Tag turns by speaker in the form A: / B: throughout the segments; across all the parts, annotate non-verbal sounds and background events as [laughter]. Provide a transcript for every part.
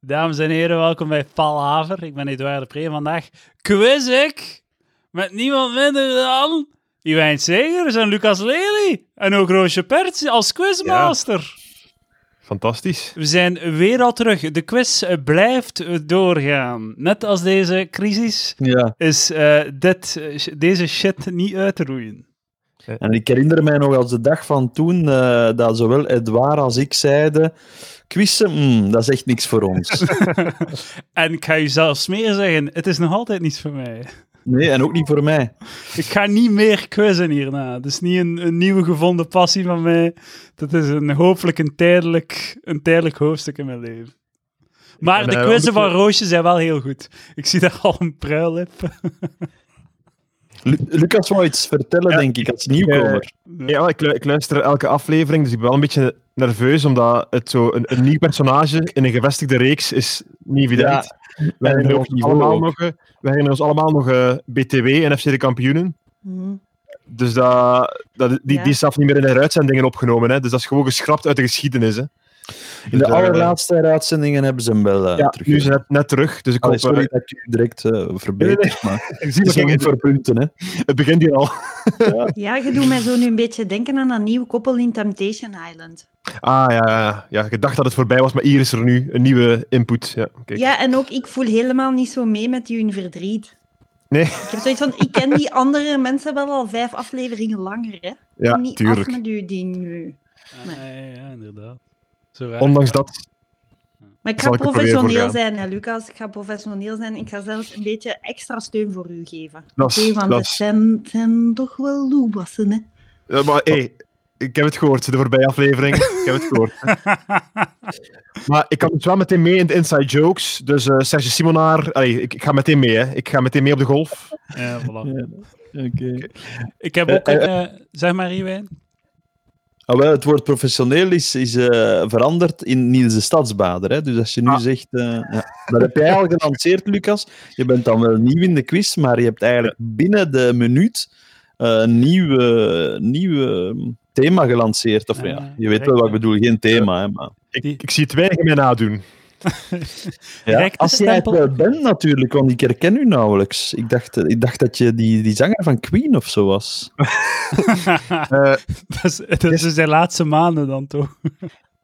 A: Dames en heren, welkom bij Palhaver. Ik ben Eduard de Pre. Vandaag quiz ik met niemand minder dan Iwijn Segers en Lucas Lely. En ook Roosje Perts als quizmaster.
B: Fantastisch.
A: We zijn weer al terug. De quiz eh, blijft eh, doorgaan. Net als deze crisis
C: Ja,
A: is eh, dit, eh, sh- deze shit niet uit te roeien.
C: en ik herinner mij nog als de dag van toen eh, dat zowel Edouard als ik zeiden: quizzen, mm, dat is echt niks voor ons.
B: [laughs]
A: En ik ga u zelfs meer zeggen, het is nog altijd niets voor mij.
C: Nee, en ook niet voor mij.
A: Ik ga niet meer quizzen hierna. Het is niet een, een nieuwe gevonden passie van mij. Dat is een, hopelijk een tijdelijk, een tijdelijk hoofdstuk in mijn leven. Maar
B: ben
A: de
B: daar
A: quizzen van
B: ook-
A: Roosje zijn wel heel goed. Ik zie daar al een pruilip.
C: Lu- Lucas wou iets vertellen,
B: Ja.
C: denk ik, als nieuwkomer.
B: Ja, ik, lu- ik luister elke aflevering, dus ik ben wel een beetje nerveus, omdat het zo een, een nieuw personage in een gevestigde reeks is niet evident. we, herinneren
C: ook
B: ons
C: niveau
B: allemaal
C: ook.
B: nog, eh, we herinneren ons allemaal nog eh, BTW en FC de kampioenen.
D: Mhm.
B: Dus dat, dat, die,
D: Ja.
B: die is zelf niet meer in de heruitzendingen opgenomen. Hè. Dus dat is gewoon geschrapt uit de geschiedenis. Hè.
C: In de
B: Dus, eh,
C: allerlaatste uitzendingen hebben ze hem wel eh,
B: ja,
C: terug.
B: nu is het net, net terug. Dus ik
C: Allee,
B: hoop...
C: sorry
B: eh,
C: dat ik u direct eh, verbeter,
B: [laughs]
C: maar
B: ik zie
C: het is
B: dat [laughs]
C: nog
B: ik-
C: niet voor punten. Hè.
B: het begint hier al.
D: Ja, je doet mij zo nu een beetje denken aan dat nieuwe koppel in Temptation Island.
B: Ah, ja, ja, ja. ja. Ik dacht dat het voorbij was, maar hier is er nu een nieuwe input. Ja, kijk.
D: Ja, en ook ik voel helemaal niet zo mee met hun verdriet.
B: Nee.
D: Ik heb zoiets van, ik ken die andere mensen wel al vijf afleveringen langer, hè.
B: Ja,
D: niet
B: tuurlijk.
D: af met uw ding nu.
A: Ja, Ah, ja, ja, inderdaad. Zo werkt
B: Ondanks
A: het.
B: dat.
D: Maar ik ga
B: Zal ik er proberen voor
D: professioneel
B: gaan.
D: zijn, hè, Lucas. Ik ga professioneel zijn. Ik ga zelfs een beetje extra steun voor u geven.
B: Dat
D: Oké,
B: is,
D: want
B: dat
D: het
B: is-
D: zijn, het zijn toch wel loebassen, hè.
B: Ja, maar hey, ik heb het gehoord, de voorbije aflevering. ik heb het [laughs] gehoord. maar ik kan het wel meteen mee in de inside jokes. Dus eh Serge Simonaar, allee, ik, ik ga meteen mee, hè. Ik ga meteen mee op de golf.
A: Ja, voilà.
C: Oké.
A: Ik heb
C: Eh,
A: ook een... eh, zeg maar, Iwijn.
C: Ah, wel, het woord professioneel is, is eh, veranderd in Niels de Stadsbader. Hè? Dus als je nu
A: Ah.
C: zegt... eh, ja. Dat heb jij al gelanceerd, Lucas. Je bent dan wel nieuw in de quiz, maar je hebt eigenlijk binnen de minuut eh, een nieuw, eh, nieuw eh, thema gelanceerd. Of,
A: Ah,
C: ja, je weet wel wat ik
A: direct,
C: bedoel, geen thema. Hè, maar,
B: Ik,
A: Die-
B: ik zie het weinig in mij nadoen.
C: ja.
A: Direct de
C: Als jij het
A: stempel.
C: wel bent natuurlijk, want ik herken u nauwelijks. Ik dacht, eh, ik dacht dat je die, die zanger van Queen of zo was.
B: Eh,
A: [laughs] dat is, dat is dus zijn laatste maanden dan toch.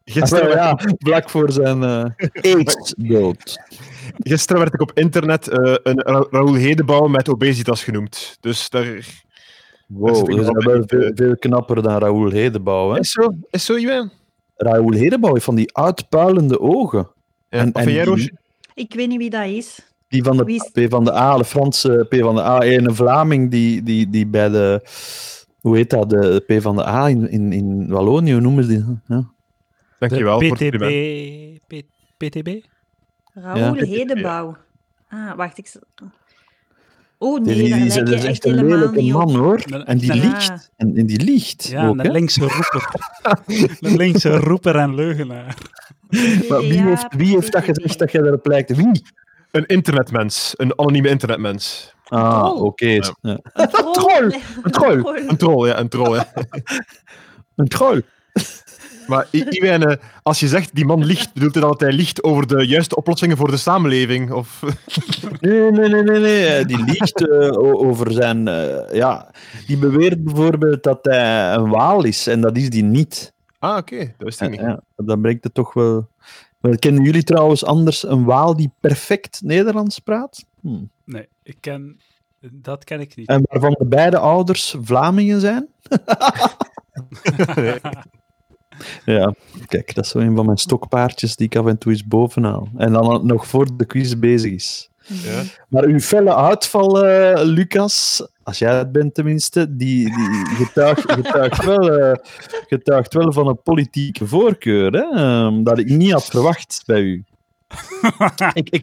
B: gisteren,
C: Ah, wel,
B: werd,
C: ja, vlak voor
A: [laughs]
C: zijn eh AIDS-dood.
B: gisteren werd ik op internet eh, een Ra Raoul Hedebouw met obesitas genoemd. Dus daar... Dat
C: Wow,
B: vind ik
C: we
B: wel
C: zijn wel
B: echt,
C: veel,
B: eh,
C: veel knapper dan Raoul Hedebouw. Hè?
B: Is zo, is zo, Iwan?
C: Raoul Hedebouw heeft van die uitpuilende ogen.
B: Ja,
C: En-
B: wat
C: en
B: vind jij,
C: die-
B: Roosje?
D: Ik weet niet wie dat is.
C: Die van
D: Wie
C: de
D: is-
C: P van de A, de Franse P van de A, eh, een Vlaming die, die, die bij de. Hoe heet dat? De P van de A in, in, in Wallonië, hoe noemen ze die? Ja.
B: Dankjewel voor het
A: PTB...
B: compliment.
A: P- PTB?
D: Raoul
C: Ja.
D: Hedebouw. Ah, wacht, ik... z- Oh
C: Die,
D: nee,
C: die, die-
D: daar
C: dat
D: lijkt je
C: is
D: echt
C: echt een
D: helemaal
C: lelijke
D: niet op.
C: man hoor.
A: Maar-
C: En die
A: Ja.
C: liegt. En, en die liegt.
A: Ja,
C: ook,
A: een
C: hè?
A: linkse roeper.
B: [laughs]
A: een linkse roeper en leugenaar.
C: Maar wie, heeft, wie heeft dat gezegd dat jij erop lijkt? Wie?
B: Een internetmens. Een anonieme internetmens.
C: Ah,
D: troll.
C: oké.
B: Ja.
C: Ja.
D: Een
C: troll. Een troll.
B: Een troll, ja. Een troll, ja.
C: Een troll.
B: Maar I- Iwijn, eh, als je zegt die man liegt, bedoelt hij dan dat hij liegt over de juiste oplossingen voor de samenleving? Of [laughs]
C: Nee, nee, nee, nee, nee. eh, Die liegt eh, o- over zijn. eh, ja, die beweert bijvoorbeeld dat hij een waal is en dat is die niet.
B: Ah, oké, dat wist ik niet.
C: Ja, dan brengt het toch wel. wel kennen jullie trouwens anders een waal die perfect Nederlands praat? Hm.
A: Nee, ik ken... Dat ken ik niet.
D: [laughs]
C: En waarvan de beide ouders Vlamingen zijn?
B: [laughs]
C: Ja, kijk, dat is zo een van mijn stokpaardjes die ik af en toe eens bovenhaal. En dan nog voor de quiz bezig is.
B: Ja.
C: Maar uw felle uitval, eh, Lucas, als jij het bent tenminste, die, die
B: [laughs]
C: getuigt, getuigt, wel, eh, getuigt wel van een politieke voorkeur, hè? ehm, dat ik niet had verwacht bij u.
B: Ik, ik,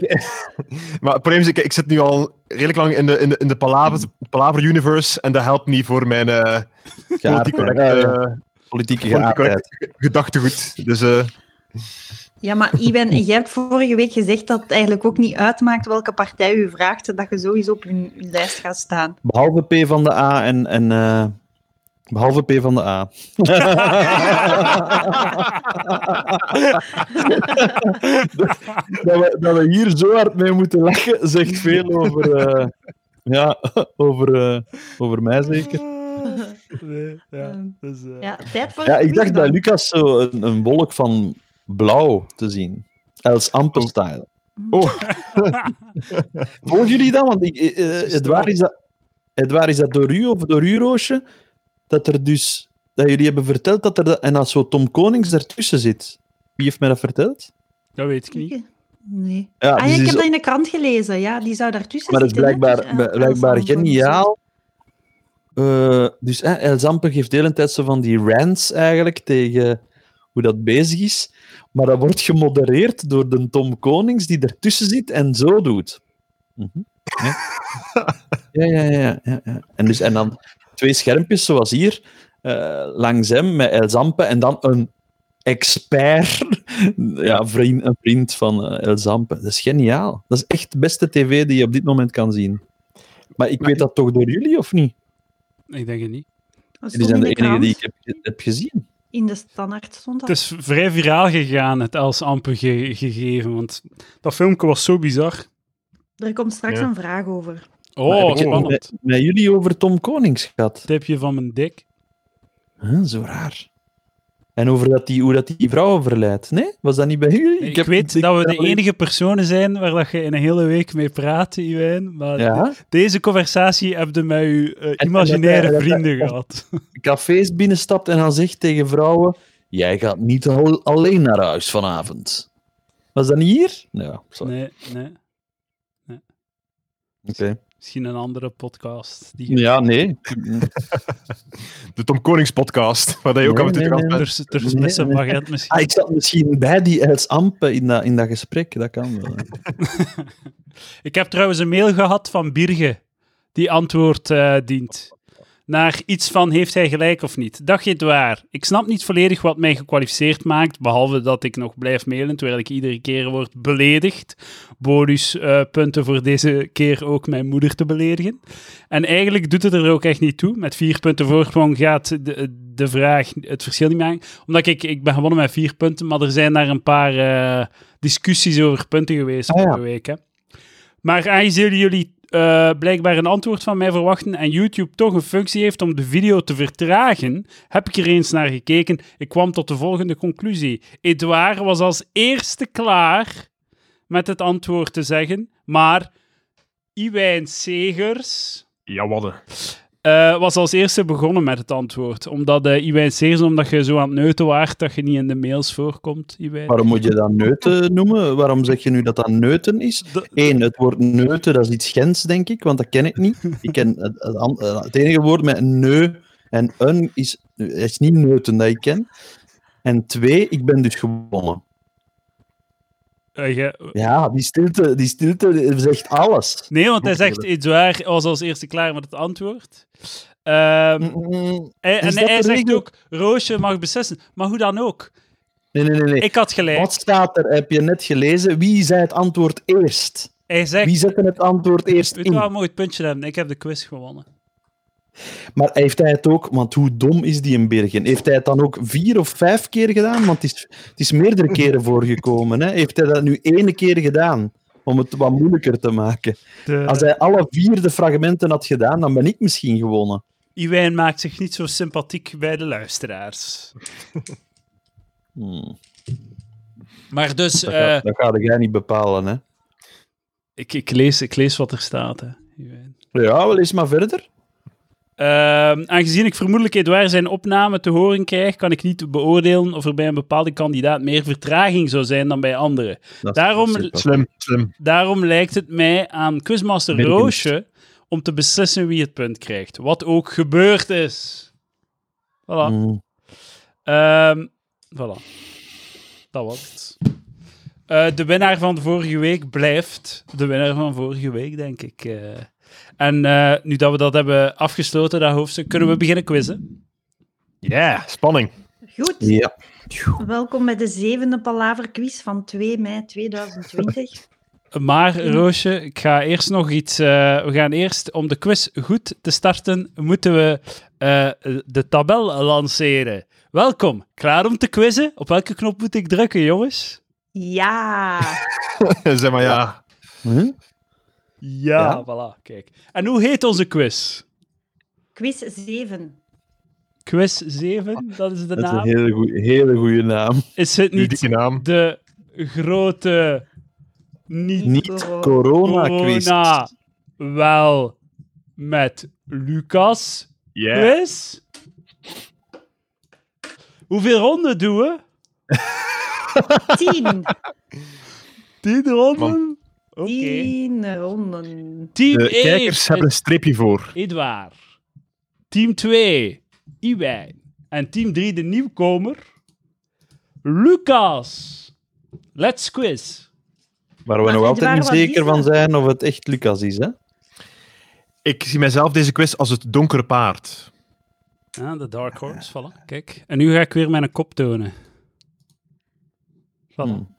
B: maar het probleem is, ik, ik zit nu al redelijk lang in de, in de, in de palaver, palaver universe en dat helpt niet voor mijn eh politiek
C: Geaardheid,
B: correcte, eh,
C: ja, ja, politieke
B: politiek
C: geaardheid.
B: correcte ge- gedachtegoed. Dus eh,
D: Ja, maar Iwan, jij hebt vorige week gezegd dat het eigenlijk ook niet uitmaakt welke partij u vraagt, dat je sowieso op hun, hun lijst gaat staan.
C: Behalve P van de A en, en eh, Behalve P van de A. dat, we, dat we hier zo hard mee moeten lachen, zegt veel over, eh, ja, [laughs] over, eh, over mij zeker.
A: Nee, ja.
D: Ehm,
A: Dus, eh,
D: ja, tijd voor
C: Ja,
D: een
C: ik dacht
D: quiz dan.
C: bij Lucas zo een, een wolk van blauw te zien. Els Amper-style.
B: Oh.
C: [laughs] Volgen jullie dat? Want ik, eh, eh, Edouard, is dat, Edouard, is dat door u of door u, Roosje? Dat er dus... Dat jullie hebben verteld dat er... dat- en dat zo Tom Konings ertussen zit. Wie heeft mij dat verteld?
A: Dat weet ik niet.
D: Nee.
C: Ja,
D: Ah,
C: dus
D: ja, ik
C: is-
D: heb dat in de krant gelezen. Ja, die zou daartussen
C: maar dat is
D: zitten. hè.
C: blijkbaar,
D: Dus, eh,
C: blijkbaar
D: Els Amper.
C: geniaal. Eh, dus eh, Els Amper geeft de hele tijd zo van die rants eigenlijk tegen hoe dat bezig is. Maar dat wordt gemodereerd door de Tom Konings die ertussen zit en zo doet. Mhm. Ja. Ja, ja, ja, ja, ja. En, dus, en dan twee schermpjes zoals hier, eh, langs hem met Els Amper en dan een expert, ja, vriend, een vriend van eh, El Zampe. Dat is geniaal. Dat is echt de beste tv die je op dit moment kan zien. Maar ik weet dat toch door jullie, of niet?
A: Ik denk het niet.
D: Oh. Dat
C: Jullie
D: stond
C: zijn
D: in
C: de
D: de
C: enige
D: krant.
C: die ik heb, heb gezien.
D: In de standaard stond dat.
A: Het is vrij viraal gegaan, het Els Amper ge- gegeven, want dat filmpje was zo bizar.
D: Er komt straks
B: Ja.
D: een vraag over.
C: Maar
A: Oh,
C: heb ik het
A: spannend.
C: met, met jullie over Tom Konings gehad.
A: Tipje van mijn dik.
C: Huh, zo raar. En over dat die, hoe dat die vrouw overlijdt. Nee? Was dat niet bij jullie?
A: Ik,
C: heb-
A: weet dat we de
C: heb-
A: enige personen zijn waar dat je in een hele week mee praat, Iwijn. Maar
C: Ja,
A: deze conversatie heb je met je eh,
C: dat-
A: imaginaire
C: dat- dat-
A: vrienden gehad.
C: cafés binnenstapt en dan zegt tegen vrouwen... Jij gaat niet al- alleen naar huis vanavond. Was dat niet hier? Ja, sorry.
A: Nee, nee.
C: Oké.
A: Misschien een andere podcast. Die
C: Ja, nee.
B: De Tom Konings podcast, waar jij ook
C: Nee,
B: aan het
C: nee,
B: gast
C: nee.
B: bent.
A: Ters, ters
C: Nee,
A: met zijn
C: nee.
A: baguette misschien.
C: Ah, ik zat misschien bij die Els Ampe in dat, in dat gesprek. Dat kan wel.
A: [laughs]
C: hè.
A: Ik heb trouwens een mail gehad van Birge, die antwoord eh, dient. Naar iets van heeft hij gelijk of niet. Dag waar. Ik snap niet volledig wat mij gekwalificeerd maakt, behalve dat ik nog blijf mailen, terwijl ik iedere keer word beledigd. Bonuspunten voor deze keer ook mijn moeder te beledigen. En eigenlijk doet het er ook echt niet toe. Met vier punten voorsprong gaat de, de vraag het verschil niet maken. Omdat ik, ik ben gewonnen met vier punten, maar er zijn daar een paar eh, discussies over punten geweest
C: Ah, ja.
A: vorige week. Hè. Maar aangezien jullie eh, blijkbaar een antwoord van mij verwachten en YouTube toch een functie heeft om de video te vertragen, heb ik er eens naar gekeken. Ik kwam tot de volgende conclusie. Edouard was als eerste klaar met het antwoord te zeggen, maar Iwijn Segers
B: Ja, wadden.
A: eh, was als eerste begonnen met het antwoord. Omdat eh Iwijn Segers, omdat je zo aan het neuten waart, dat je niet in de mails voorkomt, Iwijn.
C: Waarom moet je dat neuten noemen? Waarom zeg je nu dat dat neuten is?
A: Dat-
C: Eén, het woord neuten, dat is iets Gens, denk ik, want dat ken ik niet. Ik ken het, het an- eh, het enige woord met neu en een is, is niet neuten dat ik ken. En twee, ik ben dus gewonnen.
A: Eh, je-
C: Ja, die stilte, die stilte zegt alles.
A: Nee, want hij zegt, Edouard was als eerste klaar met het antwoord. Ehm,
C: Mm,
A: en en
C: Hm. is dat
A: hij
C: de
A: zegt
C: regel?
A: ook, Roosje mag beslissen. Maar hoe dan ook.
C: Nee, nee, nee. nee.
A: Ik had gelijk.
C: Wat staat er? Heb je net gelezen? Wie zei het antwoord eerst?
A: Hij zegt,
C: Wie zette het antwoord eerst
A: weet je wel,
C: in?
A: mooi het puntje hebben. Ik heb de quiz gewonnen.
C: Maar heeft hij het ook, want hoe dom is die in Bergen? Heeft hij het dan ook vier of vijf keer gedaan? Want het is, het is meerdere keren [laughs] voorgekomen. Hè? Heeft hij dat nu ene keer gedaan? Om het wat moeilijker te maken.
A: De...
C: Als hij alle vier de fragmenten had gedaan, dan ben ik misschien gewonnen.
A: Iwijn maakt zich niet zo sympathiek bij de luisteraars.
C: Hmm,
A: Maar dus,
C: dat,
A: eh,
C: ga, dat ga jij niet bepalen. Hè?
A: ik, ik, lees, ik lees wat er staat, hè, Iwijn.
C: Ja, wel eens maar verder.
A: Ehm, aangezien ik vermoedelijk Edouard zijn opname te horen krijg, kan ik niet beoordelen of er bij een bepaalde kandidaat meer vertraging zou zijn dan bij anderen.
C: Dat is
A: Daarom-
C: super.
B: Slim, slim.
A: Daarom lijkt het mij aan Quizmaster
C: Ben ik in.
A: Roosje om te beslissen wie het punt krijgt. Wat ook gebeurd is. Voilà.
C: Hmm.
A: Ehm, voilà. Dat was het. Eh, de winnaar van vorige week blijft de winnaar van vorige week, denk ik. eh. en eh, nu dat we dat hebben afgesloten, dat hoofdstuk, kunnen
C: Mm.
A: we beginnen quizzen.
B: Ja, spanning. [laughs]
D: Goed,
C: Ja.
D: welkom bij de zevende Palaver Quiz van 2 mei 2020.
A: Maar Roosje, ik ga eerst nog iets. eh, we gaan eerst, om de quiz goed te starten, moeten we eh, de tabel lanceren. Welkom. Klaar om te quizzen? Op welke knop moet ik drukken, jongens?
D: Ja.
B: zeg maar ja.
C: Hm?
A: Ja,
C: Ja.
A: voilà, kijk. En hoe heet onze quiz?
D: Quiz 7.
A: Quiz 7, dat is de
C: Dat is een
A: naam.
C: hele goeie, hele goeie naam.
A: Is het
B: Nu
A: niet
B: dikke naam.
A: de grote
C: Niet
D: Coro-
C: corona-quiz.
A: niet-corona wel met Lucas
B: Yeah.
A: quiz? Hoeveel ronden doen we?
D: 10.
A: Tien ronden? Oké.
D: 10 ronden.
A: Team
B: De
A: 1
B: kijkers hebben een streepje voor.
A: Edouard. Team 2, Iwijn. En team 3, de nieuwkomer, Lucas. Let's quiz.
C: Waar we
D: Maar
C: nog altijd
D: Edouard,
C: niet
D: wat
C: zeker
D: is dat?
C: van zijn of het echt Lucas is. Hè?
B: Ik zie mijzelf deze quiz als het donkere paard.
A: Ja, de Dark Horse, voilà. Kijk. En nu ga ik weer mijn kop tonen. Voilà.
C: Hmm.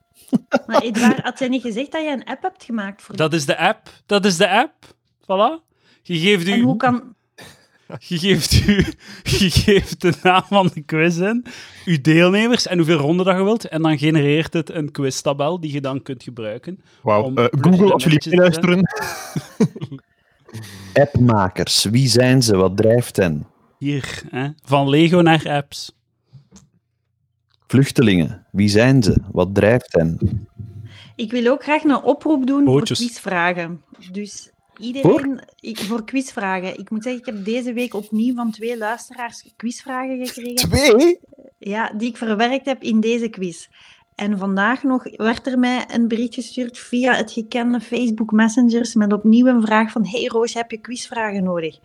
D: Maar Edouard, had jij niet gezegd dat jij een app hebt gemaakt voor
A: Dat is de app. Dat is de app. Voilà. Je geeft
D: En hoe
A: u,
D: kan...
A: je geeft u [laughs] je geeft de naam van de quiz in, uw deelnemers en hoeveel ronden dat je wilt. En dan genereert het een quiztabel die je dan kunt gebruiken.
B: Wauw.
A: Om-
B: Eh, Google, als jullie meeluisteren.
C: Appmakers, wie zijn ze? Wat drijft hen?
A: Hier, hè? van Lego naar apps.
C: Vluchtelingen, wie zijn ze? Wat drijft hen?
D: Ik wil ook graag een oproep doen
A: Bootjes.
D: voor quizvragen. Dus iedereen... Voor? Ik, voor quizvragen. Ik moet zeggen, ik heb deze week opnieuw van twee luisteraars quizvragen gekregen.
C: Twee?
D: Ja, die ik verwerkt heb in deze quiz. En vandaag nog werd er mij een bericht gestuurd via het gekende Facebook Messengers met opnieuw een vraag van hey Roos, heb je quizvragen nodig?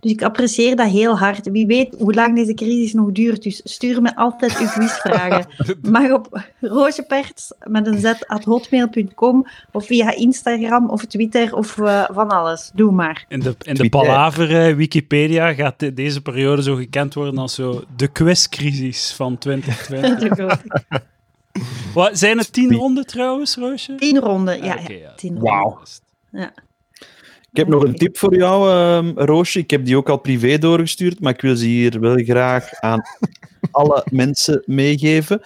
D: Dus ik apprecieer dat heel hard. Wie weet hoe lang deze crisis nog duurt, dus stuur me altijd uw
A: [laughs]
D: quizvragen. Mag op roosjeperts met een z at hotmail.com of via Instagram of Twitter of eh, van alles. Doe
A: [laughs]
D: maar.
A: In de, in de
C: Tweet,
A: palaver eh, Wikipedia gaat de- deze periode zo gekend worden als zo de quizcrisis van
C: [laughs]
A: 2020.
D: De grote-
A: Wat, zijn het tien
C: Tweet.
A: ronden trouwens, Roosje?
D: Tien ronden, ja.
A: Ah, oké,
D: ja, tien ronden.
C: Wauw.
D: Ja.
C: Ik heb nog een tip voor jou, ehm, Roosje. Ik heb die ook al privé doorgestuurd, maar ik wil ze hier wel graag [laughs] aan alle mensen meegeven.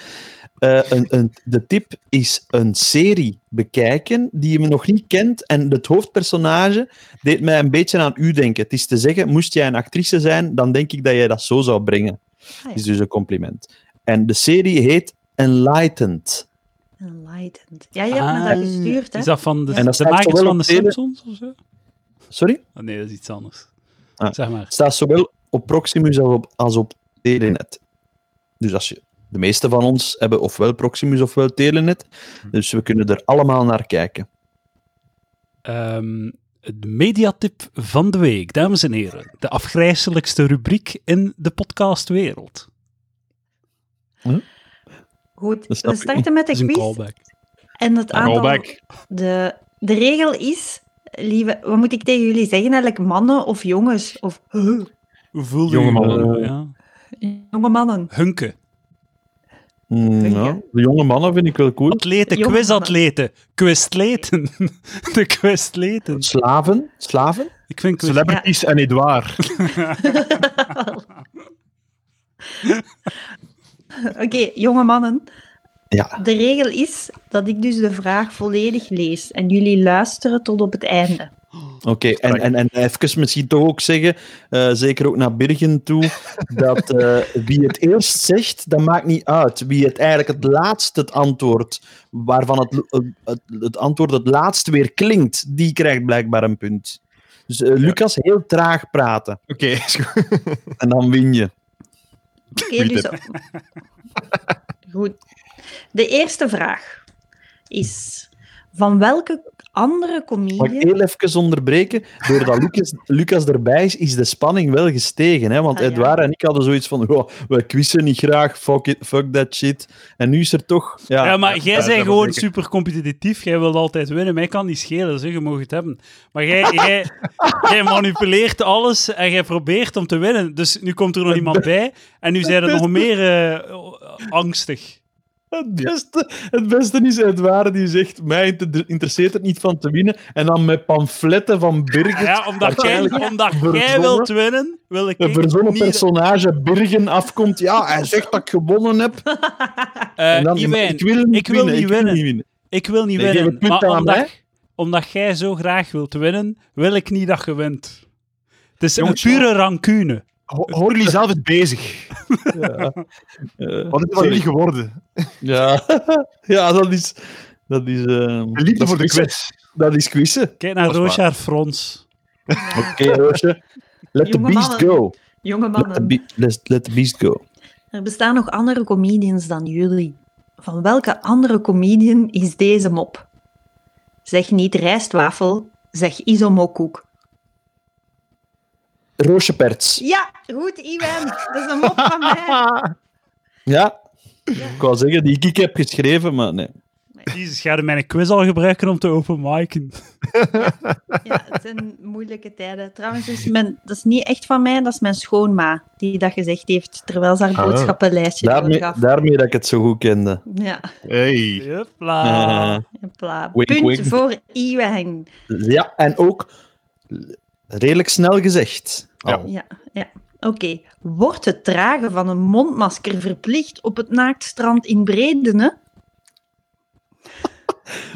C: Eh, een, een, de tip is een serie bekijken die je nog niet kent. En het hoofdpersonage deed mij een beetje aan u denken. Het is te zeggen, moest jij een actrice zijn, dan denk ik dat jij dat zo zou brengen.
D: Ah, ja.
C: Is dus een compliment. En de serie heet Enlightened.
D: Enlightened. Ja, je hebt me
A: Ah,
D: dat gestuurd, hè?
A: Is dat van de,
C: En dat
A: de
C: staat
A: makers
C: zowel
A: van de
C: op tele-
A: Simpsons of zo?
C: Sorry?
A: Ah, nee, dat is iets anders.
C: Ah.
A: Zeg maar.
C: Het staat zowel op Proximus als op, als op Telenet. Dus als je, de meeste van ons hebben ofwel Proximus ofwel Telenet. Dus we kunnen er allemaal naar kijken.
A: Ehm, de mediatip van de week, dames en heren. De afgrijzelijkste rubriek in de podcastwereld.
D: Goed,
C: Dat snap
D: we
C: ik.
D: starten met de
A: Dat is een
D: quiz.
A: callback.
D: En het
B: Een
D: aantal...
B: callback.
D: De, de regel is, lieve... Wat moet ik tegen jullie zeggen? Eigenlijk mannen of jongens? Of huh,
A: Hoe voelde
B: Jonge
A: je-
B: mannen.
A: Ja.
D: jonge mannen. [laughs]
A: Hunken.
C: Mm,
D: Vind
C: ja.
D: je?
C: De jonge mannen vind ik wel cool.
A: Atleten,
D: Jonge
A: quizatleten. Questleten. [laughs] De questleten.
C: Slaven? Slaven?
A: Ik vind quiz...
B: Celebrities en Edouard.
D: Oké, jonge mannen.
C: Ja.
D: De regel is dat ik dus de vraag volledig lees en jullie luisteren tot op het einde.
C: Oké, en, en, en even misschien toch ook zeggen, eh, zeker ook naar Birgen toe, dat eh, wie het eerst zegt, dat maakt niet uit. Wie het eigenlijk het laatst het antwoord, waarvan het, eh, het, het antwoord het laatst weer klinkt, die krijgt blijkbaar een punt. Dus eh, Lucas, heel traag praten.
B: [laughs] Oké, is goed.
C: En dan win je.
D: Oké,
B: Goeie
D: dus... [laughs] Goed. De eerste vraag is... Van welke andere
C: Mag ik
D: comedian...
C: heel even onderbreken? Doordat Lucas, Lucas erbij is, is de spanning wel gestegen. Hè? Want
D: Ah, ja.
C: Edouard en ik hadden zoits van, "Oh, we quizzen niet graag, fuck, it, fuck that shit. En nu is er toch... Ja,
A: Ja, maar jij
B: dat-
A: bent
B: dat
A: gewoon
B: zeker.
A: super competitief. Jij wilt altijd winnen. Mij kan niet schelen, zeg, je mag het hebben. Maar jij, jij, jij manipuleert alles en jij probeert om te winnen. Dus nu komt er nog iemand bij en nu zijn er nog meer eh, angstig.
C: Het beste, het beste is het ware die zegt: Mij inter- interesseert het niet van te winnen. En dan met pamfletten van Birgit.
A: Ja, omdat jij,
C: waarschijnlijk
A: omdat jij
C: verzonnen.
A: wilt winnen, wil ik
C: Een verzonnen
A: niet...
C: personage Birgen afkomt. Ja, hij zegt dat ik gewonnen heb.
A: Eh,
C: en dan,
A: Iwijn,
C: ik wil, niet
A: ik wil
C: winnen,
A: niet
C: ik wil
A: winnen.
C: niet winnen.
A: Ik wil niet
C: Nee, geef
A: winnen,
C: het punt
A: maar
C: aan
A: omdat,
C: mij.
A: omdat jij zo graag wilt winnen, wil ik niet dat je wint. Het is
B: Jongens,
A: een pure rancune.
B: Ho- Horen jullie zelf het bezig?
A: [laughs]
C: Eh,
B: Wat is het van jullie geworden?
C: ja. [laughs] ja, dat is. Dat is, eh,
B: De liefde
C: dat
B: voor de
C: is quiz.
B: quiz.
C: Dat is quizzen.
A: Kijk naar
B: Dat is waar.
A: Roosjaar Frons.
C: Oké, [laughs] Roosje. Let the
D: Jonge
C: beast
D: mannen.
C: go.
D: Jonge
C: Let the,
D: mannen,
C: be- let, let the beast go.
D: er bestaan nog andere comedians dan jullie. Van welke andere comedian is deze mop? Zeg niet rijstwafel, zeg isomokoek.
C: Roosje Perts.
D: Ja, goed, Iwan. Dat is een mop
C: [laughs]
D: van mij.
C: Ja. Ik wou zeggen, die ik heb geschreven, maar nee.
A: Jezus, ga je mijn quiz al gebruiken om te openmaken?
D: Ja, het zijn moeilijke tijden. Trouwens, dat is, mijn, dat is niet echt van mij, dat is mijn schoonma die dat gezegd heeft terwijl ze haar
B: Ah.
D: boodschappenlijstje
C: Daarmee,
D: doorgaf.
C: daarmee dat ik het zo goed kende.
D: Ja,
B: Hey.
A: Hupla.
C: [laughs] Eh,
D: hopla.
C: Wink,
D: Punt
C: wink.
D: voor Iwan.
C: ja, en ook redelijk snel gezegd.
B: Ja.
C: Oh.
D: Ja, ja. Oké. Wordt het dragen van een mondmasker verplicht op het naaktstrand in Bredene?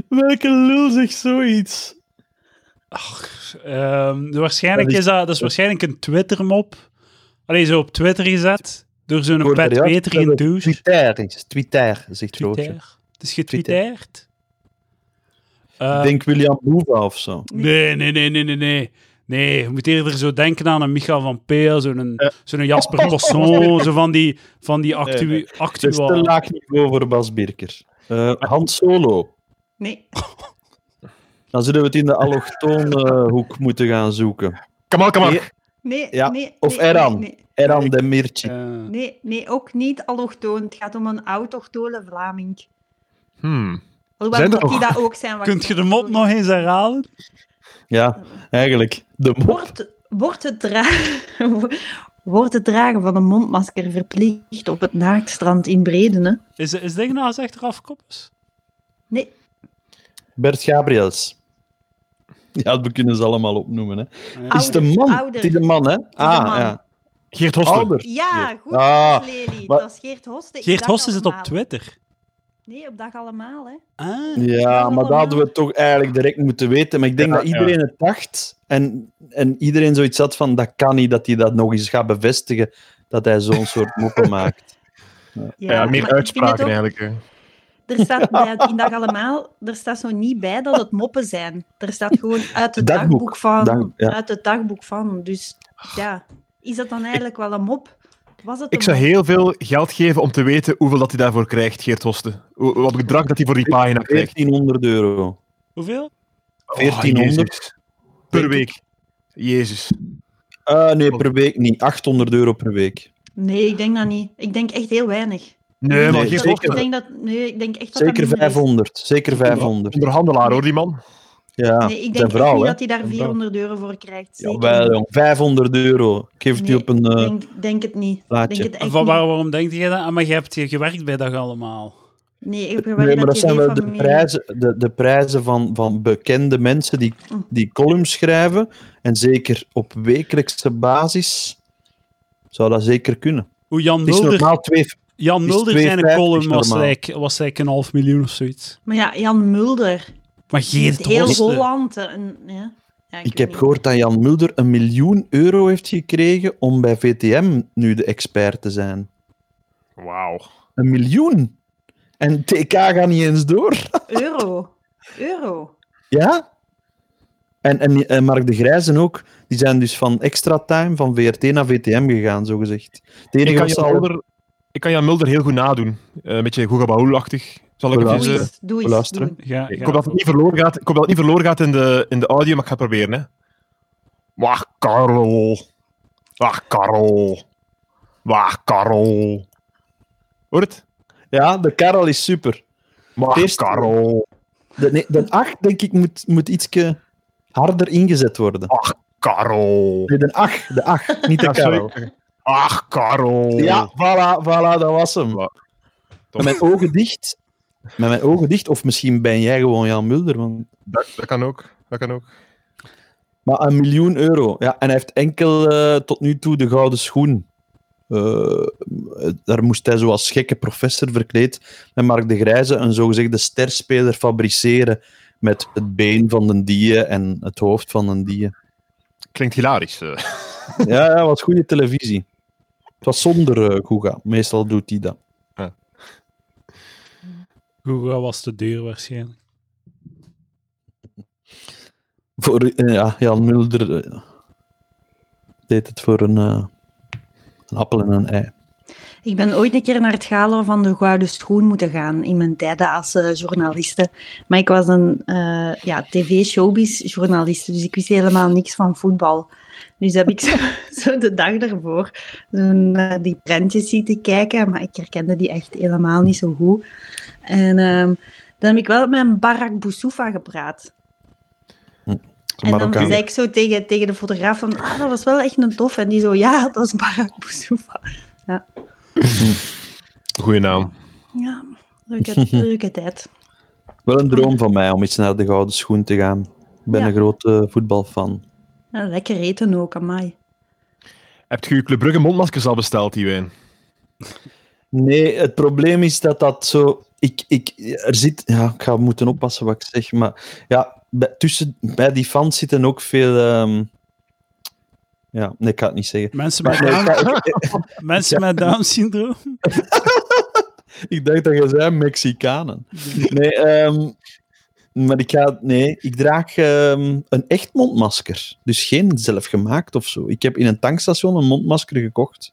C: Welke lul zegt zoiets?
A: Ehm, waarschijnlijk
C: Dat
A: is,
C: is-
A: dat, dat is waarschijnlijk een Twitter-mop. Alleen zo op Twitter gezet. Door zo'n pet
C: Twitter, ja.
A: Peter in douche.
C: Twitter is. Twitter, zegt Roosje.
A: Twitter. Het is getwitterd.
C: Ik
A: Eh,
C: denk William Boeva of zo.
A: Nee, nee, nee, nee, nee, nee. Nee, je moet eerder zo denken aan een Michael van Peel, zo'n zo'n Jasper Cosson, zo van die, van die actu
C: Nee, nee. Het is te
A: actua...
C: laag niveau voor Bas Birker. Eh Hans Solo.
D: Nee.
C: Dan zullen we het in de
A: [laughs]
C: allochtone hoek moeten gaan zoeken.
B: Kamal, Kamal.
C: Nee.
D: Nee,
C: Ja,
D: nee,
C: of
D: nee,
C: Eran.
D: Nee, nee,
C: Eran de Mirci.
A: Eh,
D: nee, nee, ook niet allochtoon. Het gaat om een autochtone Vlaming.
B: Hmm.
D: Hoewel
B: Zijn er
D: dat die
B: nog?
D: dat ook
A: [laughs]
D: zijn.
A: Kunt je de mop nog eens herhalen?
C: Ja, eigenlijk. De mop.
D: Wordt, wordt, het dragen, [laughs] wordt het dragen van een mondmasker verplicht op het naaktstrand in Bredene?
A: Is, is dit nou eens achteraf koppers?
D: Nee,
C: Bert Gabriels. Ja, we kunnen ze allemaal opnoemen. Hè.
A: Ja.
C: Is de
D: Ouder,
C: man?
D: ouder.
C: Het is de man, hè? Ah,
D: man.
C: ja.
B: Geert Hostel.
C: Ouder.
D: Ja, goed,
C: Ah,
D: Lely. Het
C: maar-
D: was Geert Hoste. Ik
A: Geert
D: dag
A: Hossen zit op
D: allemaal.
A: Twitter.
D: Nee, op dag allemaal, hè.
A: Ah.
C: Ja, maar dat hadden we toch eigenlijk direct moeten weten. Maar ik denk
B: Ja,
C: dat iedereen het dacht en, en iedereen zoiets had van dat kan niet, dat hij dat nog eens gaat bevestigen, dat hij zo'n
D: [laughs]
C: soort moppen maakt.
B: Ja, meer
D: maar ik vind het
B: uitspraken
D: ook-
B: eigenlijk. hè.
D: Er staat bij, in dag allemaal, er staat zo niet bij dat het moppen zijn. Er staat gewoon uit het dagboek,
C: Dagboek.
D: van.
C: Dag- ja.
D: Uit het dagboek van. Dus ja, is dat dan eigenlijk wel een mop? Was het
B: Ik
D: een
B: zou
D: mop?
B: heel veel geld geven om te weten hoeveel dat hij daarvoor krijgt, Geert Hosten. Hoe- Wat bedrag dat hij voor die pagina krijgt.
C: 1400 euro.
A: Hoeveel?
B: Oh,
C: 1400
B: Jezus. per week. Jezus.
C: Ah, nee, per week niet. 800 euro per week.
D: Nee, ik denk dat niet. Ik denk echt heel weinig.
B: Nee, maar
C: Nee,
B: Geert
C: zeker.
D: Ik
B: Hosten.
D: denk dat, nee, ik denk echt dat
C: Zeker
D: dat minder is.
C: 500. Zeker 500.
B: Onderhandelaar hoor, die man.
C: Ja,
D: Nee, ik
C: zijn
D: denk echt
C: vrouw,
D: niet
C: hè?
D: dat hij daar
C: Zijn vrouw.
D: 400 euro voor krijgt. Zeker
C: Jawel,
D: niet.
C: jong. 500 euro. Ik geef het u
D: Nee,
C: op een eh,
D: denk, denk het niet.
C: plaatje.
D: Denk het echt
A: Van,
D: niet.
A: waar- waarom denk jij dat? Ah, maar je hebt hier gewerkt bij dag allemaal.
D: Nee, ik heb
C: Nee, maar dat zijn wel
D: wel
C: de prijzen, de, de prijzen van, van bekende mensen die,
D: Hm.
C: die columns schrijven. En zeker op wekelijkse basis zou dat zeker kunnen.
A: Hoe Jan
C: Het is
A: Mulder,
C: normaal twee...
A: Jan
C: is
A: Mulder zijn
C: 2,50
A: column was
C: normaal.
A: like, was like een half miljoen of zoiets.
D: Maar ja, Jan Mulder.
A: Maar Geert
D: heel
A: Hosten.
D: Holland. En, ja. Ja,
C: Ik
D: weet
C: heb
D: niet.
C: gehoord dat Jan Mulder een miljoen euro heeft gekregen om bij VTM nu de expert te zijn.
B: Wauw.
C: Een miljoen! En TK gaat niet eens door. [laughs]
D: Euro. Euro.
C: Ja? En, en, en Mark de Grijzen ook. Die zijn dus van extra time van VRT naar VTM gegaan, zogezegd. Het
B: Ik
C: enige
B: kan,
C: wat ze
B: Jan
C: al-
B: Mulder, ik kan Jan Mulder heel goed nadoen. Eh, een beetje Goega Baul-achtig. Zal ik
C: Voilà.
B: het
D: Doe
B: eens, eh,
D: eens. Doe eens.
C: beluisteren.
D: Doe.
A: Ja,
B: Ik
A: ja.
B: hoop dat het niet verloren gaat, ik hoop dat het niet verloren gaat in, de, in de audio, maar ik ga het proberen. Hè. Wach, Karel. Wach, Karel. Wach, Karel. Hoor het?
C: Ja, de Karel is super.
B: Wach,
C: Eerst-
B: Karel.
C: De, nee, de 8, denk ik, moet, moet ietsje harder ingezet worden.
B: Karel.
C: Nee, de 8, de 8, niet de
B: Ja, sorry.
C: Karel.
B: Ach, Karel.
C: Ja, voilà, voilà, dat was hem.
B: Tom.
C: Met mijn ogen dicht. Met mijn ogen dicht. Of misschien ben jij gewoon Jan Mulder. Want...
B: Dat, dat kan ook. Dat kan ook.
C: Maar een miljoen euro. Ja, en hij heeft enkel eh, tot nu toe de gouden schoen. Eh, daar moest hij zoals gekke professor verkleed met Mark de Grijze een zogezegde sterspeler fabriceren met het been van een dier en het hoofd van een dier.
B: Klinkt hilarisch. eh.
C: Ja, ja, was goede televisie. Het was zonder eh Guga. Meestal doet hij dat.
A: Google was te duur waarschijnlijk.
C: Voor, eh, ja, Jan Mulder eh, deed het voor een, eh, een appel en een ei.
D: Ik ben ooit een keer naar het gala van de Gouden Schoen moeten gaan in mijn tijden als eh, journaliste. Maar ik was een eh, ja, tv-showbiz-journaliste, dus ik wist helemaal niks van voetbal. Dus heb ik [laughs] zo, zo de dag daarvoor zo naar die prentjes zitten kijken, maar ik herkende die echt helemaal niet zo goed. En ehm, dan heb ik wel met Barack Boussoufa gepraat.
C: Zo'n
D: En dan
C: Marokkaan.
D: zei ik zo tegen, tegen de fotograaf van, ah, dat was wel echt een tof. En die zo, ja, dat is Barack Boussoufa.
B: Goeie naam.
D: Ja, leuke, leuke tijd.
C: Wel een droom van mij om eens naar de Gouden Schoen te gaan. Ik ben
D: Ja.
C: een grote voetbalfan.
D: Ja, lekker eten ook, amai.
B: Hebt je je Club Brugge mondmaskers al besteld, die wijn?
C: Nee, het probleem is dat dat zo... Ik, ik, er zit... Ja, ik ga moeten oppassen wat ik zeg, maar... Ja, bij, tussen, bij die fans zitten ook veel... ehm, ja, nee, ik ga het niet zeggen.
A: Mensen met,
C: Maar, nee, ik, ga- ik-
A: mensen met Down-syndroom?
C: ik denk dat je zei Mexicanen. Nee, ehm, maar ik ga... Nee, ik draag ehm, een echt mondmasker. Dus geen zelfgemaakt of zo. Ik heb in een tankstation een mondmasker gekocht.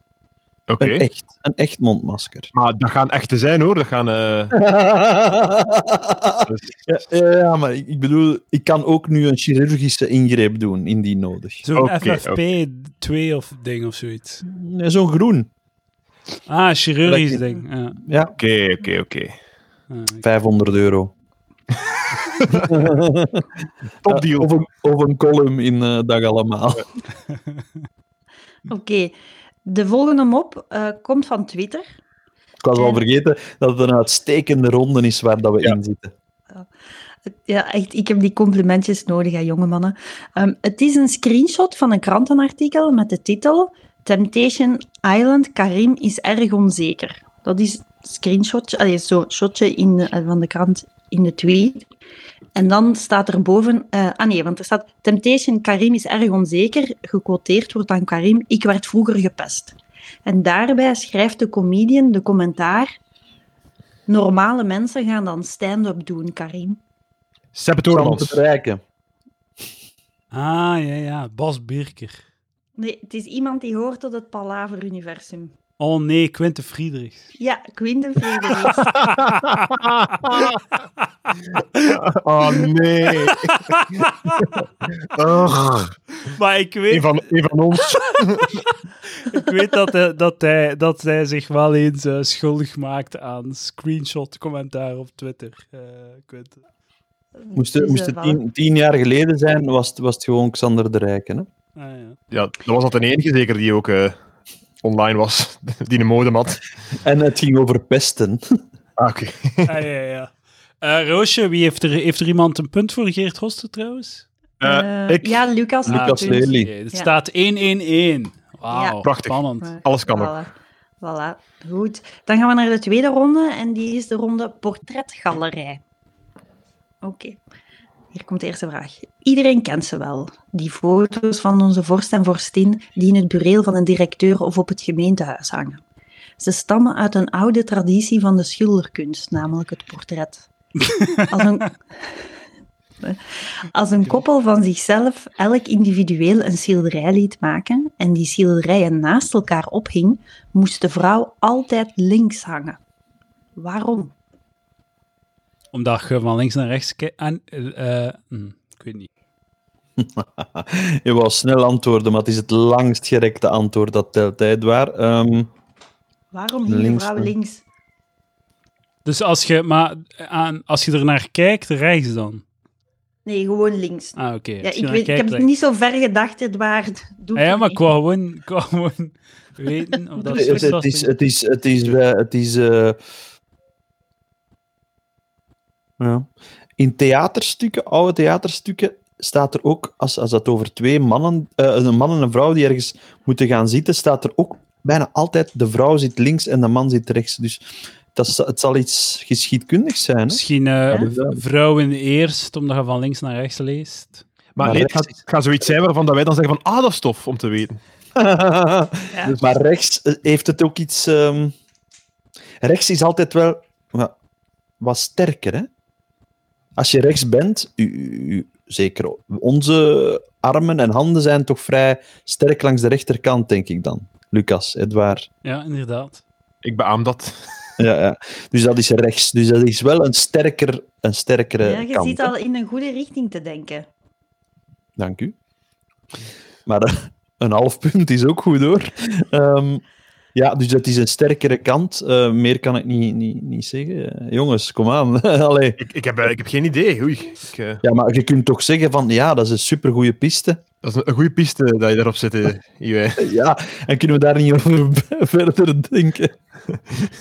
B: Oké.
C: Een, echt, een echt
B: [laughs]
C: mondmasker.
B: Maar dat gaan echte zijn, hoor. Dat gaan... eh,
C: ja,
B: dus-
C: ja, ja, maar ik ik bedoel, ik kan ook nu een chirurgische ingreep doen, indien nodig.
A: [laughs] Zo'n
B: Oké,
A: FFP2 of ding of zoiets.
C: Nee, Zo'n groen.
A: Ah, chirurgisch
C: Lekker.
A: ding. Ja.
C: Ja,
B: Oké, oké, oké.
A: Ah, oké.
C: 500 [laughs] euro.
B: Top
C: Ja,
B: deal.
C: Of een, of een column in eh, Dag Allemaal.
D: Oké, de volgende mop eh, komt van Twitter.
C: Ik was al vergeten dat het een uitstekende ronde is waar dat we
B: Ja.
C: in zitten.
D: Ja, echt, ik heb die complimentjes nodig, hè, jonge mannen. Ehm, het is een screenshot van een krantenartikel met de titel Temptation Island, Karim is erg onzeker. Dat is een screenshotje, allee, zo'n shotje in de- eh, van de krant in de tweet. En dan staat er boven, eh, ah nee, want er staat Temptation Karim is erg onzeker, gequoteerd wordt aan Karim, ik werd vroeger gepest. En daarbij schrijft de comedian de commentaar, normale mensen gaan dan stand-up doen, Karim.
B: Sepp
C: Om te
B: Toormans.
C: bereiken.
A: Ah, ja, ja. Bas Birker.
D: Nee, het is iemand die hoort tot het Palaver-universum.
A: Oh nee, Quinte Friedrichs.
D: Ja, Quinten Frederiks.
B: Oh, nee. [laughs] Ugh.
A: [laughs] Maar ik
B: Een
A: weet,
B: van, een van ons.
A: ik weet dat, hij, dat, hij, dat hij zich wel eens eh, schuldig maakt aan screenshot-commentaar op Twitter. Eh Quinte.
C: Moest, het-
D: Dus,
C: moest
D: eh,
C: het
D: voilà.
C: tien, tien jaar geleden zijn, was het, was het gewoon Xander de Rijken. Hè?
A: Ah, ja.
B: Ja, dat was altijd de enige zeker die ook eh, online was. [laughs] Die een modem had.
C: En het ging over pesten.
B: Ah, oké.
A: Ah, ja, ja. Eh, Roosje, wie heeft, er, heeft er iemand een punt voor Geert Hoste trouwens?
B: Eh,
D: Eh,
B: ik-
D: Ja, Lucas.
A: Ah,
C: Lucas
D: natuurlijk.
C: Lely.
A: Oké, Het
D: Ja.
A: staat 1-1-1. Wauw,
D: Ja.
B: Prachtig.
A: spannend.
D: Maar-
B: Alles kan ook.
D: voilà. Voilà, goed. Dan gaan we naar de tweede ronde en die is de ronde portretgalerij. Oké, hier komt de eerste vraag. Iedereen kent ze wel. Die foto's van onze vorst en vorstin die in het bureel van een directeur of op het gemeentehuis hangen. Ze stammen uit een oude traditie van de schilderkunst, namelijk het portret. Als een, als een koppel van zichzelf elk individueel een schilderij liet maken en die schilderijen naast elkaar ophing, moest de vrouw altijd links hangen. Waarom?
A: Omdat je van links naar rechts kijkt. En, eh, eh, hm, ik weet niet.
C: Je wou snel antwoorden, maar het is het langst gerekte antwoord dat telt. hè, Edouard. Ehm,
D: Waarom hing
C: Links,
D: de vrouw
C: hè?
D: links?
A: Dus als je, maar, aan, als je er naar kijkt, rechts dan.
D: Nee, gewoon links.
A: Ah, oké. Als
D: Ja,
A: je
D: ik,
A: naar
D: weet, ik
A: kijkt,
D: heb het
A: rechts.
D: niet zo ver gedacht, Edouard. Doe
A: Ah, ja,
D: het
A: maar ik
D: niet.
A: wou gewoon, [laughs] ik wou gewoon weten of dat
C: het,
A: zo
C: het
A: was.
C: is, het is, het is, eh, het is eh, Ja. In theaterstukken, oude theaterstukken, staat er ook, als, als dat over twee mannen, eh, een man en een vrouw die ergens moeten gaan zitten, staat er ook bijna altijd de vrouw zit links en de man zit rechts. Dus dat, is- het zal iets geschiedkundigs zijn. Hè?
A: Misschien eh,
C: dus dat-
A: vrouwen eerst, omdat je van links naar rechts leest.
B: Maar,
C: Maar
B: nee, het
C: rechts
B: gaat, het gaat zoiets zijn waarvan dat wij dan zeggen van, ah, dat is tof om te weten.
C: [laughs]
D: Ja.
C: Maar rechts eh, heeft het ook iets. ehm, rechts is altijd wel wa- wat sterker. Hè? Als je rechts bent, u, u- u- zeker onze armen en handen zijn toch vrij sterk langs de rechterkant, denk ik dan. Lucas, Edouard.
A: Ja, inderdaad.
B: Ik beaam dat.
C: Ja, ja. Dus dat is rechts. Dus dat is wel een, sterker, een sterkere.
D: Ja, je
C: kant,
D: ziet
C: hè.
D: al in een goede richting te denken.
C: Dank u. Maar eh, een half punt is ook goed hoor. Ehm, ja, dus dat is een sterkere kant. Eh, meer kan ik niet, niet, niet zeggen. Eh, jongens, kom aan. [laughs] Allee.
B: Ik, ik, heb, eh, ik heb geen idee. Oei. Ik, eh,
C: Ja, maar je kunt toch zeggen van ja, dat is een supergoeie piste. [laughs]
B: dat is een, een goede piste dat je daarop zit, eh, Iwijn.
C: Ja, en kunnen we daar niet over [laughs] verder denken?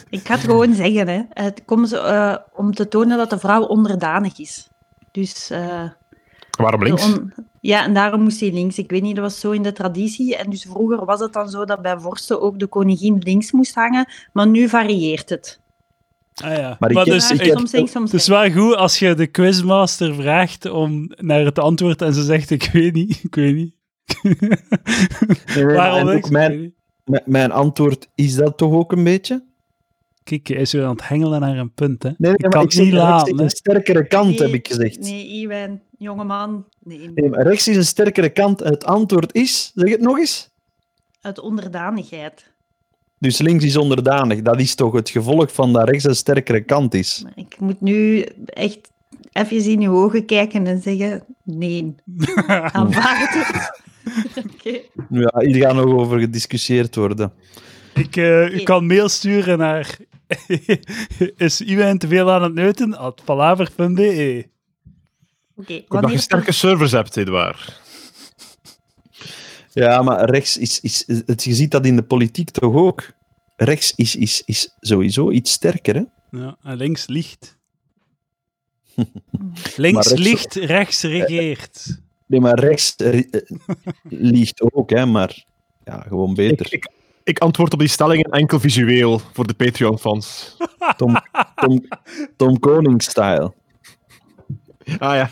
D: Ik ga het gewoon zeggen, hè. Het komt zo, eh, om te tonen dat de vrouw onderdanig is. Dus... eh,
B: Waarom links?
D: De on- Ja, en daarom moest hij links. Ik weet niet, dat was zo in de traditie. En dus vroeger was het dan zo dat bij vorsten ook de koningin links moest hangen. Maar nu varieert het.
A: Ah ja.
C: Maar ik ken-
A: dus,
D: Ja,
C: ik heb-
D: soms links, soms
A: het is
D: rechts.
A: wel goed als je de quizmaster vraagt om naar het antwoord en ze zegt: Ik weet niet, ik weet
C: [laughs]
A: niet.
C: en
A: Waarom
C: ook
A: niks? ik?
C: mijn-
A: weet niet.
C: M- mijn antwoord is dat toch ook een beetje?
A: Kijk, hij is weer aan het hengelen naar een punt. Hè.
C: Nee,
A: ik kan het
C: zeg,
A: niet
C: rechts
A: laten.
C: is
A: hè.
C: Een sterkere kant heb
D: Nee,
C: ik gezegd.
D: Nee, Iwan, jongeman. Nee,
C: Nee, maar rechts is een sterkere kant. Het antwoord is, zeg het nog eens.
D: uit onderdanigheid.
C: Dus links is onderdanig. Dat is toch het gevolg van dat rechts een sterkere kant is.
D: Maar Ik moet nu echt even in je ogen kijken en zeggen: nee, aanvaard het. Oké.
C: Ja, hier gaat nog over gediscussieerd worden.
A: Ik, eh, u kan mail sturen naar. [laughs] is iemand te veel aan het neuten? At palaver.be.
D: Oké,
B: Ik hoop dat je
D: wanneer-
B: sterke servers hebt, Edouard.
C: Ja, maar rechts is... is het, je ziet dat in de politiek toch ook. Rechts is, is, is sowieso iets sterker, hè?
A: Ja, en links liegt.
C: [laughs]
A: links
C: Maar rechts-
A: liegt, rechts regeert.
C: Nee, maar rechts eh, [laughs] eh, liegt ook, hè? Maar ja, gewoon
B: Ik,
C: beter.
B: ik, ik antwoord op die stellingen enkel visueel voor de Patreon-fans.
C: Tom, Tom, Tom Koning-style.
B: Ah ja.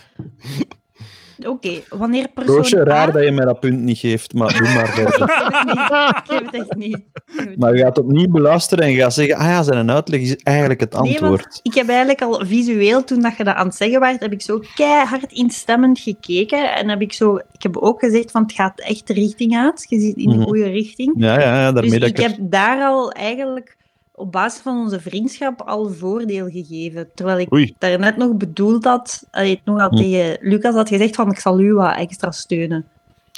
D: Oké, wanneer persoon
C: Roosje, raar
D: A-
C: dat je mij dat punt niet geeft, maar doe [laughs] maar verder.
D: Ik heb het echt niet. Ik heb het
C: Maar je gaat opnieuw beluisteren en je gaat zeggen, ah ja, zijn uitleg is eigenlijk het
D: Nee, want-
C: antwoord.
D: Ik heb eigenlijk al visueel, toen dat je dat aan het zeggen was, heb ik zo keihard instemmend gekeken. En heb ik zo, ik heb ook gezegd van het gaat echt de richting uit. Je zit in de
C: Mhm.
D: goede richting.
C: Ja, ja, ja, daarmee
D: Dus
C: dat
D: ik
C: ik er-
D: heb daar al eigenlijk op basis van onze vriendschap al voordeel gegeven. Terwijl ik
B: Oei.
D: daarnet nog bedoeld had, allee, nog had
C: Hm.
D: tegen Lucas had gezegd van ik zal u wat extra steunen.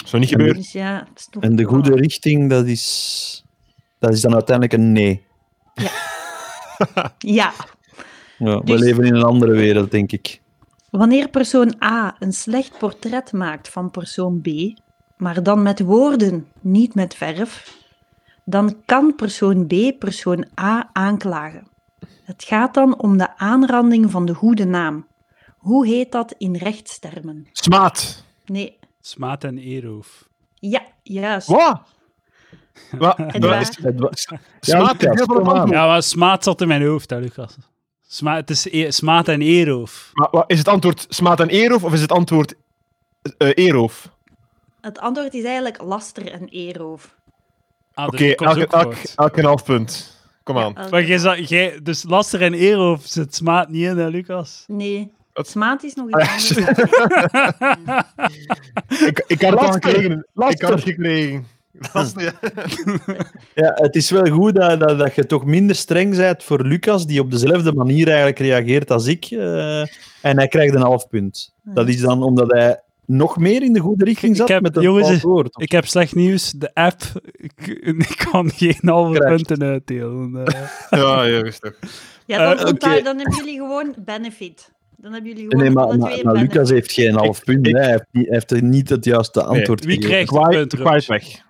B: Zou niet gebeuren.
D: Dus ja, het is toch-
C: En de goede
D: Ah.
C: richting, dat is... Dat is dan uiteindelijk een nee.
D: Ja.
C: Ja,
D: Dus-
C: We leven in een andere wereld, denk ik.
D: Wanneer persoon A een slecht portret maakt van persoon B, maar dan met woorden, niet met verf, dan kan persoon B persoon A aanklagen. Het gaat dan om de aanranding van de goede naam. Hoe heet dat in rechtstermen?
B: Smaat.
D: Nee,
A: Smaat en eeroof.
D: ja, juist.
B: Wat? Wat?
D: En
B: Dat
D: waar?
B: is-
C: Het wa-
B: Smaat is
C: Lucas,
B: heel veel
C: kom aan.
B: antwoord.
A: Ja, maar smaat zat in mijn hoofd, hè, Lucas. Sma het is e- smaat en eeroof.
B: Maar wat- is het antwoord smaad en eeroof of is het antwoord eh eeroof?
D: Het antwoord is eigenlijk laster en eeroof.
A: Ah,
B: Oké,
A: dus dat komt
B: elke,
A: ook
B: elk,
A: voort.
B: elk een half punt. Kom aan.
D: Eh,
A: Maar jij zat- jij- dus laster en eeroof zit smaat niet in, hè, Lucas?
D: Nee,
B: Wat?
D: smaat is nog
B: Ah,
D: iets
B: ja,
D: anders.
B: shit.
D: dan recht.
B: Ik, ik had het al
C: Laster.
B: gekregen. Ik had het
C: Laster.
B: gekregen. Laster, ja.
C: Ja, het is wel goed dat, dat, dat je toch minder streng bent voor Lucas, die op dezelfde manier eigenlijk reageert als ik. eh, en hij krijgt een half punt. Dat is dan omdat hij nog meer in de goede richting
A: Ik
C: zat
A: heb-
C: met het
A: jongens,
C: antwoord.
A: Ik heb slecht nieuws. De app ik, ik kan geen halve
C: Correct.
A: punten uitdelen. eh.
B: Ja, jongens toch. [laughs]
D: Ja, dan,
B: Ah,
A: Eh,
D: onthoud-
C: oké.
D: dan hebben jullie gewoon benefit. Dan hebben jullie gewoon
C: Nee, maar,
D: alle
C: maar-
D: twee
C: maar
D: benefit.
C: Lucas heeft geen half punt.
B: ik-
C: hè. Hij, heeft niet, hij heeft niet het juiste antwoord
A: Wie
C: gegeven.
A: krijgt een
B: Kwaai-
A: punt,
B: kwaai
A: Roos?
B: weg.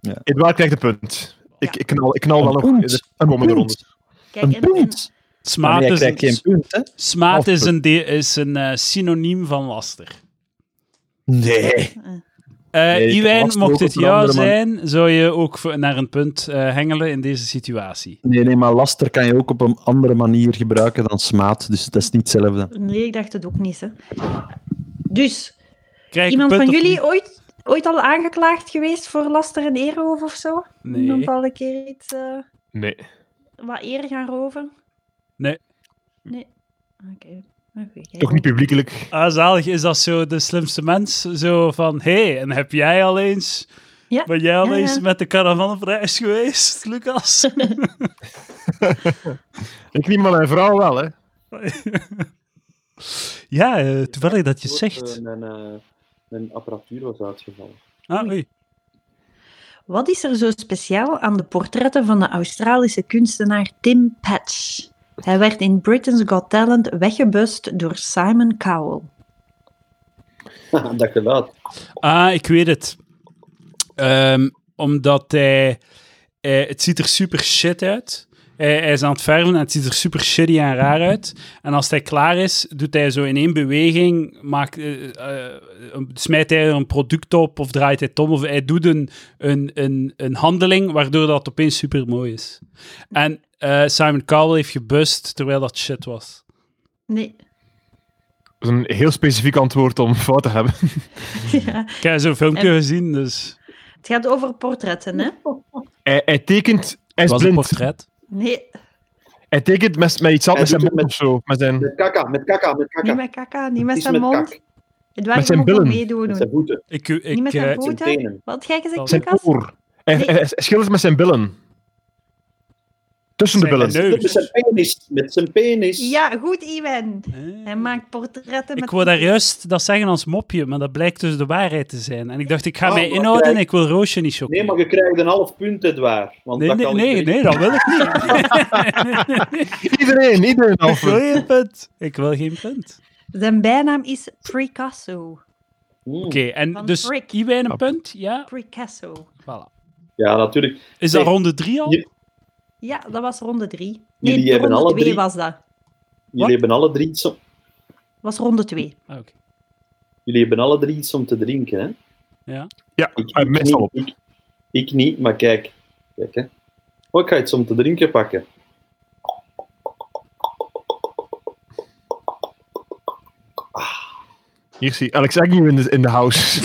C: Ja.
B: Edouard krijgt een punt. Ik, ik knal, ik knal wel
C: een
B: nog
C: punt?
B: de komende
C: Een
B: ronde.
C: punt?
D: Kijk,
C: Een
D: en, en
C: punt? Maar
A: Smaad
C: nee,
A: is
C: krijg geen
A: een,
C: punt, hè?
A: smaad is
C: halfpunt.
A: een, de- is een eh, synoniem van laster.
C: Nee.
A: Eh
C: Nee,
A: Iwijn,
C: laster
A: mocht
C: ook
A: het
C: op een
A: jou
C: andere
A: zijn, zou je ook voor- naar een punt eh, hengelen in deze situatie.
C: nee, nee, maar laster kan je ook op een andere manier gebruiken dan smaad. Dus dat is niet hetzelfde.
D: Nee, ik dacht het ook niet. Hè. Dus,
A: Krijg ik
D: iemand
A: een
D: van
A: punt of
D: jullie ooit, ooit al aangeklaagd geweest voor laster en eerroof of zo?
A: niet?
D: Iemand
A: Nee.
D: al een keer iets eh,
B: Nee.
D: wat eer gaan roven?
A: Nee.
D: Nee. Oké. Oké, jij
B: Toch niet publiekelijk.
A: Ah, zalig, is dat zo de slimste mens? Zo van, hé, hey, en heb jij al eens...
D: Ja,
A: Ben jij al
D: ja,
A: eens
D: ja.
A: met de caravanprijs geweest,
D: [laughs]
A: Lucas?
B: Ik niet, maar mijn vrouw wel, hè.
A: ja, eh, toevallig dat je het zegt.
E: Mijn, eh, mijn apparatuur was uitgevallen.
A: Ah, oei.
D: Wat is er zo speciaal aan de portretten van de Australische kunstenaar Tim Patch? Hij werd in Britain's Got Talent weggebust door Simon Cowell.
E: dat geluid.
A: Ah, ik weet het. Ehm, omdat hij, hij- Het ziet er super shit uit. Hij, hij is aan het verven en het ziet er super shitty en raar uit. En als hij klaar is, doet hij zo in één beweging... Maakt, eh, eh, een- smijt hij er een product op of draait hij het om. Of hij doet een, een, een, een handeling waardoor dat opeens super mooi is. En eh, Simon Cowell heeft gebust terwijl dat shit was.
D: Nee.
B: Dat is een heel specifiek antwoord om [laughs] fout te hebben.
D: Ja.
A: Ik heb zo'n filmpje
D: En-
A: gezien, dus...
D: Het gaat over portretten, hè?
B: Hij, hij tekent... Hij is
A: was een
B: blind.
A: portret.
D: Nee,
B: Hij tekent met, met iets anders,
E: Hij
B: met zijn
E: doet
B: mond of zo. Met zijn...
E: Met kaka, met kaka, met kaka.
D: niet
E: Met
D: met kaka, niet met
E: Iets
D: zijn
E: met
D: mond.
E: kak.
D: Edouard,
B: Met
D: je
B: zijn
D: mag ook
B: billen.
D: meedoen.
E: zijn voeten,
A: Ik, ik,
D: Niet met
A: eh,
D: zijn
E: met zijn
D: voeten.
E: tenen.
D: Wat had jij gezegd,
A: Zijn
B: Zijn
D: Lucas?
B: oor. Hij, hij, hij schildert met zijn billen. Tussen de
A: Zijn
B: billen.
A: neus.
E: Met zijn penis, met zijn penis.
D: Ja, goed, Iwan.
A: Eh.
D: Hij maakt portretten met...
A: Ik wou daar juist dat zeggen als mopje, maar dat blijkt dus de waarheid te zijn. En ik dacht, ik ga
E: Ah,
A: mij
E: maar
A: inhouden,
E: kijk.
A: ik wil Roosje niet
E: Nee,
A: chockeren.
E: maar je krijgt een half punt, Edouard. Want
A: nee,
E: dat
A: nee,
E: kan
A: nee,
E: ik
A: nee, dat wil ik
E: [laughs]
A: niet.
B: Iedereen, iedereen.
A: ik wil
B: Alfred.
A: geen punt. Ik wil geen punt.
D: Zijn bijnaam is Picasso.
E: Hmm.
A: Oké, en
D: Van
A: dus
D: Rick.
A: Iwijn een punt? Ja,
D: Picasso.
A: voilà.
E: Ja, natuurlijk.
A: Is dat
E: Nee.
A: ronde drie al?
E: Je-
D: Ja, dat was ronde drie. Nee,
E: Jullie hebben
D: ronde
E: alle
D: twee
E: drie-
D: was dat.
E: Jullie
A: Wat?
E: hebben, alle drie iets om,
D: was ronde twee.
A: Ah, oké.
E: jullie hebben alle drie iets om te drinken, hè?
B: Ja,
E: Ik,
A: Ah,
B: hij
E: ik
B: mest
E: niet,
B: al op.
E: Ik, ik niet, maar kijk. Kijk, hè. Oh, ik ga iets om te drinken pakken.
B: Hier zie je Alex Agnew in de, in de house.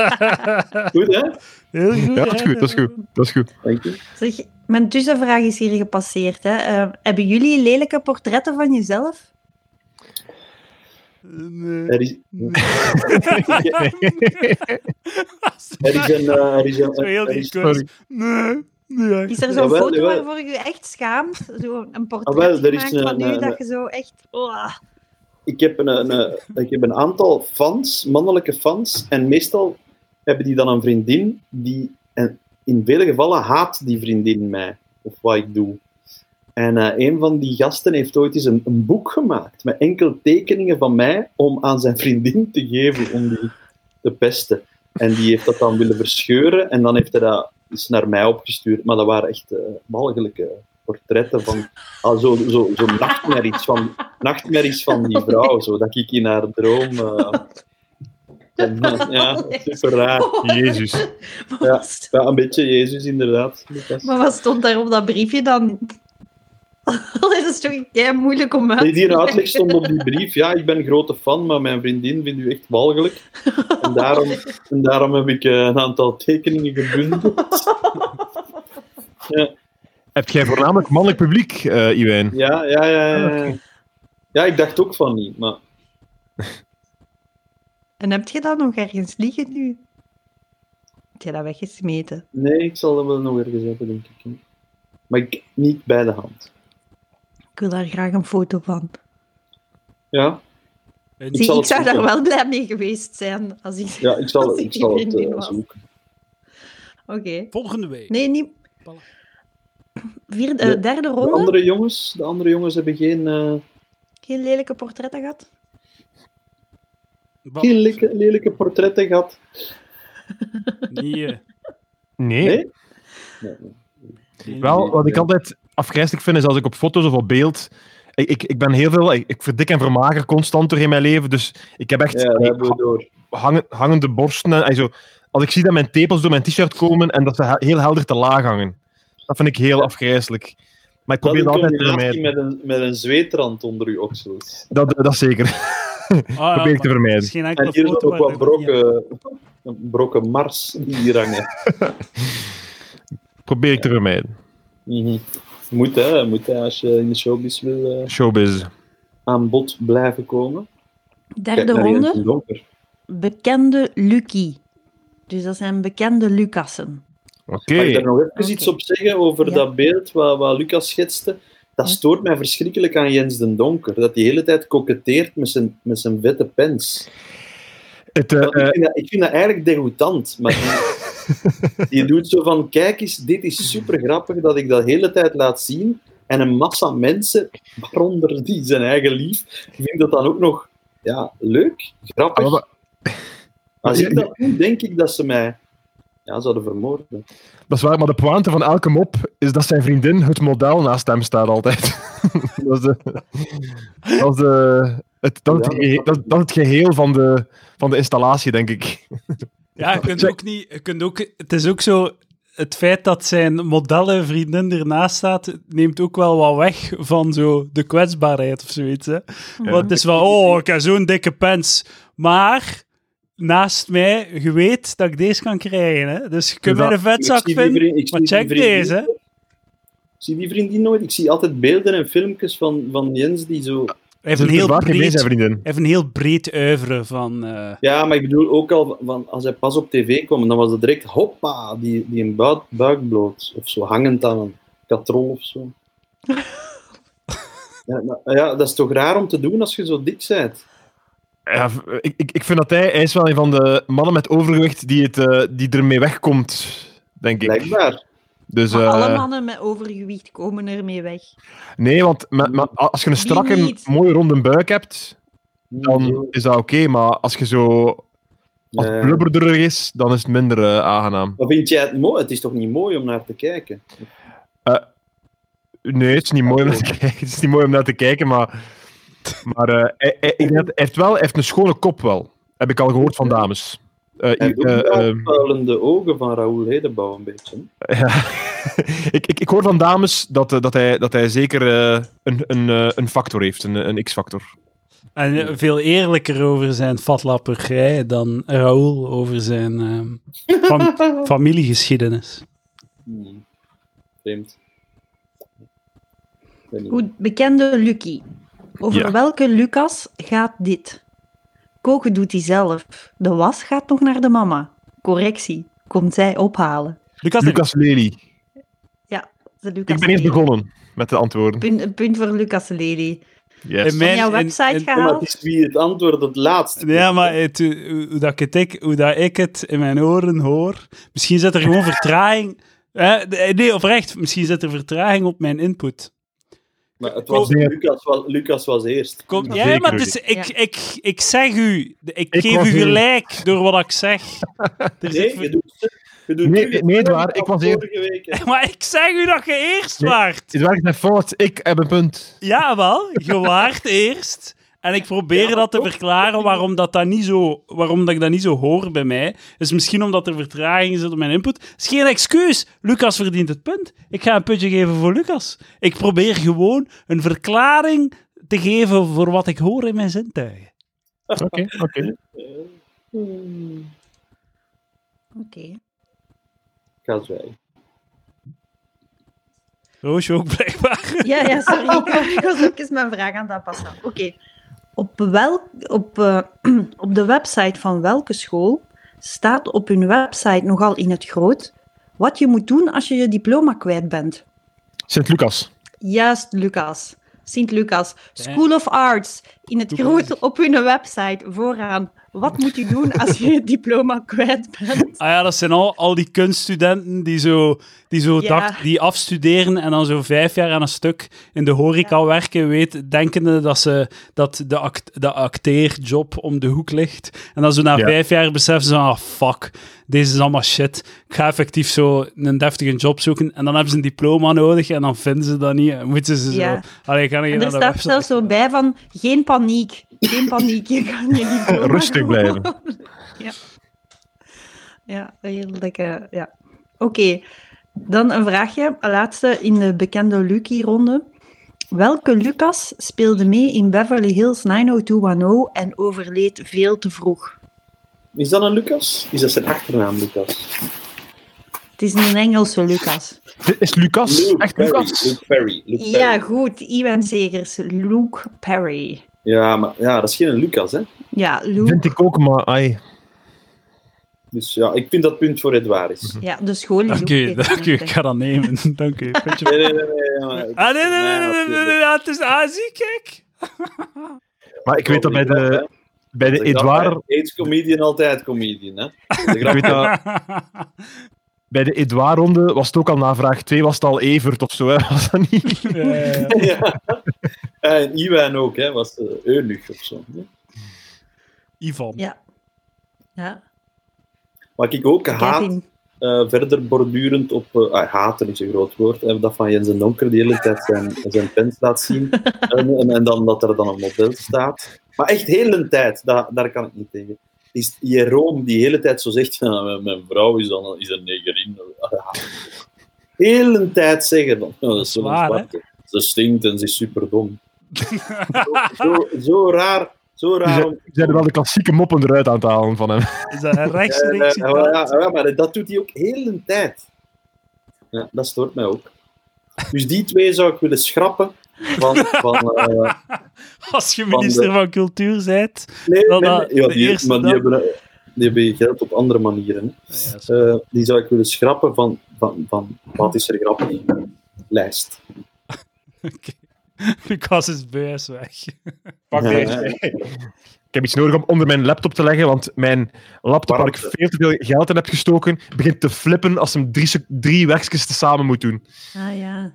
B: [laughs]
E: Goed, hè?
A: Heel goed.
B: ja, dat is
A: hè?
B: goed, dat is goed. Dat is goed.
E: Dank je.
D: Zeg, mijn tussenvraag is hier gepasseerd. Hè. Eh, hebben jullie lelijke portretten van jezelf?
A: Nee.
E: Er is,
A: [laughs]
E: er is
A: Dat
E: een... eh, Er is een,
A: is heel
E: er
A: die
E: is-
A: quiz. Nee. nee.
D: Is er zo'n
E: Jawel,
D: foto
E: jawel.
D: waarvoor je echt schaamt? Zo'n portret
E: Ah, wel, er is
D: gemaakt van
E: een- eh,
D: u,
E: een-
D: dat je zo echt... Oh,
E: ik, heb een, een, eh, ik heb een aantal fans, mannelijke fans, en meestal hebben die dan een vriendin die... En in vele gevallen haat die vriendin mij, of wat ik doe. En eh, een van die gasten heeft ooit eens een, een boek gemaakt met enkel tekeningen van mij om aan zijn vriendin te geven om die te pesten. En die heeft dat dan willen verscheuren en dan heeft hij dat eens naar mij opgestuurd. Maar dat waren echt eh walgelijke portretten van ah, zo, zo, zo nachtmerries, van, nachtmerries van die vrouw, zo, dat ik in haar droom... eh, en, eh, ja, super raar.
D: [laughs]
A: Ah,
B: Jezus.
E: Ja, een beetje Jezus inderdaad. Lucas.
D: Maar wat stond daar op dat briefje dan? [laughs] dat is toch kei moeilijk om uit
E: Nee, die
D: leggen.
E: uitleg stond op die brief. Ja, ik ben een grote fan, maar mijn vriendin vindt u echt walgelijk. En daarom, en daarom heb ik eh, een aantal tekeningen gebundeld.
B: Heb jij voornamelijk mannelijk publiek, eh Iwijn?
E: Ja, ja, ja. Ja, ja. ja ik dacht ook van niet, maar
D: En heb je dat nog ergens liggen nu? Heb je dat weggesmeten?
E: nee, ik zal dat wel nog ergens hebben, denk ik. hè. Maar ik, niet bij de hand.
D: Ik wil daar graag een foto van.
E: Ja,
A: En-
D: Zie,
E: zal
D: ik
E: het
D: zou daar
E: zoeken.
D: wel blij mee geweest zijn. Als ik...
E: ja
D: [laughs]
E: ik zal,
D: Als ik
E: ik zal
D: die
E: het
D: vriendin
E: eh,
D: was.
E: zoeken.
D: Oké.
A: Volgende week.
D: Nee, niet...
A: Voilà.
D: Vierde, eh,
E: Ja,
D: derde
E: De
D: ronde?
E: andere jongens, de andere jongens hebben geen, eh,
D: Geen lelijke portretten gehad?
A: Wat?
E: geen lelijke, lelijke portretten gehad.
A: Niet, eh,
B: Nee.
E: Nee? Nee, nee.
A: geen
B: Wel,
A: idee.
B: wat ik altijd afgrijzelijk vind, is als ik op foto's of op beeld ik, ik, ik ben heel veel... Ik, ik verdik en vermager constant doorheen mijn leven, dus ik heb echt
E: Ja, dat hebben we door.
B: hangen- hangende borsten. en- En zo. Als ik zie dat mijn tepels door mijn t-shirt komen en dat ze he- heel helder te laag hangen. Dat vind ik heel afgrijzelijk. Maar ik
E: Dat
B: probeer
E: in
B: dat altijd te
E: combinatie
B: vermijden.
E: met een, met een zweetrand onder uw oksels.
B: Dat, dat
A: Ah,
B: zeker.
A: ja,
B: Probeer ik te
A: maar
B: vermijden.
A: misschien enkel
E: En hier zit
A: foto
E: ook wat
A: waar dat niet in-
E: brokken, brokken Mars die hier hangen.
B: Probeer ik te vermijden.
E: Mhm. Moet hè, moet hè, als je in de showbiz wil eh,
B: Showbiz.
E: aan bod blijven komen. Kijk
D: Derde
E: naar Jens
D: ronde,
E: in Donker.
D: bekende Lucky. Dus dat zijn bekende Lucassen.
B: Oké.
E: Mag ik daar nog even
D: Oké.
E: iets op zeggen over
D: Ja.
E: dat beeld wat, wat Lucas schetste? Dat
D: Ja.
E: stoort mij verschrikkelijk aan Jens den Donker. Dat hij de hele tijd koketteert met zijn, met zijn vette pens.
B: Het, eh,
E: Want
B: eh,
E: ik, vind dat, ik vind dat eigenlijk degoutant. Maar
B: [laughs]
E: die- die doet zo van: kijk eens, dit is super grappig dat ik dat de hele tijd laat zien. En een massa mensen, waaronder die zijn eigen lief, vindt dat dan ook nog ja, leuk, grappig.
A: Ah,
B: ah, maar wa-
E: Als ik dat doe, denk ik dat ze mij ja, zouden vermoorden.
B: dat is waar, maar de pointe van elke mop is dat zijn vriendin het model naast hem staat altijd. [laughs] dat is, de, dat is, de, het, dat, is het
E: Ja.
B: gehe- dat, dat is het geheel van de, van de installatie, denk ik.
A: Ja, je kunt ook niet. Je kunt ook, het is ook zo. Het feit dat zijn modellen vriendin ernaast staat, neemt ook wel wat weg van zo de kwetsbaarheid of zoiets. Hè? Want het is wel, oh, ik heb zo'n dikke pens. Maar naast mij, je weet dat ik deze kan krijgen. Hè? Dus je kunt
B: Ja,
A: mij een vetzak
E: Ik zie die
A: vinden,
E: vriend- ik
A: maar
E: zie die
A: check
E: vriend niet.
A: deze. hè.
E: Ik zie die vriendin nooit. Ik zie altijd beelden en filmpjes van, van Jens die zo...
A: Hij heeft,
B: Ze
A: een
B: is
A: heel
B: vaak mee,
A: breed,
B: zijn
A: hij
B: vriendin.
A: heeft een heel breed uivre van... eh,
E: Ja, maar ik bedoel ook al, van, als hij pas op tv kwam, dan was het direct hoppa, die, die een buik, buik bloot. Of zo, hangend aan een katrol of zo.
B: [laughs]
E: ja, maar, ja, dat is toch raar om te doen als je zo dik bent?
B: Ja, v- ik, ik, ik vind dat hij, hij is wel een van de mannen met overgewicht die, het, eh, die ermee wegkomt, denk ik.
E: Blijkbaar.
B: Dus,
D: Maar
B: eh,
D: alle mannen met overgewicht komen ermee weg.
B: nee, want met- met- als je een strakke,
D: niet?
B: mooie ronde buik hebt, dan is dat oké. maar als je zo als het
E: Nee.
B: blubberderig is, dan is het minder eh, aangenaam.
E: Maar vind jij het mooi? Het is toch niet mooi om naar te kijken?
B: Nee, het is niet mooi om naar te kijken. [laughs] Het is niet mooi om naar te kijken, maar, maar eh, hij, hij- ik denk dat- hij heeft wel, hij heeft een schone kop wel. Heb ik al gehoord van dames. Eh,
E: Hij heeft ook
B: eh,
E: de
B: eh,
E: uitpuilende ogen van Raoul Hedebouw een beetje. hè.
B: Ja. [laughs] ik, ik, ik hoor van dames dat, eh, dat, hij, dat hij zeker eh, een, een, eh, een factor heeft, een, een x-factor.
A: en eh, veel eerlijker over zijn fatlapperij dan Raoul over zijn eh, fam- familiegeschiedenis.
E: Hmm. Vreemd. Ik weet niet.
D: Goed, bekende Lucky. Over
B: Ja.
D: welke Lucas gaat dit? Koken doet hij zelf. De was gaat nog naar de mama. Correctie, komt zij ophalen.
A: Lucas,
B: Lucas Lely.
D: De Lucas
B: Ik ben eerst
D: Lely.
B: begonnen met de antwoorden.
D: Punt, een punt voor Lucas Lely.
B: Yes.
A: in
D: Van
A: mijn-
D: jouw
A: in-
D: website
A: in-
E: Ja, maar het
D: gehaald.
E: is wie het antwoord het laatst.
A: Ja, maar het, hoe, hoe dat ik het, ik, hoe dat ik het in mijn oren hoor, misschien zit er gewoon vertraging. Hè? de- eh, Nee, oprecht, misschien zit er vertraging op mijn input.
E: Maar het was,
B: Ik hoop-
E: Lucas, was, Lucas was eerst.
A: Kom, ja,
B: Zeker,
A: maar dus, ik,
D: Ja.
A: ik, ik, zeg u, de- ik,
B: Ik
A: geef
B: was
A: u
B: hier.
A: gelijk door wat ik
B: [laughs]
A: zeg. Er zit
E: Nee,
A: ver-
E: je doet, je doet
B: Nee,
E: terug
B: nee, het
E: hetzelfde
B: waar, ik
E: als
B: was eer-
E: vorige week, hè.
A: [laughs] Maar ik zeg u dat je eerst
B: Nee.
A: waart.
B: Het werkt naar fout. Ik heb een punt.
A: Jawel, je [laughs] waart eerst. En ik probeer
E: Ja,
A: dat te
E: toch?
A: verklaren waarom, dat dat niet zo, waarom dat ik dat niet zo hoor bij mij. Is misschien omdat er vertraging zit op mijn input. Is geen excuus. Lucas verdient het punt. Ik ga een puntje geven voor Lucas. Ik probeer gewoon een verklaring te geven voor wat ik hoor in mijn zintuigen.
B: Oké, oké.
D: Oké.
E: Ik ga zwijgen.
A: Roosje ook blijkbaar.
D: Ja,
B: [laughs]
D: ja, sorry. Ik was- Ik was ook eens mijn vraag aan het aanpassen. Oké. Op, welk, op, eh, [clears throat] op de website van welke school staat op hun website nogal in het groot wat je moet doen als je je diploma kwijt bent?
B: Sint-Lucas.
D: Juist, Lucas. Sint-Lucas. School of Arts. In het
A: Doe
D: groot
A: bezig.
D: op hun website vooraan. Wat moet u doen als je je diploma kwijt bent?
A: Ah ja, dat zijn al, al die kunststudenten die zo, die zo
D: Ja.
A: dacht, die afstuderen en dan zo vijf jaar aan een stuk in de horeca werken, weet, denkende dat, ze, dat de, act, de acteerjob om de hoek ligt. En dan zo na
B: Ja.
A: vijf jaar beseffen ze, ah fuck, deze is allemaal shit. Ik ga effectief zo een deftige job zoeken en dan hebben ze een diploma nodig en dan vinden ze dat niet en moeten ze
D: Ja.
A: zo... Allee, gaan
D: En
A: naar
D: er
A: de
D: staat
A: website.
D: zelfs zo bij van, geen paniek. Geen paniek, je kan je
A: [laughs]
D: diploma
B: Rustig
D: gewoon-
B: blijven.
D: ja. ja, heel lekker. Ja. Oké, dan een vraagje. een Laatste in de bekende Lucky-ronde. Welke Lucas speelde mee in Beverly Hills 90210 en overleed veel te vroeg?
E: Is dat een Lucas? Is dat zijn achternaam, Lucas?
D: Het is een Engelse Lucas.
B: Dit is Lucas. Echt
E: Perry,
B: Lucas.
E: Luke Perry. Luke Perry.
D: Ja, goed. Iwan Segers. Luke Perry.
E: Ja, maar ja, dat is geen Lucas, hè?
D: Ja,
B: Vind
D: Luke.
B: ik ook, maar ai.
E: Dus ja, ik vind dat punt voor Edouard
B: Mhm.
E: is.
D: Ja, de school.
A: Dank u, dank u, ik ga dat nemen. [laughs] Dank u. Vind je-
E: Nee, nee, nee. nee, ja, maar ik-
A: Ah, nee, nee, nee,
E: Ja,
A: nee, nee, nee,
E: natuurlijk.
A: nee, het is Azië, kijk.
B: Maar ik weet dat bij de, bij de
E: Dat is altijd-
B: Edouard,
E: Eens comedian, altijd comedian, hè? De
B: ik weet
E: grap-
B: dat, bij de Edouard-ronde was het ook al na vraag 2, was het al Evert of zo, hè? [laughs] Was dat niet?
A: Ja, ja, [laughs] ja.
E: [laughs] Ja. En Iwan ook, hè? Was eh Eunuch of zo. hè.
A: Ivan.
D: Ja. Ja,
E: Wat ik ook haat,
D: Kevin.
E: eh, verder bordurend op... eh, ah, haten is een groot woord. En dat van Jens en Donker die de hele tijd zijn, zijn pens
A: [laughs]
E: laat zien. En, en, en dan dat er dan een model staat. Maar echt heel de tijd, da- daar kan ik niet tegen. Is Jeroen die de hele tijd zo zegt, "Ja, mijn, mijn vrouw is, dan, is een negerin. [laughs] Ah, Heel de tijd zeggen dan. "Ja,
A: Dat is
E: zo'n
A: waar, hè?
E: zwarte. Ze stinkt en ze
A: [laughs]
E: is superdom. zo, zo raar, zo raar om
B: Ze zijn wel de klassieke moppen eruit aan het halen van hem.
A: Is dat een
E: Ja,
A: rechtstreeks
E: ja,
A: citaat?
E: ja, ja, maar dat doet hij ook heel de tijd. Ja, dat stoort mij ook. Dus die twee zou ik willen schrappen. Van, van, eh,
A: Als je minister van Cultuur bent. [laughs]
E: nee,
A: Dan,
E: nee,
A: eh,
E: nee, ja,
A: de
E: die,
A: eerste
E: maar die
A: dan. Ah,
E: hebben, eh, die hebben geld op andere manieren. hè. Eh, die zou ik willen schrappen van, van, van wat is er grappig in die lijst.
A: Oké. Lucas is buis weg.
E: Pak deze.
B: Ik heb iets nodig om onder mijn laptop te leggen, want mijn laptop waar ik
E: Warmte.
B: veel te veel geld in heb gestoken, begint te flippen als hem drie, sec- drie werkjes tezamen moet doen.
D: Ah ja.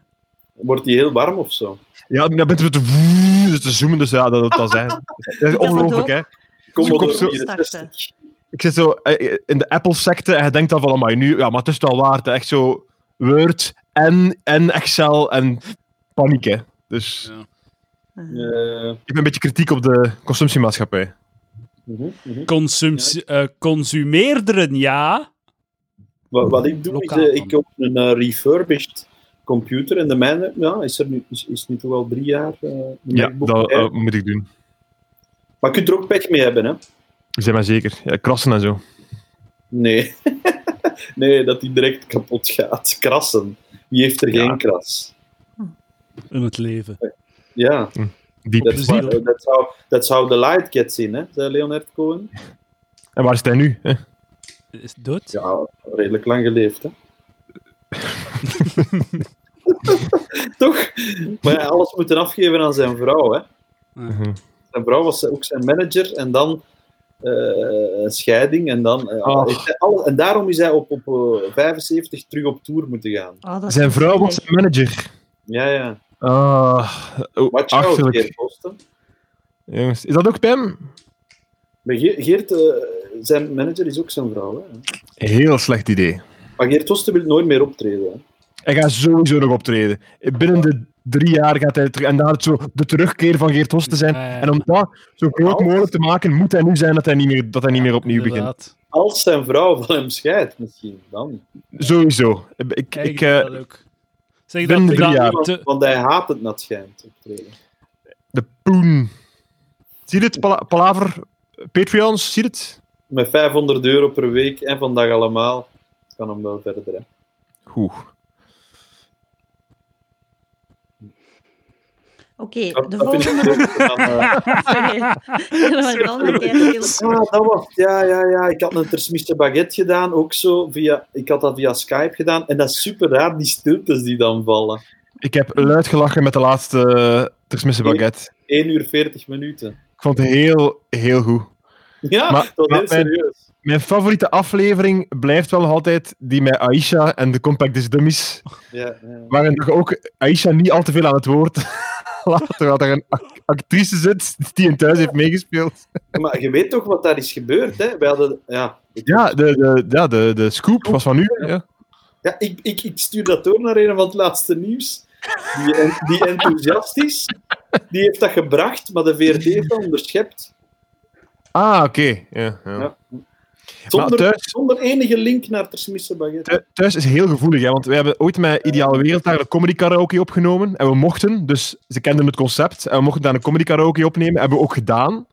E: Wordt die heel warm of zo?
B: Ja, dan bent u te, vroe- dus te zoomen, dus ja, dat, dat, dat zijn. Dat is
D: wordt
B: ongelooflijk,
D: ook-
B: hè.
E: Kom
B: Zoek
E: op,
B: op zo-
E: 64.
B: Ik zit zo eh, in de Apple-secte en je denkt dan van, amai, nu, ja, maar het is het wel waard. hè. Echt zo Word en, en Excel en paniek, hè. Dus
A: Ja.
D: Ah.
E: Eh,
B: ik heb een beetje kritiek op de consumptiemaatschappij.
E: mhm, mhm.
A: Consumtie- eh, consumeerderen, ja.
E: Wat, wat ik doe,
A: Lokaal
E: is eh,
A: dan.
E: ik koop een eh, refurbished computer en de mijne ja, is, er nu, is, is nu toch al drie jaar. eh, een
B: Ja,
E: MacBook
B: dat
E: Air.
B: eh, moet ik doen.
E: Maar je kunt er ook pech mee hebben, hè?
B: Zijn maar zeker. Ja, krassen en zo.
E: Nee. [laughs] nee, dat die direct kapot gaat. Krassen. Wie heeft er
B: Ja.
E: geen kras?
A: In het leven.
E: Ja,
B: Diep.
E: dat
A: Plezier,
E: zou-
A: hoor.
E: dat zou- dat zou de light cat zien, hè? zei Leonard
B: [laughs]
E: Cohen.
B: En waar is hij nu? hè?
A: Is het dood?
E: Ja, redelijk lang
B: [laughs]
E: geleefd, hè? Toch? Maar ja, alles moeten afgeven aan zijn vrouw, hè?
B: Mhm.
E: Zijn vrouw was ook zijn manager en dan eh, scheiding. En, dan, eh,
B: Ach.
E: heeft hij alle- en daarom is hij op, op eh, 75 terug op tour moeten gaan.
D: Ah, dat is
B: Zijn
D: zo
B: vrouw was
D: zielig.
B: zijn manager.
E: Ja, ja.
B: Ah, oh,
E: Wat zou het
B: achterlijk.
E: Geert kosten?
B: Jongens, is dat ook bij hem?
E: Maar Ge- Geert, eh, zijn manager is ook zijn vrouw. Hè?
B: Heel slecht idee.
E: Maar Geert Osten wil nooit meer optreden. Hè?
B: Hij gaat sowieso nog optreden. Binnen de drie jaar gaat hij terug. En daar het zo de terugkeer van Geert Host te zijn.
A: Ja, ja.
B: En om dat zo groot mogelijk te maken, moet hij nu zijn dat hij niet meer, dat hij niet meer opnieuw begint.
A: Inderdaad.
E: Als zijn vrouw van hem scheidt, misschien dan.
B: Sowieso. Ik,
A: Kijk,
B: ik, eh,
A: dat ook. Zeg
B: binnen
A: dat,
B: drie
A: dat-
B: jaar.
E: Want,
A: te-
E: want hij haat het nat schijnt optreden.
B: de poen. Zie je het, Pala- Palaver? Patreons, zie je het?
E: Met 500 euro per week en vandaag allemaal kan hem wel verder. Hè?
B: Goed.
D: Oké,
E: Dat,
D: de
E: dat vind ik
D: volgende.
E: leuker dan, eh,
D: [laughs] Sorry. Dat was wel een keer heel-
E: Ah, dat was. Ja, ja, ja. Ik had een tersmiste baguette gedaan, ook zo. Via, ik had dat via Skype gedaan. En dat is super raar, die stiltes die dan vallen.
B: Ik heb luid gelachen met de laatste uh, Tersmisse Baguette.
E: 1 uur 40 minuten.
B: Ik vond het heel, heel goed.
E: Ja,
B: Maar-
E: dat is
B: maar
E: heel
B: mijn-
E: serieus.
B: Mijn favoriete aflevering blijft wel nog altijd die met Aisha en de Compact is Dummies.
E: Ja, ja.
B: Waarin je ook Aisha niet al te veel aan het woord [laughs] laat. Terwijl er een ac- actrice zit die in thuis heeft meegespeeld.
E: Maar je weet toch wat daar is gebeurd, hè? Wij hadden... Ja, ik,
B: Ja, de, de, ja, de, de scoop was van nu. Ja.
E: ja, ik, ik, ik stuur dat door naar een van het laatste nieuws. Die, en- die enthousiast is, die heeft dat gebracht, maar de VRT heeft dat onderschept.
B: Ah, oké. Ja, ja.
E: Ja. Zonder,
B: thuis-
E: zonder enige link naar Ter Smisse Baguette.
B: Thu- Thuis is heel gevoelig, hè, want we hebben ooit met Ideale Wereld daar een comedy karaoke opgenomen. En we mochten, dus ze kenden het concept, en we mochten daar een comedy karaoke opnemen. Hebben we ook gedaan.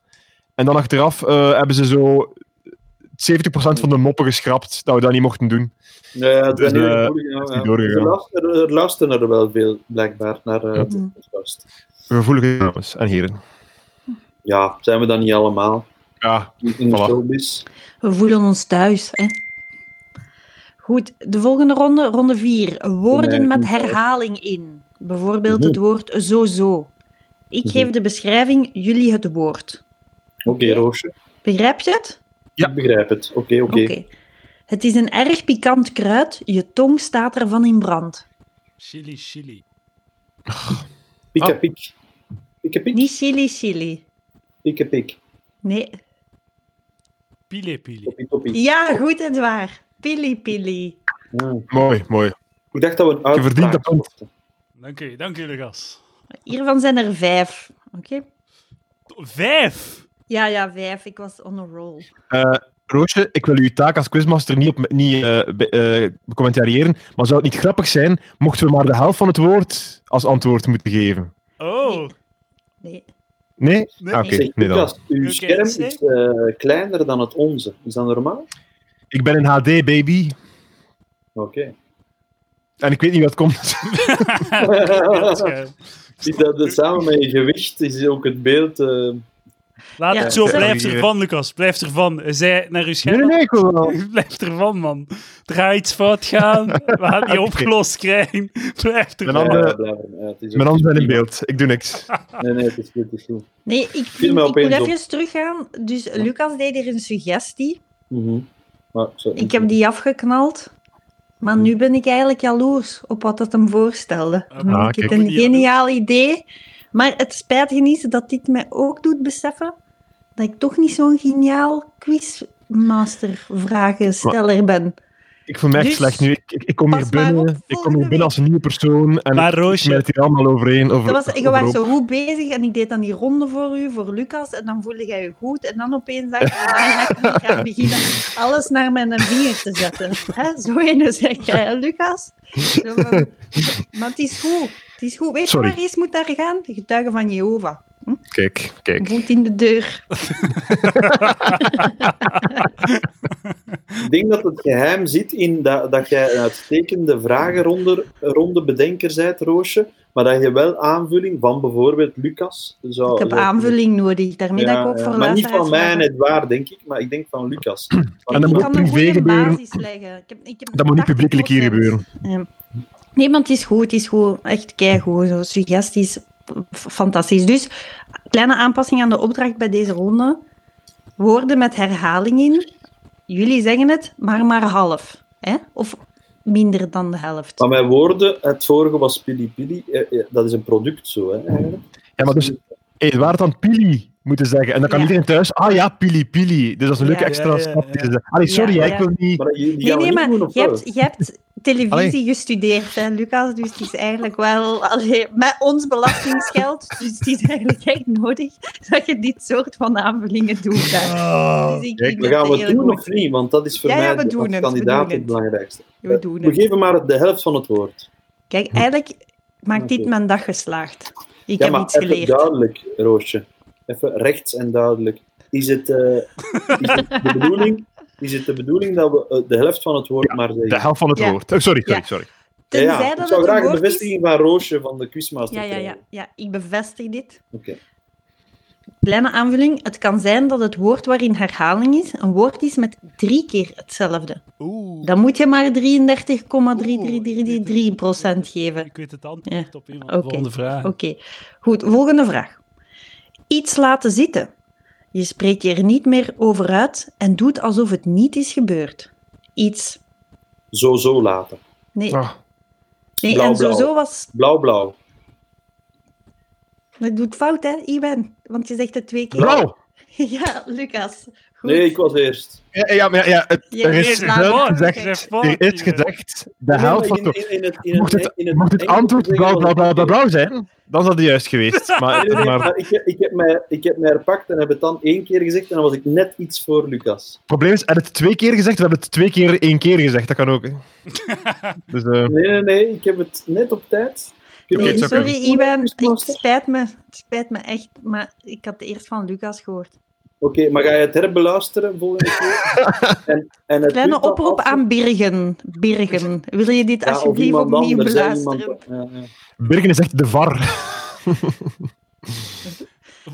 B: En dan achteraf eh, hebben ze zo 70% van de moppen geschrapt, dat we dat niet mochten doen.
E: Ja, ja, het
B: Dus,
E: is heel
B: eh,
E: moeilijk, ja,
B: is
E: ja.
B: niet doorgegaan.
E: Er luisteren- Er luisteren er wel veel, blijkbaar, naar eh,
B: Ja.
E: de podcast.
B: Gevoelige dames en heren.
E: Ja, zijn we dan niet allemaal
B: Ja,
E: in, in de
B: Voilà.
E: showbiz?
D: We voelen ons thuis. Hè? Goed, de volgende ronde, ronde 4. Woorden
E: Nee,
D: met
E: niet thuis.
D: herhaling in. Bijvoorbeeld het woord zo-zo. Ik
E: Mhm.
D: geef de beschrijving, jullie het woord.
E: Oké, Roosje.
D: Begrijp je het?
B: Ja.
E: Ik begrijp het. Oké, oké.
D: Oké. Het is een erg pikant kruid, je tong staat ervan in brand.
A: Chili, chili.
E: Pika
B: Ah.
E: pik. Pika pik.
D: Niet chili chili.
E: Pika pik.
D: Nee.
A: Pile, pile.
E: Toppie, toppie.
D: Ja, goed en waar. Pili pili.
E: Ah.
B: mooi, mooi.
E: Ik dacht dat we een
B: Je verdient dat punt.
A: Dank u, dank jullie gas.
D: Hiervan zijn er vijf. Oké?
A: Vijf!
D: Ja, ja, vijf. Ik was on a roll.
B: Eh, Roosje, ik wil uw taak als quizmaster niet, op, niet eh, be- eh, becommentariëren, maar zou het niet grappig zijn mochten we maar de helft van het woord als antwoord moeten geven?
A: Oh,
D: Nee.
B: Nee?
A: Nee.
B: Ah, Oké,
E: Zeg,
B: nee dan.
E: Lucas, uw
A: Oké,
E: scherm
A: zeg.
E: is eh, kleiner dan het onze. Is dat normaal?
B: Ik ben in HD, baby.
E: Oké. [laughs]
B: En ik weet niet wat komt.
A: dat schuim.
E: Is dat eh, samen met je gewicht is ook het beeld... eh,
A: Laat
D: Ja,
A: het zo,
D: sorry.
A: blijf ervan, Lucas. Blijf ervan. Zij naar uw
B: [laughs] Nee,
A: scherm.
B: nee, nee, ik wil
A: [laughs]
B: wel.
A: Blijf ervan, man. Er gaat iets fout gaan. We gaan het niet
B: [laughs] Oké.
A: opgelost krijgen. [laughs] Blijf
B: En dan
A: ervan.
B: de-
E: ja, blijf er- ja, het
B: Mijn
E: is oké.
B: handen zijn in beeld. Ik doe niks.
E: Nee, nee, het is goed. Het is goed.
D: Nee, ik,
E: me
D: vind, ik moet
E: opeens op.
D: even teruggaan. Dus Lucas deed er een suggestie.
E: Mhm. Maar, zo-
D: Ik heb die afgeknald. Maar nu ben ik eigenlijk jaloers op wat dat hem voorstelde.
A: Ah,
D: Dan vind ik
B: kijk.
D: het een
A: Jaloers.
D: geniaal idee. Maar het spijt je niet dat dit mij ook doet beseffen dat ik toch niet zo'n geniaal quizmaster-vragensteller ben.
B: Ik voel me echt
D: Dus,
B: slecht nu. Ik, ik, ik kom hier
D: pas maar op,
B: binnen. Ik kom hier
D: volgende
B: binnen als een nieuwe persoon. En
A: Maar
B: ik ben
A: Roosje,
B: het hier allemaal overeen. Over,
D: Dat was, je
B: overhoop.
D: was zo goed bezig en ik deed dan die ronde voor u, voor Lucas, en dan voelde jij je goed. En dan opeens dacht ik, "Ah, ik ga gaan beginnen alles naar mijn vinger te zetten. Hè? Zo ene zeg jij, hè, Lucas. Zo van, Maar het is goed. Het is goed. Weet je
B: Sorry.
D: waar eens moet daar gaan? De getuigen van Jehovah.
B: Kijk, kijk.
D: Voet in de deur.
E: Ik denk dat het geheim zit in dat, dat jij een uitstekende vragenronde ronde bedenker bent, Roosje, maar dat je wel aanvulling van bijvoorbeeld Lucas zou...
D: Ik heb
E: zou-
D: aanvulling nodig. Daarmee
E: Oh, Ja,
D: dat ik ook
E: ja.
D: voor
E: Maar niet
D: luisteraars
E: van mij en
D: vraag.
E: het waar, denk ik, maar ik denk van Lucas. Want
B: [clears throat] En dan
D: Ik
B: moet
E: iemand-
D: kan een
B: privé
D: goede
B: gebeuren.
D: basis leggen. Ik heb, ik heb
B: Dat moet niet
D: 80%
B: publiekelijk hier gebeuren.
D: Nee, maar het is goed, het is goed. Echt keigoed, zo suggesties, f- fantastisch. Dus, kleine aanpassing aan de opdracht bij deze ronde. Woorden met herhaling in. Jullie zeggen het, maar maar half. Hè? Of minder dan de helft.
E: Van mijn woorden, het vorige was Pili Pili, eh, eh, dat is een product zo, hè, eigenlijk.
B: Ja, maar dus, hey, waar het dan Pili moeten zeggen. En dan kan
D: Ja.
B: iedereen thuis. Ah ja, Pili, Pili. Dus dat is een leuke
D: Ja.
B: extra
A: Ja, ja,
B: stap.
A: ja.
B: die ze zeggen. Allee, sorry,
D: Ja,
B: hè,
D: ja.
B: ik wil niet.
E: Maar die, die
D: Nee,
E: gaan we
D: nee,
E: niet
D: maar
E: doen, of
D: je hebt,
E: wel?
D: je hebt televisie
B: Allee.
D: gestudeerd, hè, Lucas. Dus het is eigenlijk wel... Allee, met ons belastingsgeld, dus het is eigenlijk echt nodig dat je dit soort van aanvullingen doet. Hè.
A: Oh.
D: Dus ik,
B: Kijk,
D: ik
E: We
D: vind
E: gaan
D: het
E: we
D: heel
E: doen
D: goed.
E: of niet, want dat is voor
D: Ja, ja,
E: mij
D: we
E: de-
D: doen
E: als
D: het, we
E: kandidaat
D: doen het.
E: het belangrijkste.
D: We doen
E: We
D: het.
E: geven maar de helft van het woord.
D: Kijk, eigenlijk maakt dit
E: Hm. Oké.
D: mijn dag geslaagd. Ik heb iets
E: even
D: geleerd.
E: duidelijk, Roosje. Even rechts en duidelijk. Is het, eh, is het de bedoeling, is het de bedoeling dat we eh, de helft van het woord maar zeggen?
B: De helft van het
D: Ja.
B: woord. Oh, sorry, sorry,
D: Ja.
B: sorry.
E: Ja,
D: Tenzij
E: ja.
D: dat
E: Ik
D: het
E: zou
D: een
E: graag een
D: woord is-
E: bevestiging van Roosje van de Quizmaster
D: Ja, ja, ja,
E: krijgen.
D: ja, ik bevestig dit.
E: Oké.
D: Kleine aanvulling. Het kan zijn dat het woord waarin herhaling is, een woord is met drie keer hetzelfde.
A: Oeh.
D: Dan moet je maar 33,3333% geven.
A: Ik weet het antwoord op iemand.
D: Oké.
A: Volgende vraag.
D: Oké, goed. Volgende vraag. Iets laten zitten Je spreekt je er niet meer over uit en doet alsof het niet is gebeurd. Iets.
E: Zo, zo later.
D: Nee,
B: Ah,
D: nee
E: blauw,
D: en zo,
E: blauw.
D: zo was...
E: Blauw, blauw.
D: Dat doet fout, hè, Iwan? Want je zegt het twee keer.
B: blauw!
D: [laughs] ja, Lucas. Goed.
E: Nee, ik was eerst.
B: Ja, ja, maar ja, ja, het,
D: Ja,
B: er is
D: nee, blauw.
B: gezegd,
D: gezegd.
B: er is gezegd, de helft van
E: In-
B: het...
E: in- in het- in
B: Mocht het,
E: in het
B: mocht het
E: Engels
B: antwoord
E: zeggen
B: blauw,
E: was
B: blauw,
E: het
B: blauw, blauw,
E: verkeerd.
B: blauw zijn, dan zou het juist geweest. Maar,
E: Nee, nee, nee,
B: maar
E: maar ik, ik, heb mij, ik heb mij herpakt en heb het dan één keer gezegd en dan was ik net iets voor Lucas.
B: het probleem is, hij had het twee keer gezegd, we hebben het twee keer één keer gezegd. Dat kan ook. hè. Dus, eh,
E: Nee, nee, nee, ik heb het net op tijd. Ik
D: Nee,
E: heb
B: Oké,
E: het-
B: is oké.
D: sorry, Iwan.
E: Is het
D: Het
E: lastig?
D: spijt me. Het spijt me echt. Maar ik had eerst van Lucas gehoord.
E: Oké, maar ga je het herbeluisteren volgende keer?
B: [laughs]
E: en, en
D: Kleine
E: het duurt dan
D: oproep
E: af-
D: aan Birgen. Birgen, wil je dit
E: Ja, of
D: alsjeblieft
E: iemand
D: opnieuw
E: anders, hè, iemand-
D: beluisteren?
E: ja, ja.
B: Birken is echt de var.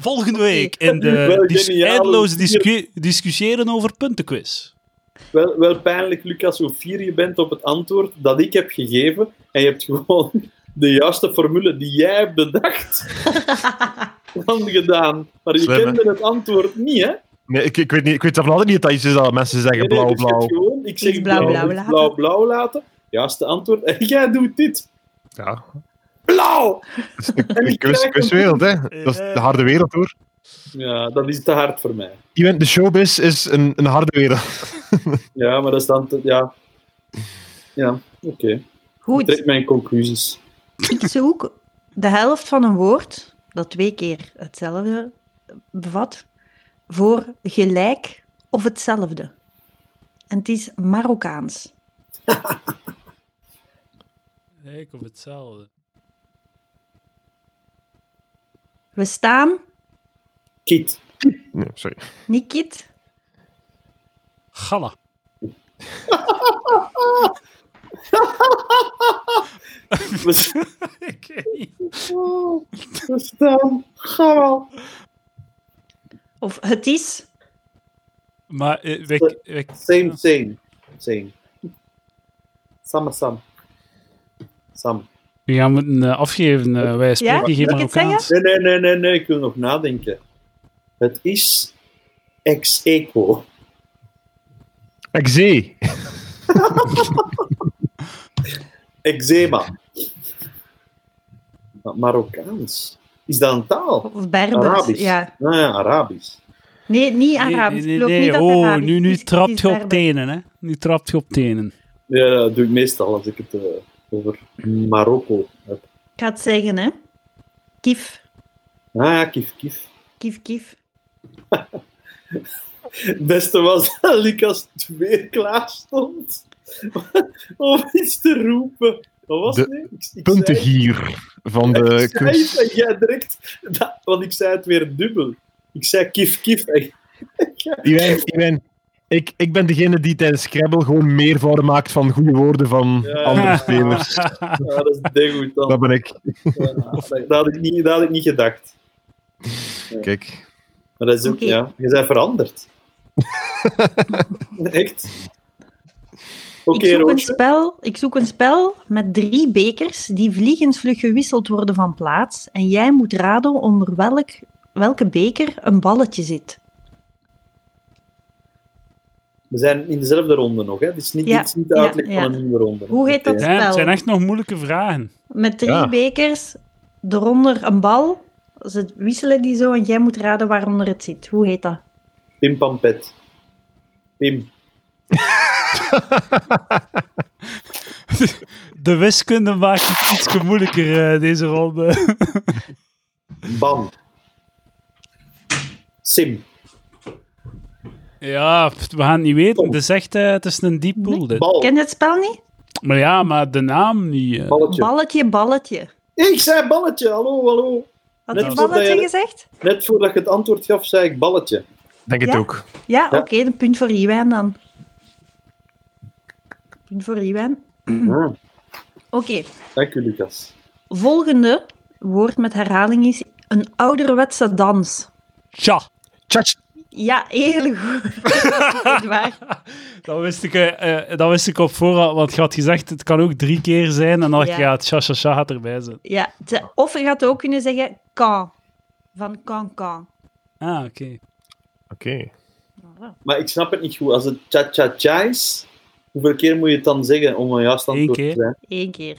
A: Volgende week in de
E: Wel
A: dis
E: geniaal.
A: eindeloze discu- discussiëren over puntenquiz.
E: Wel, wel pijnlijk, Lucas, hoe fier je bent op het antwoord dat ik heb gegeven. En je hebt gewoon de juiste formule die jij hebt
D: [laughs]
E: bedacht, dan gedaan. Maar je
B: Slim, hè?
E: kende het antwoord niet, hè?
B: Nee, ik, ik weet niet, ik weet zelf nog altijd niet dat dat iets is dat mensen zeggen
E: Nee,
B: blauw,
E: nee, dus je hebt
B: blauw.
E: Gewoon, ik zeg
D: Iets
E: blauw, blauw, blauw,
D: laten.
E: blauw, laten. Juiste antwoord. [laughs] En jij doet dit.
B: Ja,
E: Blauw!
B: het is de-
E: [laughs] En
B: de
E: ik
B: kus-
E: krijg
B: kuswereld, hè. Dat is de harde wereld, hoor.
E: Ja, dat is te hard voor mij.
B: Iwan, De showbiz is een, een harde wereld.
E: Ja, maar dat is dan te- Ja, ja oké. Ik
D: Goed,
E: [laughs] trek mijn conclusies.
D: ik zoek de helft van een woord dat twee keer hetzelfde bevat voor gelijk of hetzelfde. En het is Marokkaans.
A: Kijk op hetzelfde.
D: We staan,
E: Kit.
B: Nee, sorry.
D: Nikit,
B: [laughs]
A: Gala.
E: We s-
A: [laughs] Ik weet niet.
E: Oh, we staan. Ga wel.
D: of het is,
A: Maar eh, we- we-
E: Same, same. Same. Sam, Sam. Sam.
A: we gaan moeten eh, afgeven. eh, wij spreken
D: Mag
A: geen
D: ik het
A: Marokkaans.
E: Nee, nee, nee, nee, nee. Ik wil nog nadenken. Het is ex-eco.
B: Ik zie.
E: Eczema. Maar Marokkaans. Is dat een taal?
D: of Berbers.
E: Arabisch.
D: Ja.
E: Nou ja, Arabisch.
D: Nee, niet
A: Nee,
D: Arabisch.
A: nee,
D: Ik geloof
A: nee,
D: niet dat het
A: Oh,
D: Arabisch
A: nu, nu
D: is, het
A: trapt
D: is
A: je op
D: Berbers.
A: tenen, hè. Nu trapt je op
D: [laughs]
A: tenen.
E: Ja, dat doe ik meestal als ik het eh, over Marokko heb.
D: Ik ga het zeggen, hè. Kif,
E: Ah ja, kif, kif.
D: kif, kif.
E: Het beste was [laughs] dat Lucas weer klaar stond [laughs] om iets te roepen. Wat was
B: De eh,
E: het? nu? Ik, [laughs] ik zei-
B: Puntengier van de
E: ik zei
B: quiz.
E: het en jij direct... Dat, want ik zei het weer dubbel. Ik zei kif, kif. En,
B: Iwan, Iwan, ik, ik ben degene die tijdens Scrabble gewoon meervouden maakt van goede woorden van
E: Ja.
B: andere
A: [laughs]
B: spelers.
E: ja, dat is degoutant.
B: Dat ben ik.
E: Ja, eh, dat, had ik niet, dat had ik niet gedacht.
B: Kijk.
E: Maar dat is ook,
D: Oké.
E: ja, je bent veranderd. Echt? Oké,
D: ik, zoek een
E: Roosje.
D: spel, ik zoek een spel met drie bekers die vliegensvlug gewisseld worden van plaats. En jij moet raden onder welk, welke beker een balletje zit.
E: We zijn in dezelfde ronde nog, hè? Het is niet,
D: Ja,
E: dit is niet de
D: ja,
E: uitleg
D: ja.
E: van een nieuwe ronde.
D: Hoe heet dat?
E: Oké.
A: Damn,
D: Spel.
A: het zijn echt nog moeilijke vragen.
D: Met drie
B: Ja.
D: bekers, eronder een bal. Ze wisselen die zo en jij moet raden waaronder het zit. Hoe heet dat?
E: Pim Pampet. Pim.
A: De wiskunde maakt het iets moeilijker eh, deze ronde. [laughs]
E: Bam. Sim.
A: Ja, pff, we gaan het niet weten. Het is echt eh, het is een deep pool, dit.
E: Bal.
D: Ken je het spel niet?
A: Maar ja, maar de naam niet. eh.
E: Balletje.
D: Balletje, balletje.
E: Ik zei balletje, hallo, hallo.
D: Had
E: Net
D: je
E: alsof
D: balletje
E: je-
D: gezegd?
E: Net voordat je het antwoord gaf, zei ik balletje.
B: Denk het
D: Ja?
B: ook.
D: Ja,
E: Ja.
D: oké, een punt voor Iwan dan. Punt voor Iwan.
E: Ah,
D: Oké,
E: dank u, Lucas.
D: volgende woord met herhaling is een ouderwetse dans.
A: Tja,
B: Tjatsch.
D: Ja, heel [laughs] goed. Echt waar.
A: dat wist, ik, eh, eh, dat wist ik op voorhand, want je had gezegd het kan ook drie keer zijn. En dan dacht ik,
D: Ja.
A: ja, tja, tja, tja gaat erbij zijn.
D: Ja, te- of je gaat ook kunnen zeggen kan. Van kan, kan.
A: Ah, oké.
D: Voilà.
E: Maar ik snap het niet goed. Als het cha-cha-cha is, hoeveel keer moet je het dan zeggen om een juist antwoord
A: Eén
E: te
A: keer.
E: zijn?
D: Eén keer.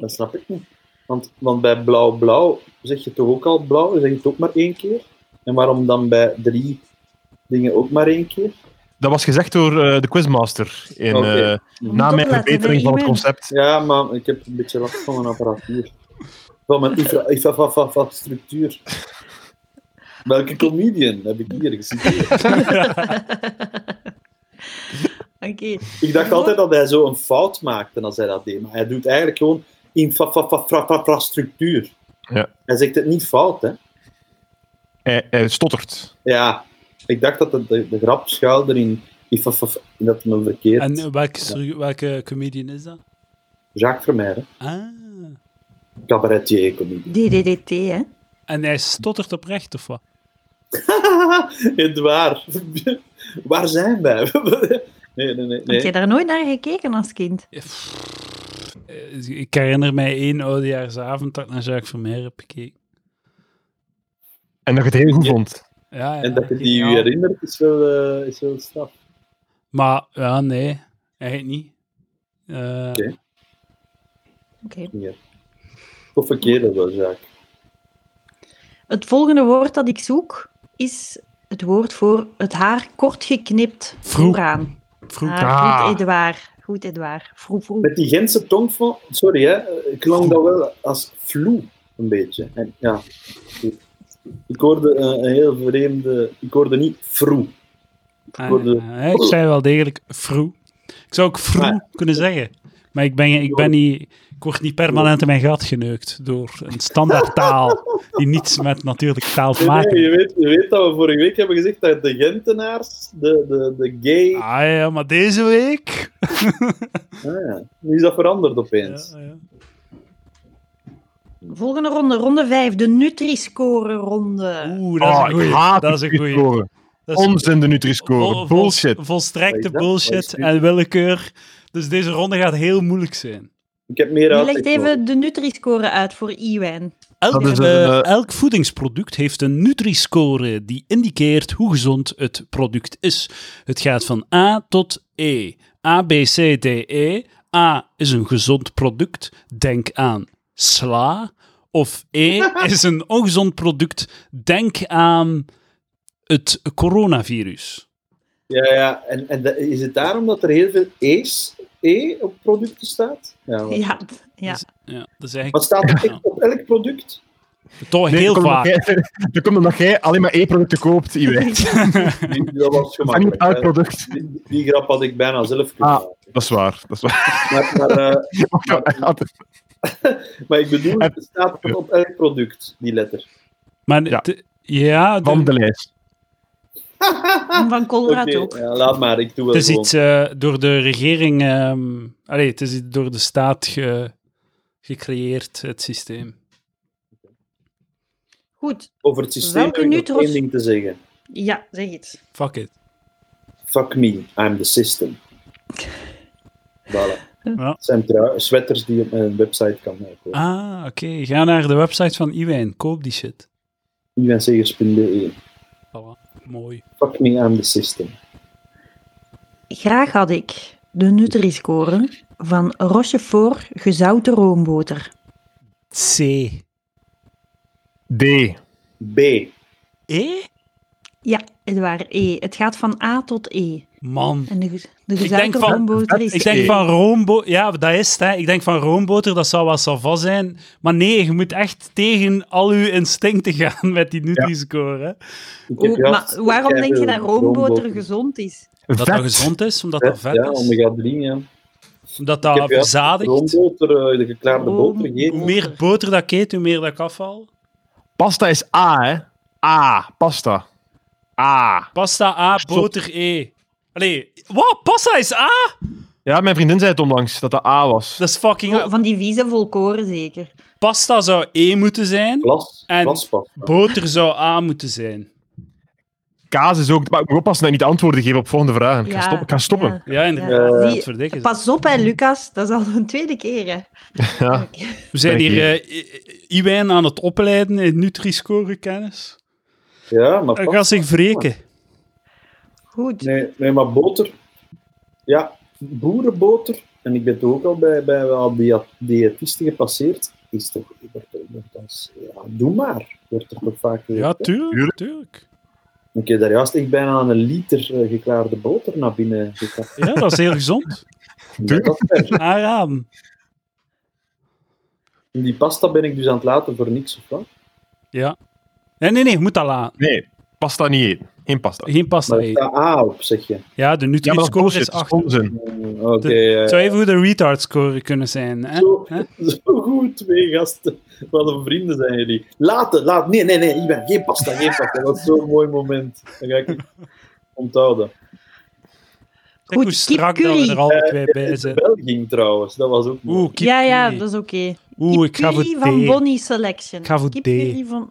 E: Dat snap ik niet. Want, want bij blauw-blauw zeg je toch ook al blauw, dan zeg je het ook maar één keer. En waarom dan bij drie dingen ook maar één keer?
B: Dat was gezegd door eh, de quizmaster. In,
E: Oké.
B: eh, na mijn
D: Opletten,
B: verbetering
D: hè,
B: van het
D: Iman.
B: concept.
E: Ja, maar ik heb een beetje last van mijn apparatuur. Van mijn infra- [laughs] infrastructuur. Welke comedian heb ik hier gezien?
D: Oké.
E: Ik dacht altijd dat hij zo een fout maakte als hij dat deed. Maar hij doet eigenlijk gewoon infrastructuur.
B: Ja.
E: Hij zegt het niet fout, hè?
B: Hij, hij stottert.
E: Ja, ik dacht dat het de, de grap schuilde in, in, fa- fa- fa- in dat men verkeerd.
A: En eh, welke, stru- welke comedian is dat?
E: Jacques Vermeijden,
A: Ah.
E: cabaretier, comedian.
D: DDDT, hè?
A: En hij stottert oprecht, of wat?
E: [laughs] Edouard, [laughs] waar zijn wij? [laughs] nee, nee, nee.
D: Heb
E: nee.
D: je daar nooit naar gekeken als kind?
A: Eh, pff, eh, Ik herinner mij één oudejaarsavond dat ik naar Jacques Vermeer heb gekeken.
B: En dat je het heel goed
E: Ja.
B: vond.
A: Ja, ja,
E: En dat je die
A: geniaal.
E: u herinnert, is wel, eh, is wel straf.
A: Maar ja, nee, eigenlijk niet. Eh,
E: Oké.
D: Oké.
E: Toffe kerel wel, Jacques.
D: Het volgende woord dat ik zoek is het woord voor het haar kort geknipt
A: Vroeg.
D: vooraan.
A: vroeg.
D: Ah,
B: Ah.
D: Goed, Edouard. Goed, Edouard. Vroeg, vroeg.
E: Met die Gentse tongval, sorry hè, eh, klonk dat wel als vloe, een beetje. En, ja. Ik hoorde eh, een heel vreemde, ik hoorde niet vroe.
A: Ah,
E: voor de-
A: ja, ik zei wel degelijk vroeg. Ik zou ook vroeg
E: Ah.
A: kunnen zeggen. Maar ik, ben, ik, ben niet, ik word niet permanent in mijn gat geneukt door een
E: [laughs]
A: standaard taal die niets met natuurlijke taal te
E: Nee, nee,
A: maken
E: je, weet, je weet dat we vorige week hebben gezegd dat de Gentenaars, de, de, de gay...
A: heeft. Ah ja, maar deze week...
E: Ah, ja. Nu is dat veranderd
A: Ja,
E: opeens.
A: ja.
D: Volgende ronde, ronde 5, de Nutri-score-ronde.
A: Oeh, dat is
B: Ah,
A: een goeie.
B: ik haat
A: dat is een goeie.
B: Nutri-score.
A: Dat is een-
B: Onzin de Nutri-score.
A: vol- vol-
B: Bullshit.
E: Wat
A: Volstrekte
E: is dat? Wat is
A: bullshit
E: dit?
A: en willekeur. Dus deze ronde gaat heel moeilijk zijn.
E: Ik heb meer
D: Je
E: uit.
D: legt even de Nutri-score uit voor Iwan.
A: Elk,
B: Dat is een,
A: eh,
B: eh,
A: elk voedingsproduct heeft een Nutri-score die indicaert hoe gezond het product is. Het gaat van A tot E. A, B, C, D, E. A is een gezond product. Denk aan sla. Of
B: [laughs]
A: E is een ongezond product. Denk aan het coronavirus.
E: Ja, ja. En, en de- is het daarom dat er heel veel E's, E op producten staat? Ja, maar-
D: Ja, ja.
A: Dus- Ja, dat is
E: maar
A: eigenlijk
E: staat er echt op elk product?
A: toch
B: Nee,
A: heel
B: dat komt
A: vaak.
B: omdat jij- [laughs] Dat komt omdat jij alleen maar één product
A: [laughs]
B: koopt, Iwijn.
D: [laughs]
E: Die- Dat was
B: Maar niet
E: gemakkelijk.
B: elk
E: hè.
B: product.
E: Die, die grap had ik bijna zelf kunnen
B: Ah.
E: maken.
B: Dat is waar. Dat is waar.
E: Maar, maar, eh, maar ik bedoel, het staat er op elk product, die letter.
A: Maar
B: Ja.
A: het- ja,
B: [laughs] Van
A: de-
B: de lijst.
D: En van
E: Oké,
D: Colruyt ook.
E: ja, laat maar, ik doe wel
A: Het is
E: gewoon.
A: iets eh, door de regering, ehm allee, het is iets door de staat ge- gecreëerd, het systeem.
D: Goed.
E: Over het systeem
D: Welke
E: heb ik nog
D: nutros-
E: één ding te zeggen.
D: Ja, zeg iets.
A: Fuck it.
E: Fuck me, I'm the system. Voilà.
A: Ja.
E: Het zijn trui- sweaters die je op mijn website kan kopen.
A: Ah, oké. Ga naar de website van Iwijn. Koop die shit.
E: Iwensegers.be.
A: Voilà. Mooi.
E: Fuck me, I'm the system.
D: Graag had ik de Nutri-score van Rochefort gezouten roomboter.
A: C.
B: D.
E: B.
A: E?
D: Ja, Edouard E. Het gaat van A tot E.
A: Man.
D: En de, ge- de
A: denk
D: gezouten
A: van-
D: roomboter is
A: Ik denk
B: E.
A: van roomboter... Ja, dat is het. Hè. Ik denk van roomboter, dat zou wel savas zijn. Maar nee, je moet echt tegen al je instincten gaan met die Nutri-score. hè.
E: Ik heb eh,
D: Oh,
E: juist-
D: maar waarom
E: ik heb
D: denk je dat
E: een
D: roomboter gezond is?
A: Dat dat
B: Vet.
A: gezond is, omdat dat vet
E: Ja,
A: is.
E: omega 3, ja.
A: Omdat
E: Ik
A: dat
E: heb juist
A: verzadigt.
E: Roomboter, eh, de geklaarde boter gegeten.
A: Hoe meer boter dat ik eet, hoe meer dat ik afval.
B: Pasta is A, hè? A. Pasta. A.
A: Pasta A, boter E. Allee, wat? Pasta is A?
B: Ja, mijn vriendin zei het onlangs dat dat A was.
A: Dat is fucking...
D: Oh, van die vieze volkoren zeker.
A: Pasta zou E moeten zijn,
E: Glas,
A: En-
E: glaspasta.
A: boter zou A moeten zijn.
B: Kaas is ook. Maar ik moet oppassen dat ik niet antwoorden geef op volgende vragen. Ik
D: Ja,
B: ga stoppen. Ik ga stoppen.
D: ja.
A: Ja,
E: Ja.
A: inderdaad.
D: Zie-
A: Dat verdikken ze.
D: Pas op, hè, Lucas. Dat is al een tweede keer, hè.
B: Ja.
A: Ah.
D: Oké.
A: We zijn hier eh, I- I- Iwijn aan het opleiden in Nutri-score-kennis.
E: Ja, maar
A: Hij
E: pas-
A: gaat zich wreken.
D: Goed.
E: Nee, nee, maar boter. Ja, boerenboter. En ik ben het ook al bij, bij wel dia- diëtisten gepasseerd. Is toch. wordt er- wordt als- ja, doe maar. Wordt er toch vaak.
A: Ja,
E: gezegd, hè?
A: tuurlijk.
B: Tuurlijk.
A: tuurlijk.
E: Ik heb daar juist echt bijna een liter eh, geklaarde boter naar binnen
A: [laughs]
E: gekapt.
A: Ja, dat is heel gezond.
E: Ja, dat is waar.
A: Aanraden.
E: En Die pasta ben ik dus aan het laten voor niks of wat.
A: Nee, nee, nee, je moet dat laten.
B: Nee, pasta niet eten. Geen pasta.
A: Geen pasta
E: Maar ik
A: eten.
E: sta A op, zeg je.
A: Ja, de
B: Ja, maar dat is
A: Nutri-score is
B: bullshit. Dat is
A: 8.
B: onzin.
E: Mm, Oké,
A: De-
E: ja, ja.
A: zou even goed de retard-score kunnen zijn. Hè?
E: Zo,
A: Hè?
E: zo goed, twee gasten. Wat een vrienden zijn jullie. Laten, laat. Nee, nee, nee, Iwan, geen pasta, geen pasta. Dat is zo'n mooi moment. Dan ga ik het onthouden.
A: Kijk hoe
D: Goed,
A: strak dat
D: kipcurry.
A: we er alle twee bij
E: De
A: zitten.
E: Belging trouwens, dat was ook mooi.
A: Oeh, kipcurry.
D: ja, ja, dat is oké.
A: Oeh, ik ga voor
D: Kipcurry van
A: D.
D: Bonnie Selection.
A: Ik ga voor D.
D: Kipcurry van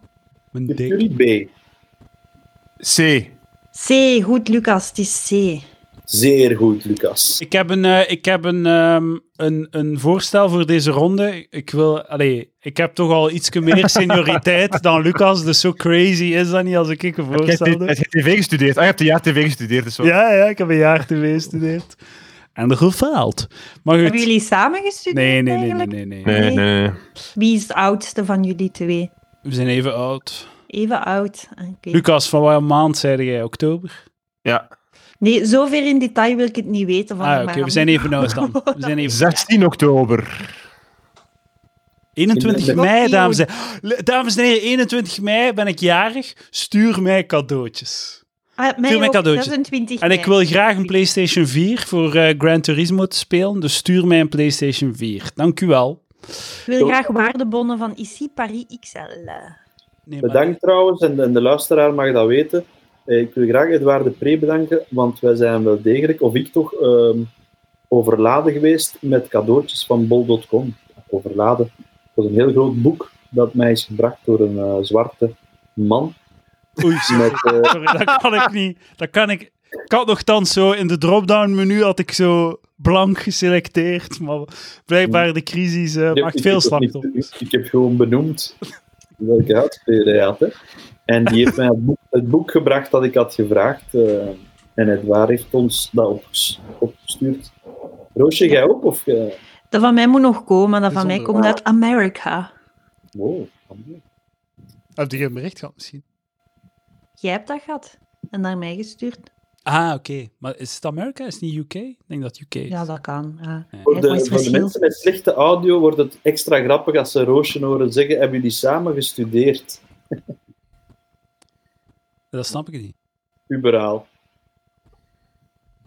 A: Mijn
E: De
A: D.
E: Fury B.
B: C.
D: C. Goed, Lucas, het is C.
E: Zeer goed, Lucas.
A: Ik heb, een, eh, ik heb een, ehm, een, een voorstel voor deze ronde. Ik, wil, allee, ik heb toch al iets meer senioriteit dan Lucas, dus zo crazy is dat niet als ik ik een
B: Je hebt
A: voorstel doe.
B: tv gestudeerd. Ah, je hebt een jaar tv gestudeerd. Dus wel-
A: Ja, ja, ik heb een jaar tv gestudeerd. En er gefaald. Maar goed.
D: Hebben jullie samen gestudeerd
A: Nee, nee, nee, nee,
D: eigenlijk?
A: nee, nee.
B: Nee, nee, nee.
D: Wie is de oudste van jullie twee?
A: We zijn even oud.
D: Even oud. Ah, Oké.
A: Lucas, van welke maand zei jij? Oktober?
B: Ja.
D: Nee, zover in detail wil ik het niet weten. Van
A: Ah,
D: de
A: oké,
D: man.
A: we zijn even oud dan. We zijn even...
B: 16 oktober.
A: 21
E: Ik
D: ben-
A: mei, dames en heren. Dames en heren, 21 mei ben ik jarig. Stuur mij cadeautjes.
D: Ah, mij
A: Stuur mij
D: ook,
A: cadeautjes.
D: 26
A: En
D: mei.
A: ik wil graag een PlayStation 4 voor eh, Gran Turismo te spelen, dus stuur mij een PlayStation 4. Dank u wel.
D: Ik wil graag waardebonnen van ICI Paris XL.
A: Nee, maar-
E: Bedankt trouwens, en de, en de luisteraar mag dat weten. Eh, Ik wil graag Edouard de Pre bedanken, want wij zijn wel degelijk, of ik toch, ehm, overladen geweest met cadeautjes van bol.com. Overladen. Het was een heel groot boek dat mij is gebracht door een eh, zwarte man.
A: Oei, sorry.
E: Met, eh,
A: Sorry, dat kan ik niet. Dat kan ik. Ik had nogthans zo in de drop-down menu had ik zo blank geselecteerd, maar blijkbaar de crisis eh,
E: Hmm. Ik heb-
A: maakt
E: ik
A: veel
E: heb dat niet-
A: slachtoffers.
E: Ik, ik heb gewoon benoemd welke huidskleur hij had. Hè. En die heeft mij het boek, het boek gebracht dat ik had gevraagd. eh, en het waar heeft ons dat op, opgestuurd. Roosje, jij ook? Of, eh,
D: Dat van mij moet nog komen. Dat van mij
A: Bijzonder.
D: komt uit Amerika.
E: wow.
A: Heb je een bericht gehad misschien?
D: Jij hebt dat gehad. En naar mij gestuurd.
A: Ah, oké. Maar is het Amerika? Is het niet UK? Ik denk dat UK is.
D: Ja, dat kan. ja.
E: Voor,
D: Kijk, wat
E: de,
D: is
E: voor de
D: verschil?
E: mensen met slechte audio wordt het extra grappig als ze Roosje horen zeggen: Hebben jullie samen gestudeerd?
A: Dat snap ik niet.
E: Puberaal.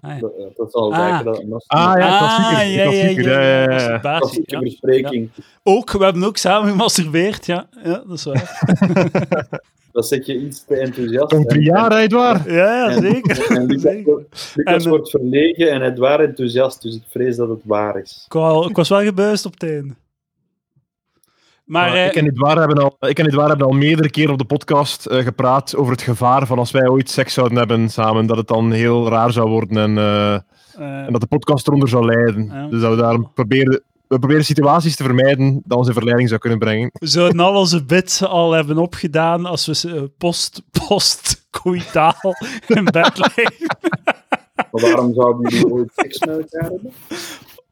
A: Ah, ja.
E: Dat, eh, dat zal
A: Ah.
E: lijken dat een lastige-
B: Ah ja, klassieker.
A: Ah, ja, ja,
B: klassieker.
A: ja, ja,
B: ja, ja, ja.
A: masturbatie,
E: klassieke
A: ja.
E: bespreking.
A: Ook, we hebben ook samen gemasturbeerd, ja. Ja, dat is
B: [laughs]
A: waar.
E: Dat zet je iets te enthousiast.
B: Toch drie
E: En-
B: jaar, hè, Edouard?
A: Ja, ja
E: En-
A: [laughs] zeker.
E: en Lucas
A: zeker.
E: wordt- Lucas
A: En- eh,
E: wordt verlegen en het waar enthousiast, dus ik vrees dat het waar is.
A: Ik, wou- ik was wel gebuist op het einde. Maar,
B: Maar
A: eh,
B: ik, en Edouard hebben al, ik en Edouard hebben al meerdere keren op de podcast eh, gepraat over het gevaar van als wij ooit seks zouden hebben samen, dat het dan heel raar zou worden en, eh,
A: eh,
B: en dat de podcast eronder zou lijden.
A: Ja.
B: Dus dat we daarom proberen, we proberen situaties te vermijden dat ons in verleiding zou kunnen brengen.
A: we zouden al onze bits al hebben opgedaan als we ze, eh, post, post,
B: [laughs]
A: coïtaal in bed liggen.
E: Maar waarom zouden jullie
A: [laughs]
E: ooit seks met elkaar hebben?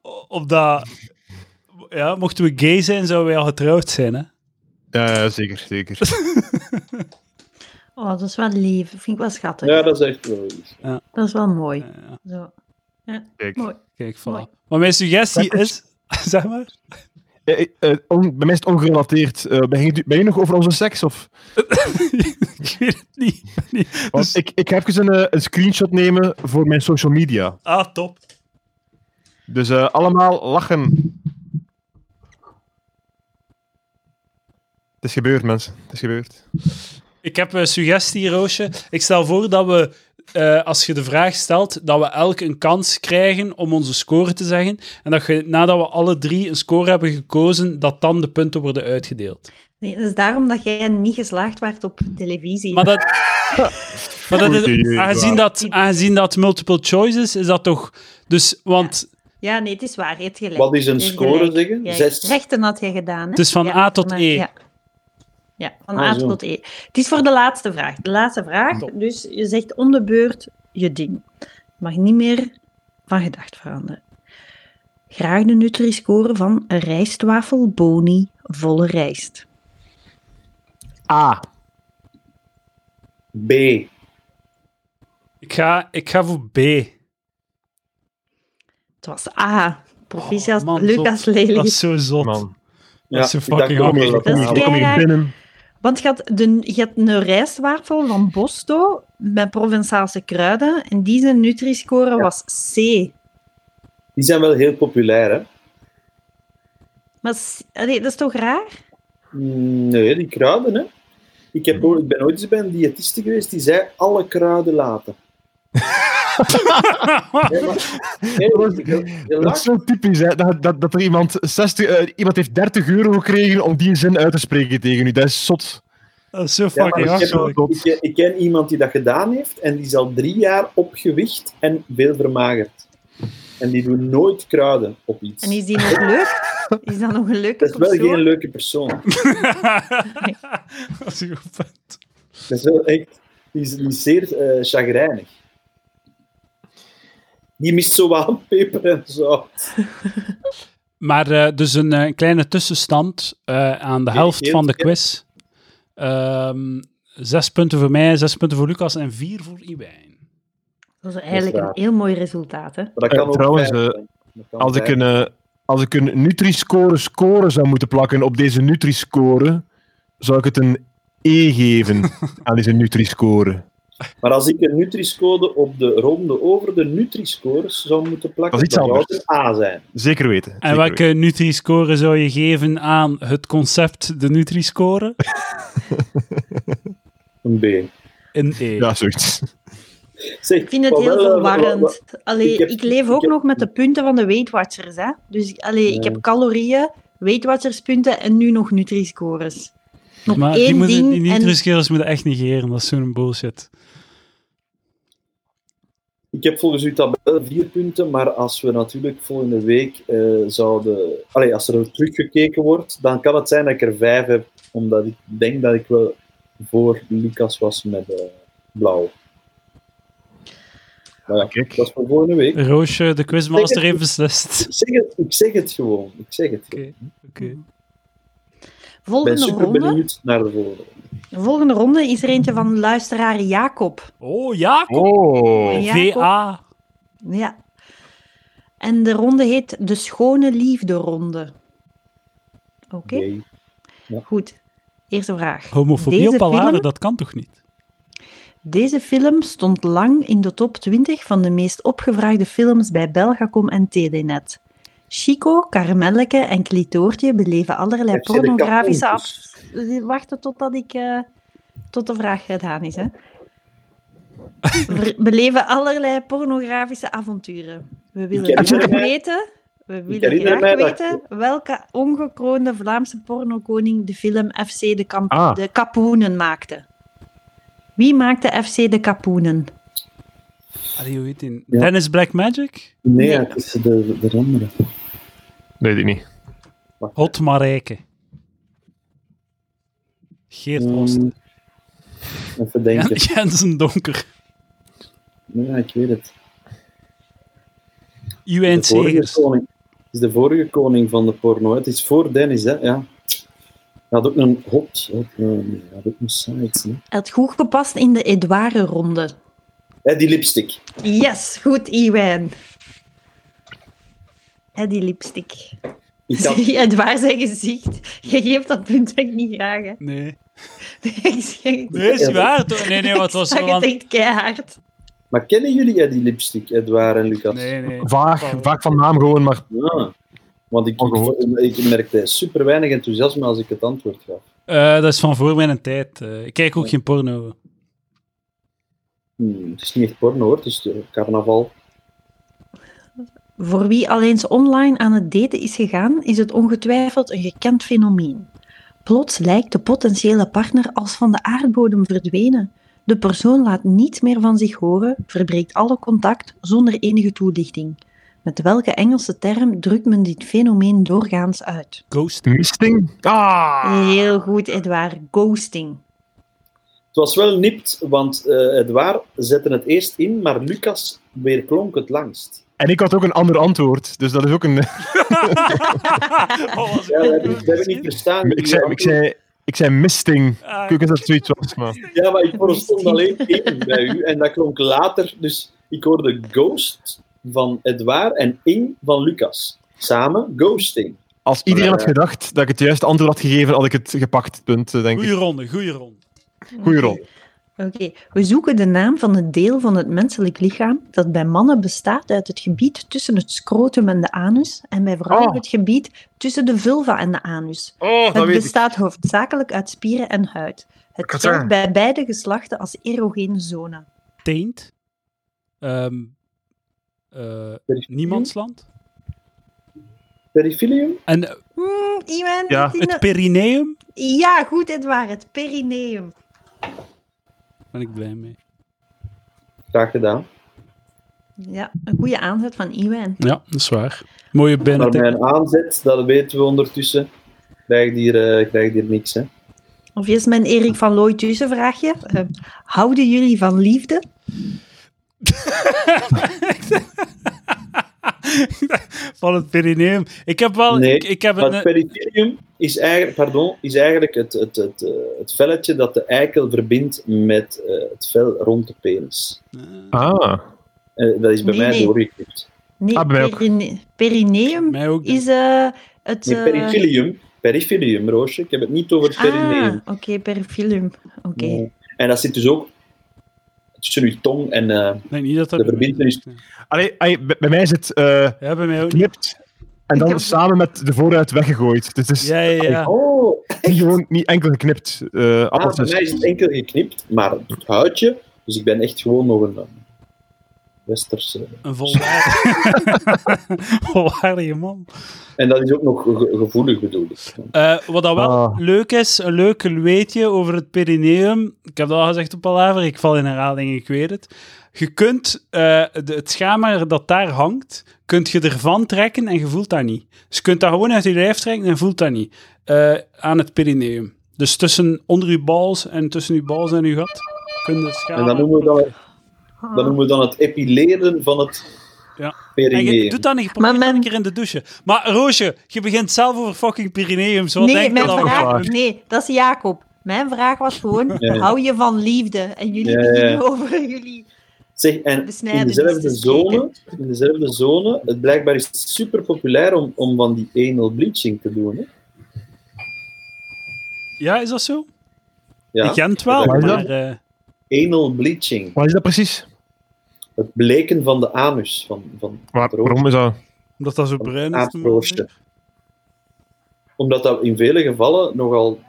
A: O- Omdat, ja, mochten we gay zijn, zouden wij al getrouwd zijn, hè.
B: Ja, ja, zeker,
A: [laughs]
B: zeker.
D: Oh, dat is wel lief. Dat vind ik wel schattig.
E: Ja, dat is echt wel iets.
D: Dat is wel mooi.
A: Ja, ja.
D: Zo.
B: Kijk.
D: Mooi.
A: Kijk, voilà.
D: Mooi.
A: Maar mijn suggestie is, [laughs] zeg maar...
B: Eh, eh, eh, on- bij mij is het ongerelateerd. Eh, ben, je, ben je nog over onze seks? Of?
A: ik weet het niet.
B: Want
A: Dus-
B: ik, ik ga even een, eh, een screenshot nemen voor mijn social media.
A: Ah, top.
B: Dus eh, allemaal lachen. Het is gebeurd, mensen. Het is gebeurd.
A: Ik heb een suggestie, Roosje. Ik stel voor dat we, eh, als je de vraag stelt, dat we elk een kans krijgen om onze score te zeggen. En dat je, nadat we alle drie een score hebben gekozen, dat dan de punten worden uitgedeeld.
D: Nee, dat is daarom dat jij niet geslaagd werd op televisie.
A: Maar
E: [laughs]
A: dat... Maar dat
B: Goed
A: is,
B: idee,
A: aangezien, dat, aangezien dat multiple choice is, is dat toch... Dus, want
D: Ja, nee, het is waar. Je hebt gelijk.
E: Wat is een
D: Je hebt
E: score
D: gelijk.
E: zeggen?
D: Ja,
E: Zes.
D: Rechten had jij gedaan, hè?
A: het is Dus van
D: Ja,
A: A tot
D: maar-
A: E.
D: ja. Ja, van
E: Ah,
D: A
E: zo.
D: tot E. Het is voor de laatste vraag. De laatste vraag.
A: Top.
D: Dus je zegt om de beurt je ding. Je mag niet meer van gedacht veranderen. Graag de Nutri-score van een rijstwafel boni volle rijst.
B: A.
E: B.
A: Ik ga, ik ga voor B.
D: Het was A. Proficiat,
A: Oh, man,
D: Lucas
A: Dat
D: Lely.
A: is zo zot.
B: Man,
A: Dat is zo
E: ik
A: fucking
E: dacht ook
B: kom hier,
E: wel
D: Dat is
E: dat-
B: kom hier, kom hier
D: keihard.
B: binnen.
D: Want je had, de, je had een rijstwafel van Bosto met Provençaalse kruiden. En die zijn Nutri-score was C.
E: Die zijn wel heel populair, hè?
D: Maar C- allee, dat is toch raar?
E: Mm, Nee, die kruiden, hè? Ik, heb, ooit- ik ben ooit eens bij een diëtiste geweest die zei alle kruiden
A: [laughs]
E: laten. nee, maar, nee,
B: Dat was-
E: je- je
B: Dat is
E: lacht.
B: zo typisch, hè? Dat, dat, dat er iemand, 60, eh, iemand heeft 30 euro gekregen om die zin uit te spreken tegen u. Dat is zot.
A: Dat is zo
E: Ja, maar
A: fucking
E: ik heb-
A: achterlijk.
E: ik, ken- ik ken iemand die dat gedaan heeft en die is al drie jaar opgewicht en veel vermagerd. En die doet nooit kruiden op iets.
D: En is die
E: [laughs]
D: nog leuk? Is dat nog een leuke
E: Dat is wel
D: persoon?
E: geen leuke persoon.
A: Dat is een goed punt.
E: Dat is wel echt... Die is, die is zeer eh, chagrijnig. Die mist zo wat peper en zo.
A: Maar eh, dus een eh, kleine tussenstand eh, aan de
E: Heel-
A: helft
E: heel-
A: van de
E: heel-
A: quiz. Ehm, zes punten voor mij, zes punten voor Lucas en vier voor Iwijn.
D: Dat is eigenlijk
E: Dat is
D: een
E: waar.
D: heel mooi resultaat, hè?
E: Maar dat
B: Eh,
E: kan ook
B: trouwens,
E: vijf
B: eh,
E: zijn. Dat kan
B: Als ik
E: vijf
B: een, eh, als ik een Nutri-score score zou moeten plakken op deze Nutri-score, zou ik het een E geven aan deze Nutri-score.
E: Maar als ik een Nutri-score op de ronde over de Nutri-scores zou moeten plakken,
B: Dat is iets
E: dan zou
B: anders.
E: het een A zijn.
B: Zeker weten.
A: En
B: zeker
A: welke Nutri-score zou je geven aan het concept de Nutri-score?
E: Een B.
A: Een E.
B: weten. Ja, zoiets.
E: Zeg, eh,
D: Ik vind het heel verwarrend. Allee,
E: ik
D: ik,
E: heb-
D: leef
E: ik
D: ook
E: heb-
D: nog met de punten van de Weight Watchers, hè? Dus allee, ik heb calorieën, Weight Watchers punten en nu nog Nutri-scores. Nog
A: Maar die,
D: één
A: moeten,
D: ding
A: die
D: en...
A: Nutri-scores moeten echt negeren, dat is zo'n bullshit.
E: Ik heb volgens uw tabel vier punten, maar als we natuurlijk volgende week eh, zouden... Allee, als er teruggekeken wordt, dan kan het zijn dat ik er vijf heb, omdat ik denk dat ik wel voor Lucas was met eh, blauw. Maar ja,
B: Kijk.
E: dat is voor volgende week.
A: Roosje, de quizmaster heeft beslist.
E: Ik zeg het, ik zeg het gewoon. Ik zeg het.
A: Oké, oké.
E: Ik ben
D: Volgende
E: super
D: ronde.
E: benieuwd naar de volgende.
D: De volgende ronde is er eentje van luisteraar Jacob.
A: Oh, Jacob!
B: Oh.
D: Jacob.
A: VA.
D: Ja. En de ronde heet de Schone Liefde Ronde. Oké,
E: Nee.
D: goed. Eerste vraag.
A: Homofobie
D: Deze
A: op Alade,
D: film-
A: dat kan toch niet?
D: Deze film stond lang in de top 20 van de meest opgevraagde films bij Belgacom en TDNet. Chico, Carmelleke en Clitoortje beleven allerlei
E: Heb je de
D: pornografische
E: kapoentjes?
D: af... Wachten totdat ik... eh, tot de vraag gedaan is, hè. Ver- beleven allerlei pornografische avonturen. We willen
E: herinner
D: graag
E: mij-
D: weten... We willen
E: herinner
D: graag
E: mij dat-
D: weten welke ongekroonde Vlaamse pornokoning de film FC de, Kamp-
B: Ah.
D: de Kapoenen maakte. Wie maakte FC de Kapoenen?
A: Allee, hoe heet die?
E: Ja.
A: Dennis Black Magic?
E: Nee,
D: Nee.
E: het is de, de andere.
B: Nee, die niet.
A: Hot Marijke. Geert Oost.
E: Mm, Even denken.
A: [laughs] Jensen Donker.
E: Ja, ik weet het.
A: Iwijn
E: De vorige
A: Segers.
E: koning. Het is de vorige koning van de porno. Het is voor Dennis, hè? Ja. Hij had ook een hot. hot eh, nee, hij had ook een site. Hè?
D: Hij had goed gepast in de Edouard-ronde.
E: Hè, die lipstick.
D: Yes, goed, Iwijn. Hè, die lipstick.
E: Ik had,
D: [laughs] Edouard zijn gezicht. Je geeft dat punt echt niet graag, hè. [laughs]
A: Nee.
D: Ik zeg het.
A: Nee, is waar. toch? Nee, nee, wat
D: [laughs]
A: was
D: Ik
A: er
D: zag het
A: aan...
D: echt keihard.
E: maar kennen jullie hè, die lipstick, Edouard en Lucas?
A: Nee, nee.
B: Vaag, vaak van naam gewoon, maar
E: Ja. Want ik,
B: Al gehoord.
E: ik, ik merkte super weinig enthousiasme als ik het antwoord gaf.
A: Eh, dat is van voor mijn tijd. Eh, ik kijk ook geen porno.
E: Hmm, het is niet echt porno hoor, het is eh, carnaval.
D: Voor wie al eens online aan het daten is gegaan, is het ongetwijfeld een gekend fenomeen. Plots lijkt de potentiële partner als van de aardbodem verdwenen. De persoon laat niets meer van zich horen, verbreekt alle contact zonder enige toelichting. Met welke Engelse term drukt men dit fenomeen doorgaans uit?
B: [laughs]
A: Ghost.
B: Misting? Ah!
D: Heel goed, Edouard. Ghosting.
E: Het was wel nipt, want eh Edouard zette het eerst in, maar Lucas weerklonk het langst.
B: En ik had ook een ander antwoord, dus dat is ook een...
A: Oh, was
E: Ja, dat heb ik, dat heb ik niet verstaan.
B: Ik zei, ik zei, ik zei misting.
A: ah,
B: Ik weet niet of dat zoiets was, maar...
E: Ja, maar ik verstond alleen één bij u en dat klonk later. Dus ik hoorde Ghost van Edouard en Ing van Lucas. Samen Ghosting.
B: Als iedereen had gedacht dat ik het juiste antwoord had gegeven, had ik het gepakt, het punt, eh, denk
A: Goeie
B: ik.
A: ronde, goeie ronde.
B: Goeie rol.
D: Oké, we zoeken de naam van het deel van het menselijk lichaam dat bij mannen bestaat uit het gebied tussen het scrotum en de anus en bij vrouwen
B: Oh.
D: het gebied tussen de vulva en de anus.
B: Oh,
D: het bestaat hoofdzakelijk uit spieren en huid.
B: Ik
D: Het
B: had
D: geldt
B: zeggen.
D: bij beide geslachten als erogene zone.
A: Teent. Ehm eh, niemandsland.
E: Perifilium?
A: En eh,
D: Hmm, iemand
B: Ja,
D: die
A: het
D: nog-
A: perineum.
D: ja, goed, Edouard, het perineum.
A: Ben ik blij mee.
E: Graag gedaan.
D: Ja, een goede aanzet van Iwan.
A: Ja, dat is waar. Mooie
E: Maar
A: binnen.
E: mijn aanzet, dat weten we ondertussen, krijgt hier, eh, krijgt hier niks. Hè.
D: Of is mijn Erik van Looy tussen vraagje. Eh, houden jullie van liefde?
A: [laughs] Van het perineum. Ik heb wel...
E: Nee,
A: ik, ik heb
E: Maar
A: een,
E: het perifilium is eigenlijk, pardon, is eigenlijk het, het, het, eh, het velletje dat de eikel verbindt met eh, het vel rond de penis.
A: eh,
B: Ah.
E: Eh, dat is bij
D: Nee,
E: mij
D: nee.
E: doorgeknipt.
D: Nee,
B: Ah, bij mij ook.
D: perine- perineum
A: mij ook.
D: is eh, het...
E: Nee,
D: eh,
E: perifilium. Perifilium, Roosje. Ik heb het niet over het
D: ah,
E: perineum.
D: oké, perifilium. Oké.
E: En dat zit dus ook tussen uw tong en... eh,
A: Ik denk niet dat dat...
E: De verbintenis-
A: Nee.
B: Allee, allee, bij, bij mij is het eh,
A: Ja, bij mij ook niet.
B: geknipt en dan
D: Ik heb-
B: samen met de vooruit weggegooid. Dus het is
A: Ja, ja, ja.
E: oh,
B: niet gewoon niet enkel geknipt. eh
E: ah,
B: appels
E: bij
B: dus.
E: mij is het enkel geknipt, maar het huidje... Dus ik ben echt gewoon nog een eh, westerse...
A: Een volwaardige, [laughs] volwaardige man.
E: En dat is ook nog ge- gevoelig bedoeld. ik.
A: Eh, wat dat wel
B: Ah.
A: leuk is, een leuk weetje over het perineum. Ik heb dat al gezegd op Palaver, ik val in herhaling, ik weet het. Je kunt eh, de, het schaamhaar dat daar hangt, kunt je ervan trekken en je voelt dat niet. Dus je kunt dat gewoon uit je lijf trekken en voelt dat niet. Eh, aan het perineum. Dus tussen, onder je bals en tussen je bals en je gat, kun je het
E: En
A: schaamhaar...
E: dat noemen we dan,
D: Ah.
E: dat noemen we dan het epileren van het
A: Ja. En je
E: perineum.
A: doet dat niet, probeer
D: Maar
A: dat een
D: mijn-
A: keer in de douche. Maar Roosje, je begint zelf over fucking perineum. Zo
D: Nee,
A: denk je
D: mijn
A: dat we
D: vraag,
A: gaan.
D: nee, dat is Jacob. Mijn vraag was gewoon,
E: Ja, ja.
D: hou je van liefde? En jullie
E: Ja, ja.
D: beginnen over jullie...
E: Zeg, en in
D: Besnijdenis
A: dus
E: dezelfde,
D: te
E: zone, in dezelfde zone, het blijkbaar is het super populair om, om van die anal bleaching te doen. Hè?
A: Ja, is dat zo?
E: Ja,
A: Ik Gent wel,
E: Wat
B: is
A: maar...
B: dat?
A: eh,
E: anal bleaching.
B: Wat is dat precies?
E: Het bleken van de anus, van, van
B: Waar-
E: het rood-
B: waarom is dat?
A: omdat dat zo bruin is. te
E: aardroosje.
A: maken.
E: Omdat dat in vele gevallen nogal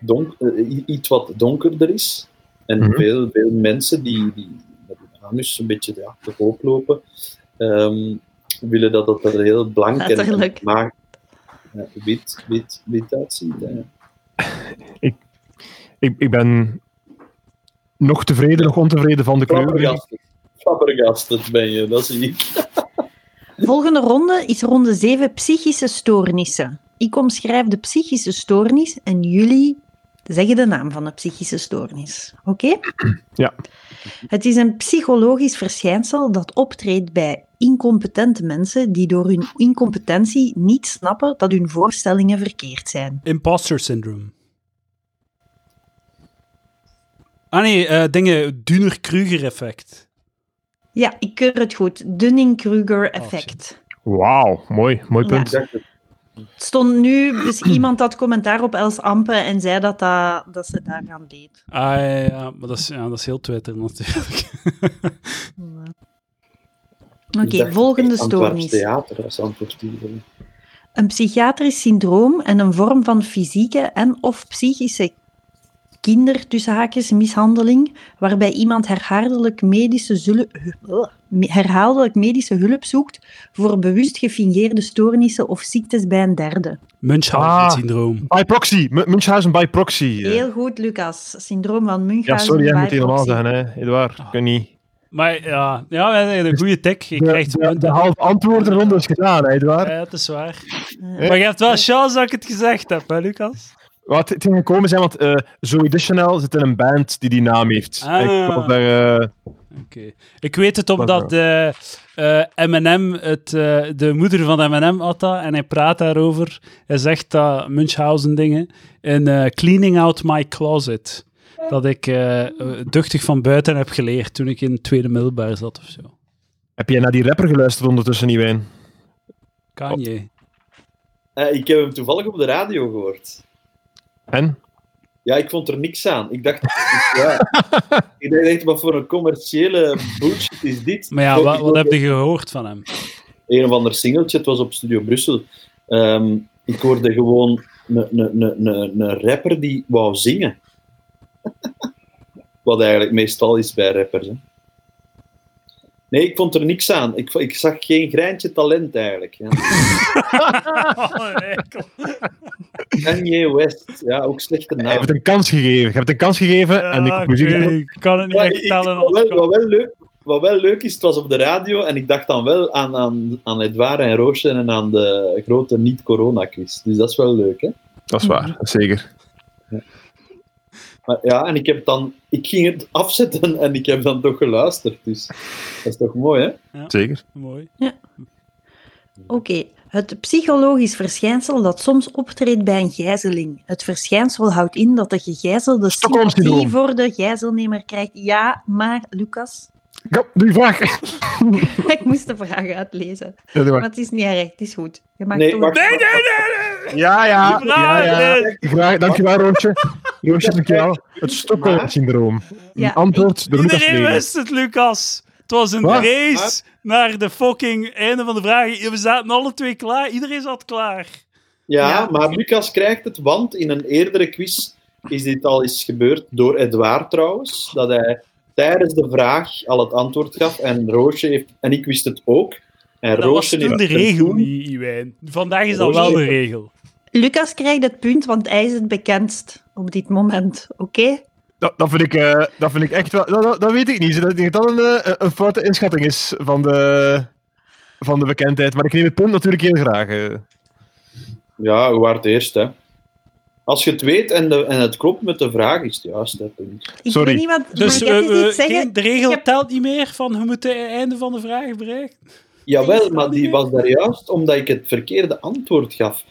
E: donk, eh, i- iets wat donkerder is. En
B: Mhm.
E: veel, veel mensen die, die met hun anus een beetje ja, te hoop lopen, ehm, willen dat dat er heel blank en- en
D: Letterlijk.
E: maar ja, wit, wit, wit uitziet. hè.
B: Ik, ik ben nog tevreden, nog ontevreden van de kleur.
E: Flappergast. Flappergast, dat ben je, dat zie ik.
D: Volgende ronde is ronde 7, psychische stoornissen. Ik omschrijf de psychische stoornis en jullie zeggen de naam van de psychische stoornis. Oké?
B: Ja.
D: Het is een psychologisch verschijnsel dat optreedt bij incompetente mensen die door hun incompetentie niet snappen dat hun voorstellingen verkeerd zijn.
A: Imposter syndrome. Ah nee, eh, dingen, Dunner-Kruger effect.
D: Ja, ik keur het goed. Dunning-Kruger-effect.
B: Wauw, mooi, mooi punt.
E: Exact het
D: Het stond nu, dus [clears throat] iemand had commentaar op Els Ampe en zei dat, dat, dat ze daaraan deed.
A: Ah ja, ja, ja, maar dat is, ja, dat is heel Twitter natuurlijk. [laughs]
D: Oké,
E: Dus Ik dacht
D: volgende
E: echt Antwerps
D: stoornis.
E: theater als antwoord hierop.
D: Een psychiatrisch syndroom en een vorm van fysieke en of psychische kinder tussen haakjes mishandeling, waarbij iemand herhaaldelijk medische, zulu- herhaaldelijk medische hulp zoekt voor bewust gefingeerde stoornissen of ziektes bij een derde.
A: Munchausen-syndroom.
B: By proxy, M- Munchausen by proxy. eh.
D: Heel goed, Lucas. Syndroom van Munchausen.
B: Ja, sorry, jij
D: by
B: moet het helemaal
D: proxy.
B: zeggen, hè. Edouard. Ik weet niet.
A: Maar ja, ja wij zijn een goede tik. Ik
B: De,
A: krijg het
B: de,
A: punt.
B: de halve antwoordenronde is gedaan, hè, Edouard?
A: Ja, het is waar. Maar je hebt wel chance dat ik het gezegd heb, hè, Lucas?
B: Wat het ging gekomen zijn, want eh Zoe Deschanel zit in een band die die naam heeft.
A: Ah.
B: Ik wou daar, eh,
A: Oké. Ik weet het omdat eh eh, M&M, het, eh, de moeder van M&M had dat, en hij praat daarover. Hij zegt dat Munchausen dingen in eh, Cleaning Out My Closet, dat ik eh, eh, duchtig van buiten heb geleerd toen ik in het tweede middelbaar zat of zo.
B: heb jij naar die rapper geluisterd ondertussen, Nieuwijn?
E: Oh.
A: Kan je?
E: Eh, ik heb hem toevallig op de radio gehoord.
B: En?
E: Ja, ik vond er niks aan. Ik dacht, [laughs] ja, ik dacht echt, wat voor een commerciële bullshit is dit?
A: Maar ja,
E: Ik
A: wat,
E: hoor-
A: wat
E: ik
A: heb
E: hoor
A: je gehoord van [laughs] hem?
E: Een of ander singeltje, het was op Studio Brussel. Ehm, ik hoorde gewoon een- een- een- een een rapper die wou zingen. [laughs] wat eigenlijk meestal is bij rappers. Hè. Nee, ik vond er niks aan. Ik, vo- ik zag geen greintje talent eigenlijk. Ja.
A: Oh,
E: Kanye West, ja, ook slechte
B: Je hebt
E: naam.
B: het een kans gegeven. Je hebt het een kans gegeven en ik
A: Ja,
B: heb
A: ik,
B: muziek.
A: weet niet, ik kan het niet
E: Ja,
A: echt
E: ik-
A: tellen.
E: wat,
A: als
E: wel,
A: ik-
E: wat, wel leuk, wat wel leuk is, het was op de radio en ik dacht dan wel aan, aan, aan Edouard en Roosje en aan de grote niet-corona-quiz. Dus dat is wel leuk, hè?
B: Dat is waar, zeker.
E: Maar ja, en ik, heb dan, ik ging het afzetten en ik heb dan toch geluisterd. Dus dat is toch mooi, hè?
B: Zeker.
A: Mooi.
D: Oké, het psychologisch verschijnsel dat soms optreedt bij een gijzeling. Het verschijnsel houdt in dat de gegijzelde
B: Stockholm-syndroom.
D: sympathie voor de gijzelnemer krijgt. Ja, maar Lucas,
B: Kom, doe je vraag.
D: [laughs] ik moest de vraag uitlezen.
B: Ja, doe
D: Maar
B: maar.
D: het is niet erg, het is goed. Je mag
E: Nee,
D: toch-
E: wacht.
A: Nee, nee, nee, nee.
B: Ja, ja.
A: Die vraag
B: ja, ja.
A: is-
B: Graag, dankjewel, Roosje. Roosje, dankjewel. Het Stockholm-syndroom.
D: Ja,
B: Antwoord door Lucas
A: Iedereen
B: Lely.
A: wist het, Lucas. Het was een
B: Wat?
A: race naar de fucking einde van de vragen. We zaten alle twee klaar. Iedereen zat klaar.
E: Ja,
D: Ja.
E: maar Lucas krijgt het, want in een eerdere quiz is dit al eens gebeurd door Edouard trouwens, dat hij tijdens de vraag al het antwoord gaf en Roosje heeft, en ik wist het ook. En
A: Dat was
E: Roosje
A: toen
E: heeft
A: de
E: het
A: regel
E: toen-
A: niet, Iwijn. Vandaag is dat
E: Roosje-
A: wel de regel.
D: Lucas krijgt het punt, want hij is het bekendst op dit moment. Oké?
B: Dat, dat, vind ik, eh, dat vind ik echt wel... Dat, dat, dat weet ik niet. Ik denk dat dat een, eh, een foute inschatting is van de, van de bekendheid. Maar ik neem het punt natuurlijk heel graag. eh.
E: Ja, hoe waard eerst, hè. Als je het weet en, de, en het klopt met de vraag, is het juist. hè, punt.
D: Ik
B: Sorry.
D: weet niet wat...
A: Dus
D: mag ik even
A: eh, eh,
D: iets zeggen?
A: geen- de regel
D: Ik heb-
A: telt niet meer van we moeten het einde van de vraag bereiken.
E: Jawel, maar die was daar juist omdat ik het verkeerde antwoord gaf.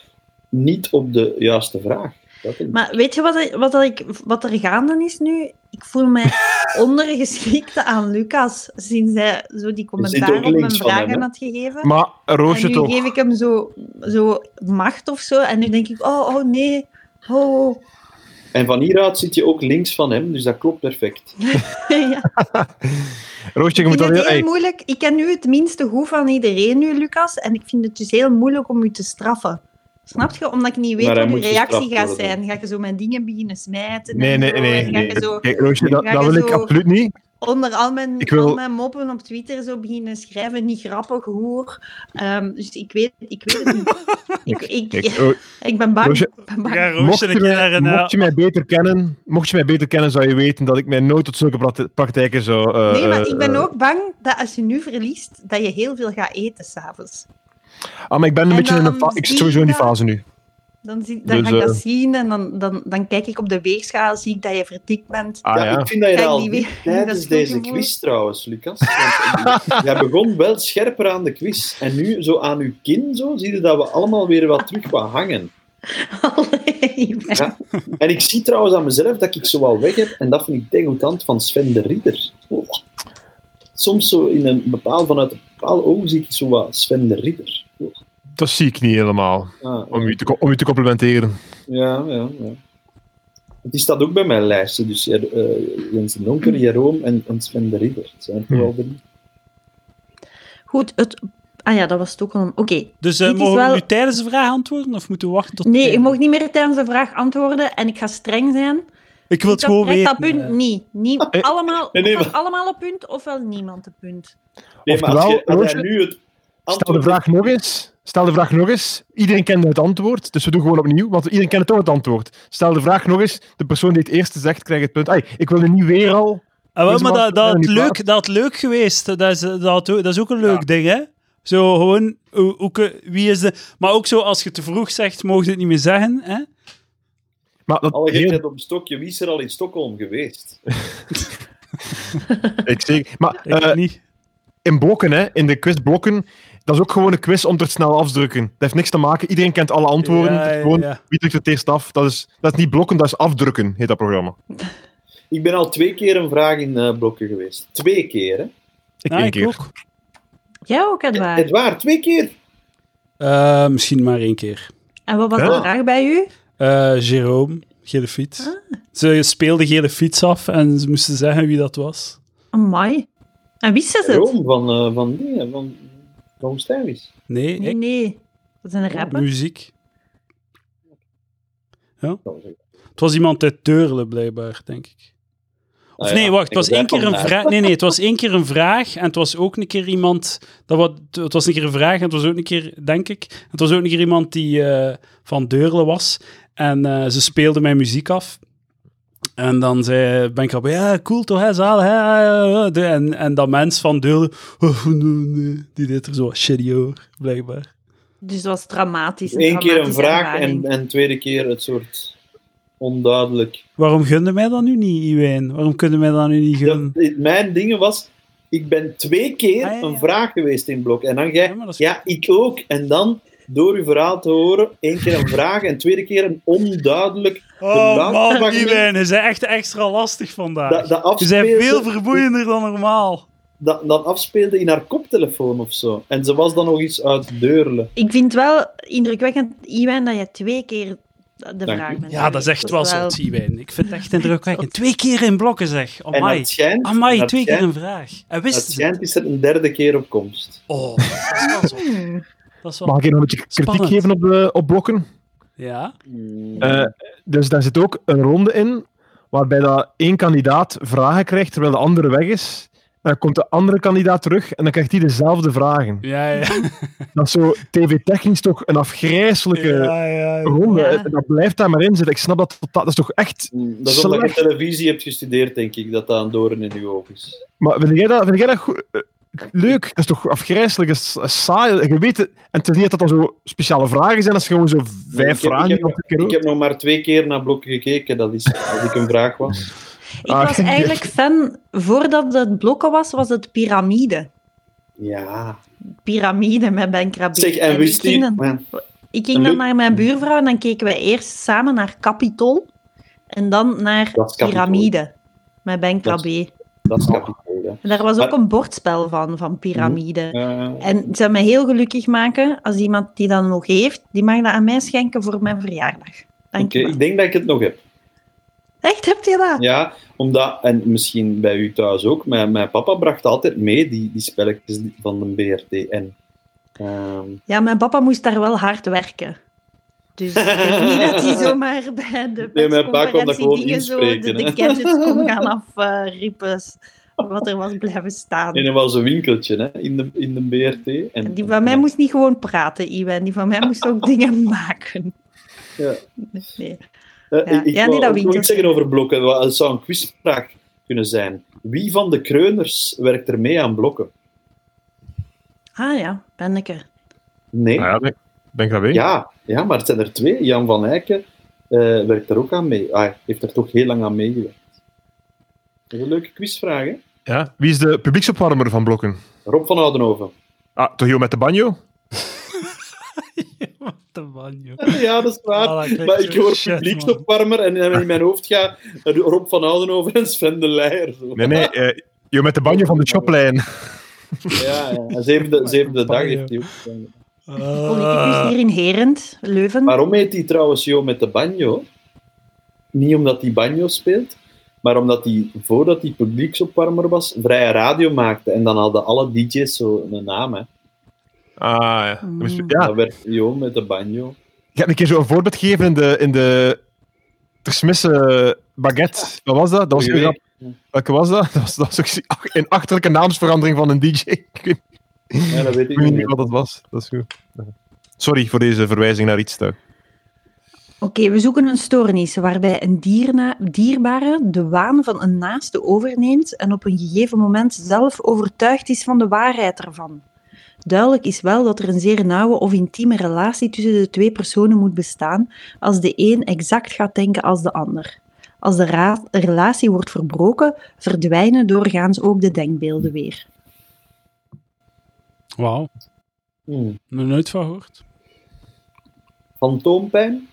E: Niet op de juiste vraag. Dat is-
D: Maar weet je wat, er- wat, dat ik, wat er gaande is nu? Ik voel mij ondergeschikt aan Lucas, sinds hij zo die commentaar
E: ook
D: op mijn
E: links van
D: vragen
E: hem, hè?
D: had gegeven.
B: Maar eh, Roosje
D: en nu
B: toch.
D: geef ik hem zo, zo macht of zo, en nu denk ik, oh, oh nee, oh, oh. [laughs]
E: En van hieruit zit je ook links van hem, dus dat klopt perfect.
D: ja.
B: Roosje, je
D: Ik
B: moet
D: vind
B: al
D: het
B: heel...
D: heel
B: Hey,
D: moeilijk. Ik ken nu het minste goed van iedereen nu, Lucas. En ik vind het dus heel moeilijk om u te straffen. Snap je? Omdat ik niet weet
E: Maar hij
D: wat uw
E: moet
D: reactie
E: gestraft
D: gaat
E: worden.
D: zijn. Ga je zo mijn dingen beginnen smijten?
B: nee,
D: en
B: nee,
D: zo,
B: nee.
D: en
B: nee.
D: Ga je Oh, zo
B: Kijk, Roosje, dat,
D: ga
B: dat
D: je
B: wil ik
D: zo-
B: absoluut niet.
D: onder al mijn,
B: Ik wil-
D: al mijn moppen op Twitter zo beginnen schrijven? Niet grappig, hoer. Ehm, dus ik weet, ik
B: [laughs]
D: weet het niet. ik, ik,
B: Kijk, Ro-
D: ik ben bang.
B: Roosje-
D: Ik ben
A: We
D: bang.
A: gaan
B: mocht,
A: roosteren
B: je
A: een keer naar
B: mij,
A: een... eh,
B: mocht je mij beter kennen, mocht je mij beter kennen, zou je weten dat ik mij nooit tot zulke prakti- praktijken zou... eh,
D: Nee, maar
B: eh,
D: ik ben
B: eh,
D: ook bang dat als je nu verliest, dat je heel veel gaat eten s'avonds.
B: Ah, maar ik ben een
D: En
B: beetje in
D: dan
B: een fa- Ik zit
D: zie
B: sowieso in die
D: je-
B: fase nu.
D: Dan, zie, dan
B: Dus,
D: ga ik dat
B: eh,
D: zien en dan, dan, dan kijk ik op de weegschaal, zie ik dat je verdikt bent.
B: Ah
E: ja,
B: ja.
E: Ik vind dat je
D: Kijk,
E: dat al
D: die
E: niet
D: weer- [laughs] dat
E: tijdens
D: is goed
E: deze
D: gevoel.
E: quiz trouwens, Lucas. Want jij begon wel scherper aan de quiz. En nu, zo aan uw kin, zo, zie je dat we allemaal weer wat terug wat hangen.
D: [laughs] Allee, ik ben-
E: Ja. En ik zie trouwens aan mezelf dat ik zo wel weg heb. En dat vind ik degoutant van Sven de Ridder. Oh. Soms zo in een bepaald, vanuit een bepaald oog zie ik zo wat Sven de Ridder. Oh.
B: Dat zie ik niet helemaal,
E: Ah,
B: om u te, co- om u te complimenteren.
E: Ja, ja, ja. Die staat ook bij mijn lijstje. Dus Jer- eh, Jens de Donker, Jeroen en, en Sven de Ridder. Het zijn er wel drie.
D: Goed, het... Ah ja, dat was Stockholm. Oké.
A: Dus eh,
D: Dit is
A: mogen we
D: wel-
A: nu tijdens de vraag antwoorden of moeten we wachten tot...
D: Nee, je mag niet meer tijdens de vraag antwoorden en ik ga streng zijn.
A: Ik wil het
D: Dat
A: gewoon
D: krijgt
A: weten.
D: dat punt
A: eh.
D: niet. niet
B: Eh,
D: allemaal,
E: nee, nee,
D: ofwel allemaal een punt, ofwel niemand een punt.
E: Nee, maar als,
B: Oftewel,
E: je, als jij
B: Roosje,
E: nu het
B: Stel de
E: antwoord...
B: vraag nog eens. Stel de vraag nog eens. Iedereen kende het antwoord, dus we doen gewoon opnieuw, want iedereen kent toch het antwoord. Stel de vraag nog eens. De persoon die het eerste zegt, krijgt het punt. Ai, ik wil er niet weer al
A: Ah, wel,
B: Deze
A: maar
B: man-
A: dat, dat,
B: die
A: had leuk,
B: plaats.
A: dat had leuk geweest. Dat is, dat, had ook- dat is ook een leuk ding, hè? Zo gewoon, hoe, hoe kun- wie is de. Maar ook zo, als je te vroeg zegt, mogen je het niet meer zeggen, hè?
B: Maar dat,
E: Alle
B: heel-
E: gekheid op een stokje. Wie is er al in Stockholm geweest?
B: ik zeg, maar
A: Ik
B: eh,
A: niet.
B: in blokken, hè, in de quizblokken, dat is ook gewoon een quiz om er snel afdrukken. Dat heeft niks te maken. Iedereen kent alle antwoorden.
A: Ja,
B: Het is
A: ja,
B: gewoon,
A: ja.
B: wie drukt het eerst af? Dat is, dat is niet blokken, dat is afdrukken, heet dat programma.
E: Ik ben al twee keer een vraag in eh blokken geweest. Twee keer, hè?
B: Ik
A: Ah,
B: één
A: ik
B: keer.
A: ook.
D: Jij ook, Edouard.
E: Het waar, twee keer.
A: Eh, misschien maar één keer.
D: En wat was de
B: Huh?
D: vraag bij u?
A: Eh Jérôme, gele fiets. Ze speelde gele fiets af en ze moesten zeggen wie dat was.
D: Amai. En wie is het?
E: Room van, eh, van dingen, van, van Stijvis.
A: Nee,
D: Nee,
A: ik.
D: nee. Dat is een rapper.
A: Muziek. Het was iemand uit Deurle, blijkbaar, denk ik. Of
E: Ah,
A: nee,
E: ja.
A: wacht, het
E: Ik
A: was
E: was
A: één
E: daar
A: keer een
E: vandaag.
A: vraag. Nee, nee, het was één keer een vraag en het was ook een keer iemand. Dat wat, het was een keer een vraag en het was ook een keer, denk ik. Het was ook een keer iemand die eh, van Deurle was en eh, ze speelde mijn muziek af. En dan zei ben ik al, ja, cool toch, hè, zaal, hè, ja, ja, ja." De- en, en dat mens van Deurle, oh, nee, nee, die deed er zo shitty over, blijkbaar.
D: Dus dat was dramatisch.
E: Eén keer een
D: dramatische
E: vraag en,
D: ervaring.
E: en tweede keer het soort onduidelijk.
A: Waarom gunde mij dat nu niet, Iwijn? Waarom kunnen mij dat nu niet gunnen?
E: Dat- eh, mijn ding was, ik ben twee keer
A: Ah, ja, ja.
E: een vraag geweest in blok. En dan jij,
A: Ja,
E: ja,
A: maar dat is-
E: ik ook. En dan, door uw verhaal te horen, één keer een vraag en tweede keer een onduidelijk...
A: Oh
E: laatste
A: man,
E: mag
A: die
E: niet.
A: wijnen zijn echt extra lastig vandaag.
E: Dat, dat
A: Ah, Ze zijn
E: afspeelde-
A: veel vermoeiender dan normaal.
E: dat, dat afspeelde in haar koptelefoon of zo. En ze was dan nog eens uit Deurle.
D: Ik vind het wel indrukwekkend, Iwan, dat je twee keer de vraag
E: u.
D: bent.
A: Ja, dat is echt wel zot, Iwijn. Ik vind het
D: [laughs]
A: echt indrukwekkend. Twee keer in blokken, zeg.
E: En
A: Amai.
E: dat schijnt,
A: Amai,
E: dat
A: twee keer
E: schijnt-
A: een vraag. En
E: dat
A: wist ze het?
E: schijnt is er een derde keer op komst.
A: Oh, dat is wel zot.
D: Hmm.
A: Dat is
B: Mag
A: wel...
B: ik hier nog een beetje kritiek
A: Spannend.
B: geven op, de, op blokken?
A: Ja?
B: Eh, dus daar zit ook een ronde in, waarbij dat één kandidaat vragen krijgt terwijl de andere weg is. En dan komt de andere kandidaat terug en dan krijgt hij dezelfde vragen.
A: Ja, ja.
B: Dat is zo tv-technisch toch een afgrijselijke
A: ja, ja, [laughs] ja.
B: ronde.
D: Ja.
B: En dat blijft daar maar in zitten. Ik snap dat totaal. Dat is toch echt...
E: Mm, Dat is omdat je
B: Slecht.
E: televisie hebt gestudeerd, denk ik, dat dat een doorn in uw ogen is.
B: Maar vind jij dat, vind jij dat goed? eh, Leuk, dat is toch afgrijselijk, dat is- dat is saai. Je weet het, en het is niet dat dat dan zo speciale vragen zijn, dat is gewoon zo
E: Nee, ik
B: vijf
E: heb-
B: vragen. die
E: ik heb-
B: op een keer
E: Ik heb nog maar twee keer naar blokken gekeken, dat is als ik een vraag was.
D: Ik
B: Ah,
D: was
B: ja.
D: eigenlijk fan, voordat het blokken was, was het piramide.
E: Ja.
D: Piramide met Ben Krabbe.
E: Zeg, en
D: ik
E: wist
D: ging
E: u...
D: dan-
E: Man,
D: Ik ging
E: Een
D: dan
E: leuk-
D: naar mijn buurvrouw en dan keken we eerst samen naar Capitol en dan naar
E: Dat is Capitol.
D: Pyramide met Ben Krabbe.
E: Dat is kapitaal, hè.
D: En daar was ook
E: Maar-
D: een bordspel van, van Pyramide.
E: Eh,
D: En het zou mij heel gelukkig maken als iemand die dat nog heeft, die mag dat aan mij schenken voor mijn verjaardag. Dank
E: Oké,
D: je wel.
E: ik denk dat ik het nog heb.
D: Echt, heb je dat?
E: Ja, omdat, en misschien bij u thuis ook, mijn, mijn papa bracht altijd mee die, die spelletjes die- van de BRT. En, ehm,
D: Ja, mijn papa moest daar wel hard werken. Dus ik denk niet dat
E: [laughs]
D: hij zomaar bij de
E: Nee, mijn pa kon dat gewoon
D: persconferentie dingen zo de,
E: inspreken,
D: de
E: hè.
D: gadgets
E: [laughs]
D: kon gaan afriepen. wat er was blijven staan.
E: en er was een winkeltje hè, in, de, in de BRT. En,
D: Die van mij moest niet gewoon praten, Iwan. Die van mij moest
E: [laughs]
D: ook dingen maken.
E: Ja.
D: Nee.
E: Eh,
D: ja.
E: ik ik
D: Ja, nee,
E: wou
D: dat
E: ook nog
D: winkeltje.
E: iets zeggen over blokken. Wel, Het zou een quizvraag kunnen zijn. Wie van de kreuners werkt er mee aan blokken?
D: Ah ja, Penneke.
E: Nee?
B: Ah, ja, ben- ben ik daarbij?
E: Ja, ja, maar het zijn er twee. Jan van Eycken eh, werkt er ook aan mee. Ah, Hij heeft er toch heel lang aan meegewerkt. Dat is een leuke quizvraag, hè?
B: Ja. Wie is de publieksopwarmer van blokken?
E: Rob van Oudenhoven. [laughs]
B: Ah, Tojo met de banjo?
A: Wat een man, joh.
E: Ja, dat is waar.
A: Ah, dat klinkt
E: maar
A: zo
E: ik hoor
A: shit, man.
E: publieksopwarmer en dan in mijn hoofd gaat eh, Rob van Oudenhoven en Sven de Leijer. Zo.
B: Nee, nee. eh, Jo met de banjo van de choplijn.
E: Ja, ja. En zevende, zevende dag heeft hij ook.
D: Oh,
A: Eh,
D: Politicus dus hier in Herend, Leuven.
E: Waarom heet hij trouwens Jo met de banjo? Niet omdat hij banjo speelt, maar omdat hij, voordat hij publieksopwarmer was, vrije radio maakte. En dan hadden alle DJ's zo een naam. Hè.
B: Ah, ja.
D: Mm.
B: ja.
E: Dat werd Jo met de banjo.
B: Ik heb een keer zo'n voorbeeld gegeven in de, in de Tersmisse baguette. Wat was dat? Dat was
E: Goeie
B: een grap. Welke was dat? [laughs] Dat was, dat was ook zie- ach- een achterlijke naamsverandering van een DJ. [laughs] Ik weet,
E: Ja, dat weet
B: ik weet
E: ik niet
B: niet
E: meer.
B: wat dat was. Dat is goed. Sorry voor deze verwijzing naar iets. Tuin.
D: Oké, we zoeken een stoornis waarbij een dierna, dierbare de waan van een naaste overneemt en op een gegeven moment zelf overtuigd is van de waarheid ervan. Duidelijk is wel dat er een zeer nauwe of intieme relatie tussen de twee personen moet bestaan als de een exact gaat denken als de ander. Als de ra- relatie wordt verbroken, verdwijnen doorgaans ook de denkbeelden weer.
A: Wauw,
E: Hmm.
A: nog nooit van gehoord.
E: Fantoompijn?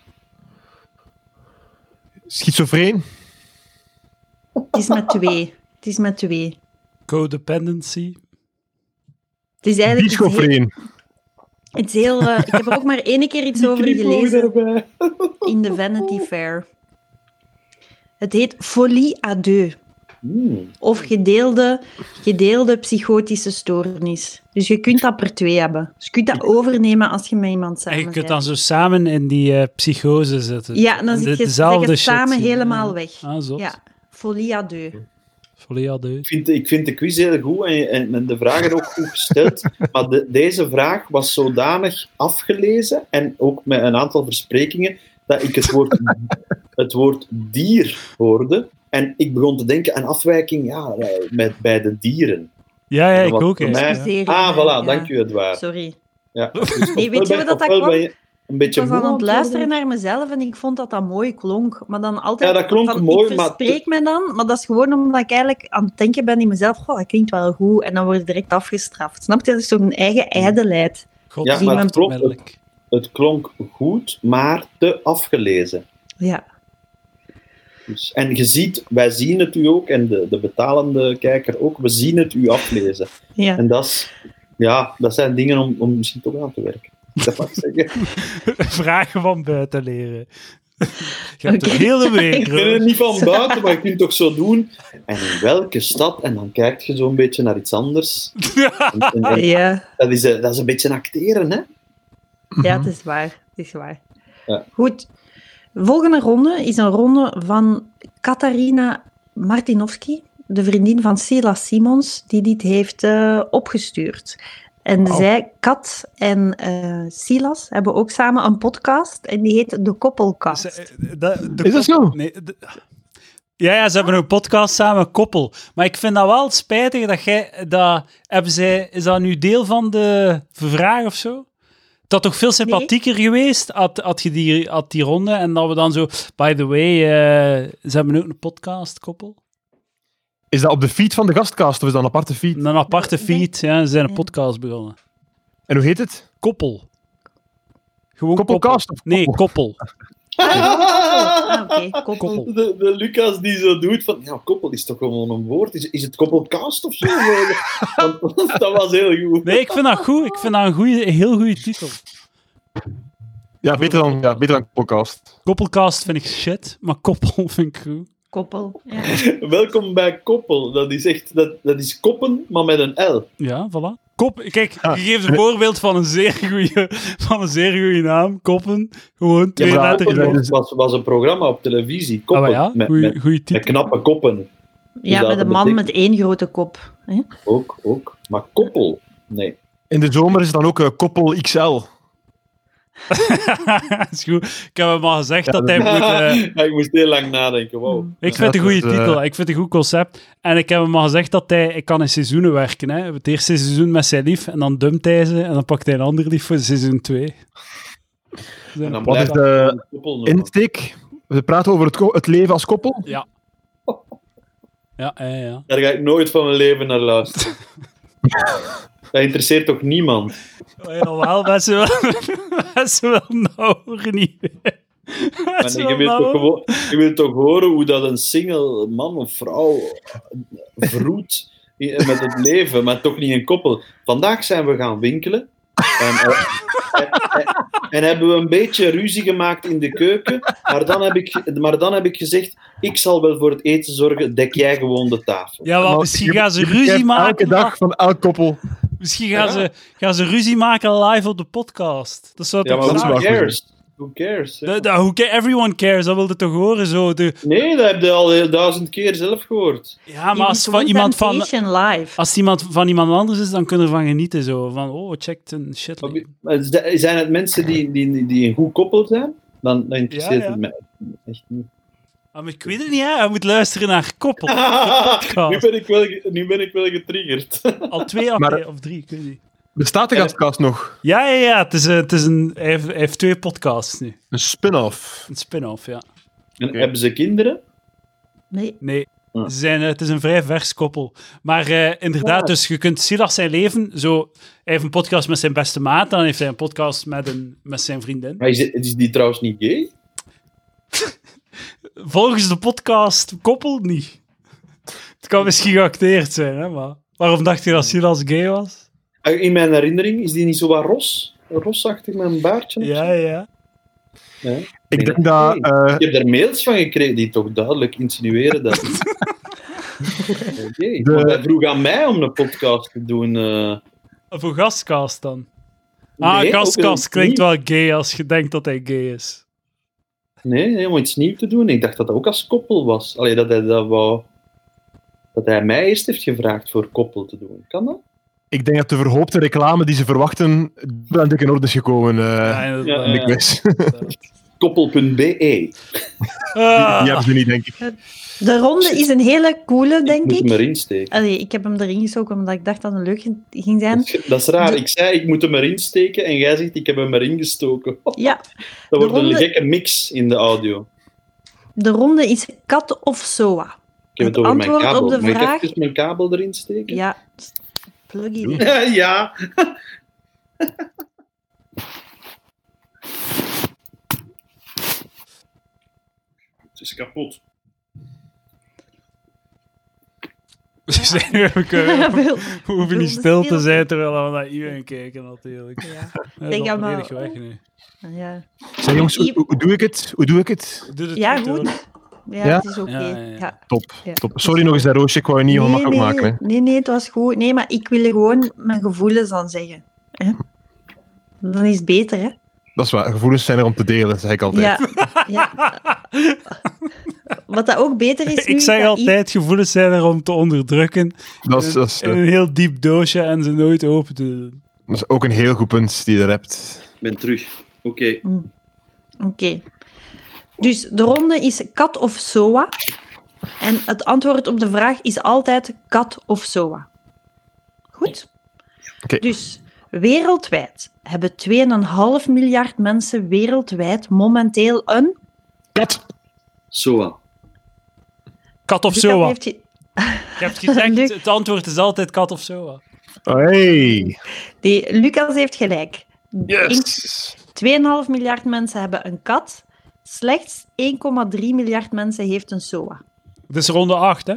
B: Schizofreen?
D: Het is met twee. Het is met twee.
A: Codependency.
D: Het is eigenlijk iets heel...
B: Bischofreen?
D: Het is heel eh, ik heb er ook maar één keer iets over gelezen.
E: erbij.
D: in de Vanity Fair. Het heet folie à deux,
E: Hmm.
D: of gedeelde, gedeelde psychotische stoornis. Dus je kunt dat per twee hebben. Dus je kunt dat overnemen als je met iemand
A: En
D: samen
A: je kunt dan
D: bent.
A: zo samen in die eh, psychose zitten.
D: Ja, dan
A: En de-
D: zit je,
A: dezelfde
D: zeg het
A: shit
D: samen
A: zien.
D: helemaal weg.
A: Ah, zot.
D: Ja, folie à deux.
A: Volledig al deugd.
E: Ik, vind, ik vind de quiz heel goed en, en, en de vragen ook goed gesteld. Maar de- deze vraag was zodanig afgelezen en ook met een aantal versprekingen dat ik het woord, het woord dier hoorde. En ik begon te denken aan afwijking ja, eh, met, bij de dieren.
A: Ja, ja,
E: Dat
A: ik
E: was
A: ook.
E: voor
A: hè.
E: mij-
A: Ja.
D: Zeer,
E: Ah,
D: eh,
E: voilà,
D: ja.
E: dank u, Edouard.
D: Sorry.
E: Ja.
D: Nee, weet je wat dat
E: Ofwel
D: kwam?
E: ben je Een
D: Ik
E: beetje
D: was aan
E: moe
D: het
E: aan worden.
D: luisteren naar mezelf en ik vond dat dat mooi klonk. Maar dan altijd
E: Ja, dat klonk
D: van,
E: mooi,
D: ik
E: maar-
D: verspreek me dan. Maar dat is gewoon omdat ik eigenlijk aan het denken ben in mezelf. Goh, dat klinkt wel goed. En dan word je direct afgestraft. Snap je? Dat is zo'n eigen
E: Mm.
D: ijdelheid.
A: God,
E: Ja,
A: zie
E: maar
A: hem
E: het klopt.
A: onmiddellijk.
E: Het klonk goed, maar te afgelezen.
D: Ja.
E: Dus, en je ziet, wij zien het u ook, en de, de betalende kijker ook, we zien het u aflezen.
D: ja.
E: [laughs] En dat, is, ja, dat zijn dingen om, om misschien toch aan te werken. Dat mag ik
A: [laughs]
E: zeggen.
A: Vragen van buiten leren. [laughs] Je hebt
D: Oké.
A: de hele week,
E: Ik ken het
A: hoor.
E: niet van buiten, maar je kunt het toch zo doen. En in welke stad? En dan kijk je zo'n beetje naar iets anders. En- en- en
D: Ja.
E: dat, is, eh, dat is een beetje acteren, hè?
D: ja,
A: Mhm.
D: het is waar. Het is waar.
E: Ja.
D: Goed. Volgende ronde is een ronde van Katarina Martinovski, de vriendin van Sila Simons, die dit heeft eh, opgestuurd. En
B: Wauw.
D: zij, Kat en eh, Silas, hebben ook samen een podcast en die heet De
A: [laughs]
D: Koppelkast.
A: Ze- eh, dat- de
B: Is dat
A: kop-
B: zo?
A: Nee, de- ja, ja, ze hebben een podcast samen, Koppel. Maar ik vind dat wel spijtig dat jij... Dat, hebben zij, is dat nu deel van de vraag of zo? Dat toch veel sympathieker geweest had, had je die, had die ronde en dat we dan zo... By the way, eh, ze hebben ook een podcast, Koppel.
B: Is dat op de feed van de gastkast of is dat een aparte feed?
A: Een aparte
D: Nee, nee.
A: feed, ja, ze zijn een
D: Ja.
A: podcast begonnen.
B: En hoe heet het?
A: Koppel. Gewoon
B: Koppelkast
A: koppel.
B: of
A: Nee, koppel.
D: Ah,
A: [laughs]
D: oké, koppel.
A: Koppel.
E: De, de Lucas die zo doet van, ja, koppel is toch gewoon een woord? Is, is het koppelkast
A: [laughs]
E: of zo? Want, want dat was heel goed.
A: Nee, ik vind dat goed. Ik vind dat een, goeie, een heel goede titel.
B: Ja, beter dan, ja, beter dan podcast.
A: Koppelcast vind ik shit, maar koppel [laughs] vind ik goed.
D: Koppel. Ja.
E: Welkom bij koppel. Dat is echt, dat, dat is koppen, maar met een L.
A: Ja, voilà. Kop, kijk,
B: Ah.
A: je geeft een voorbeeld van een zeer goede, van een zeer goede naam. Koppen, gewoon twee
B: Ja, maar
A: letters.
B: koppen-
A: erop.
E: Het was, was een programma op televisie,
A: Ah,
E: koppen,
A: maar ja,
E: met, met,
A: goeie, goeie
E: met
A: titel. [laughs]
E: knappe koppen.
D: Ja,
E: dat
D: met een man
E: betekent-
D: met één grote kop. hè?
E: Ook, ook. Maar koppel, nee.
B: In de zomer is het dan ook eh, koppel XL.
A: is goed. Ik heb hem al gezegd
B: Ja,
A: dat hij
B: dat-
A: moet... eh,
E: [laughs] Ja, ik moest heel lang nadenken, wow.
D: Mm.
A: Ik vind het een
B: dat
A: goede
B: is, eh,
A: titel, ik vind het een goed concept. En ik heb hem al gezegd dat hij, ik kan in seizoenen werken. Hè. Het eerste seizoen met zijn lief, en dan dumpt hij ze, en dan pakt hij een ander lief voor seizoen 2.
E: En dan
B: Wat is
E: blijft
B: de
E: het koppel nog.
B: insteek? We praten over het, ko- het leven als koppel.
A: Ja, ja, ja.
E: Daar ga ik nooit van mijn leven naar luisteren. dat interesseert toch niemand?
A: Oh, ja, wel, mensen wel, [laughs] mensen wel nou, niet [laughs] meer.
E: Maar
A: Mensen
E: je,
A: wel
E: wilt toch
A: nou.
E: gewoon, je wilt toch horen hoe dat een single man of vrouw vroet i- met het leven, maar toch niet een koppel. Vandaag zijn we gaan winkelen. En, eh, en, en- en hebben we een beetje ruzie gemaakt in de keuken. Maar dan, heb ik, maar dan heb ik gezegd: ik zal wel voor het eten zorgen, dek jij gewoon de tafel.
A: Ja,
B: Maar
A: want misschien
B: je-
A: gaan ze
B: je
A: ruzie
B: begrijpt
A: maken.
B: Elke dag van elk koppel.
A: Misschien gaan,
E: Ja.
A: ze, gaan ze ruzie maken live op de podcast. Dat zou
E: Ja,
A: toch
E: maar
B: dat is
A: raar
E: who
B: waar.
E: cares? Who cares? ja.
A: zijn? Dat- dat- who ca- everyone cares, dat wilde toch horen zo. De,
E: Nee, dat heb je al heel duizend keer zelf gehoord.
A: ja,
D: Die
A: maar als
D: doet
A: van
D: One
A: iemand van, Ah.
D: Temptation Live.
A: als iemand van iemand anders is, dan kunnen we ervan genieten. Zo. Van, oh, check een shit.
E: Maar Zijn het mensen die, die, die een goed koppel zijn? dan dan interesseert
A: Ja, ja.
E: het mij echt [laughs] niet.
A: Ah, maar ik weet het niet, hè. Hij moet luisteren naar koppel.
E: nu, ben ik wel, ge- nu ben ik wel getriggerd. [laughs]
A: Al twee
B: Maar-
A: afle- of drie, ik weet het niet.
B: Bestaat de gastkast nog?
A: Ja, ja, ja. Het is, eh, het is een, hij, heeft, hij heeft twee podcasts nu.
B: Een spin-off.
A: Een spin-off, ja.
E: En
B: Oké.
E: hebben ze kinderen?
D: Nee.
A: Nee,
E: Ah.
A: ze zijn, eh, het is een vrij vers koppel. Maar eh, inderdaad,
E: Ja.
A: dus je kunt Silas zijn leven... Zo, hij heeft een podcast met zijn beste maat, dan heeft hij een podcast met, een, met zijn vriendin.
E: Maar is, is die trouwens niet gay?
A: Volgens de podcast koppel niet. Het kan misschien geacteerd zijn, hè, maar... Waarom dacht je dat Silas gay was?
E: Ah, In mijn herinnering is die niet zo wat ros? Rosachtig met een baardje? of zo?
A: Ja, ja.
B: Ik
E: Nee,
B: denk dat...
E: nee.
B: eh,
E: Ik heb daar mails van gekregen die toch duidelijk insinueren dat. Oké, want hij vroeg aan mij om een podcast te doen. eh.
A: Voor gastkast dan. Ah,
E: nee, ook
A: gastkast
E: iets
A: klinkt
E: nieuw-
A: wel gay als je denkt dat hij gay is.
E: Nee, nee, om iets nieuws te doen. Ik dacht dat dat ook als koppel was. Alleen dat hij dat wou. Dat hij mij eerst heeft gevraagd voor koppel te doen. Kan dat?
B: Ik denk dat de verhoopte reclame die ze verwachten wel dik in orde is gekomen. eh
A: Ja, inderdaad.
E: ja,
B: in de
A: [laughs]
E: ja.
B: quiz.
E: Koppel.be.
A: Ah.
B: [laughs] Die
A: [laughs]
B: hebben ze niet, denk ik.
D: De ronde is een hele coole, denk
E: Moet hem
D: ik.
E: erin steken.
D: Allee, ik heb hem erin gestoken omdat ik dacht dat het leuk ging zijn.
E: Dat is raar. Ik zei, ik moet hem erin steken. En jij zegt, ik heb hem erin gestoken. [laughs]
D: Ja,
E: Dat wordt
D: ronde-
E: een gekke mix in de audio.
D: de ronde is kat of soa.
E: Ik heb
D: Het
E: het, over mijn
D: antwoord op
E: kabel.
D: de
E: Moet
D: vraag-
E: ik even mijn kabel erin steken?
D: Ja, plug [laughs] in.
E: [laughs] ja. Het is kapot.
A: We zijn nu even-
D: [laughs] Ja, wel.
A: We hoeven niet stil te zijn terwijl we naar iedereen kijken, natuurlijk.
D: Ja.
A: Dat
D: Denk
A: is al
D: allemaal-
A: volledig weg nu.
D: Ja.
B: Zeg jongens, hoe, hoe doe ik het? Hoe doe ik het?
A: Doe het
D: Ja,
A: goed,
D: goed.
A: hoor.
D: Ja,
B: Ja?
D: het is oké.
A: Ja, ja, ja.
D: Ja,
B: Top,
D: Ja.
B: top. Sorry nog eens, hè, Roosje. Ik wou je niet helemaal
D: nee,
B: makkelijk maken.
D: nee, nee, nee, het was goed. Nee, maar ik wil er gewoon mijn gevoelens dan zeggen. Hè? Dan is het beter, hè?
B: Hè. Dat is waar. Gevoelens zijn er om te delen, zeg ik altijd.
D: Ja.
A: [laughs]
D: ja. Wat dat ook beter is nu...
A: Ik
D: is
A: zeg
D: dat
A: altijd, gevoelens zijn er om te onderdrukken.
B: Dat, is, dat, is,
A: In
B: eh,
A: een heel diep doosje en ze nooit open te doen.
B: dat is ook een heel goed punt die je er hebt.
E: Ik ben terug. Oké.
D: Oké. Dus de ronde is kat of soa. En het antwoord op de vraag is altijd kat of soa. Goed?
B: Oké.
D: Dus wereldwijd hebben 2,5 miljard mensen wereldwijd momenteel een...
B: Kat!
E: Soa.
A: Kat of
D: Lucas
A: zo.
D: Dus heeft je-
A: Je hebt
D: [laughs]
A: gezegd,
D: Luc.
A: het antwoord is altijd kat of zo.
B: Oh, Hey!
D: Nee, Lucas heeft gelijk.
B: Yes!
D: 2,5 miljard mensen hebben een kat. Slechts 1,3 miljard mensen heeft een soa.
A: Dit is ronde 8, hè?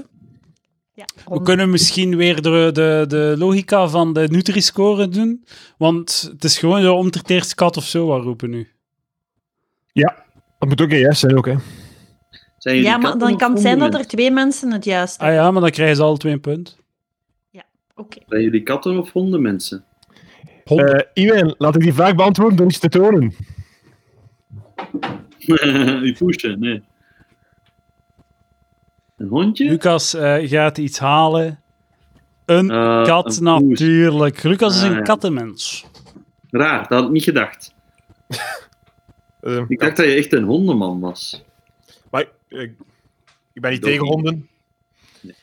D: Ja,
A: We
D: rond-
A: kunnen misschien weer de, de, de logica van de Nutri-score doen. Want het is gewoon zo om ter eerst kat of zo wat roepen nu.
B: Dat moet ook een yes zijn, ook, hè.
E: Zijn jullie
D: ja maar
E: katten
D: dan
E: of
D: kan het zijn dat
E: hondenmensen?
D: er twee mensen het juist
A: Ah
D: hebben.
A: ja, maar dan krijgen ze alle twee een punt.
D: Oké.
E: Zijn jullie katten of
A: [laughs]
E: hondenmensen?
A: Hond.
B: Eh Iwan, laat ik die vraag beantwoorden door iets te tonen.
E: U pushen, nee. Een hondje?
A: Lucas eh, gaat iets halen. Een
E: Eh,
A: kat
E: een poes.
A: natuurlijk. Lucas is
E: Ah,
A: een
E: ja.
A: kattenmens.
E: Raar, dat had ik niet gedacht.
B: Eh,
E: Ik dacht dat je echt een hondenman was.
B: Maar ik, ik ben niet
E: Doe
B: tegen
E: niet.
B: honden.
E: Nee,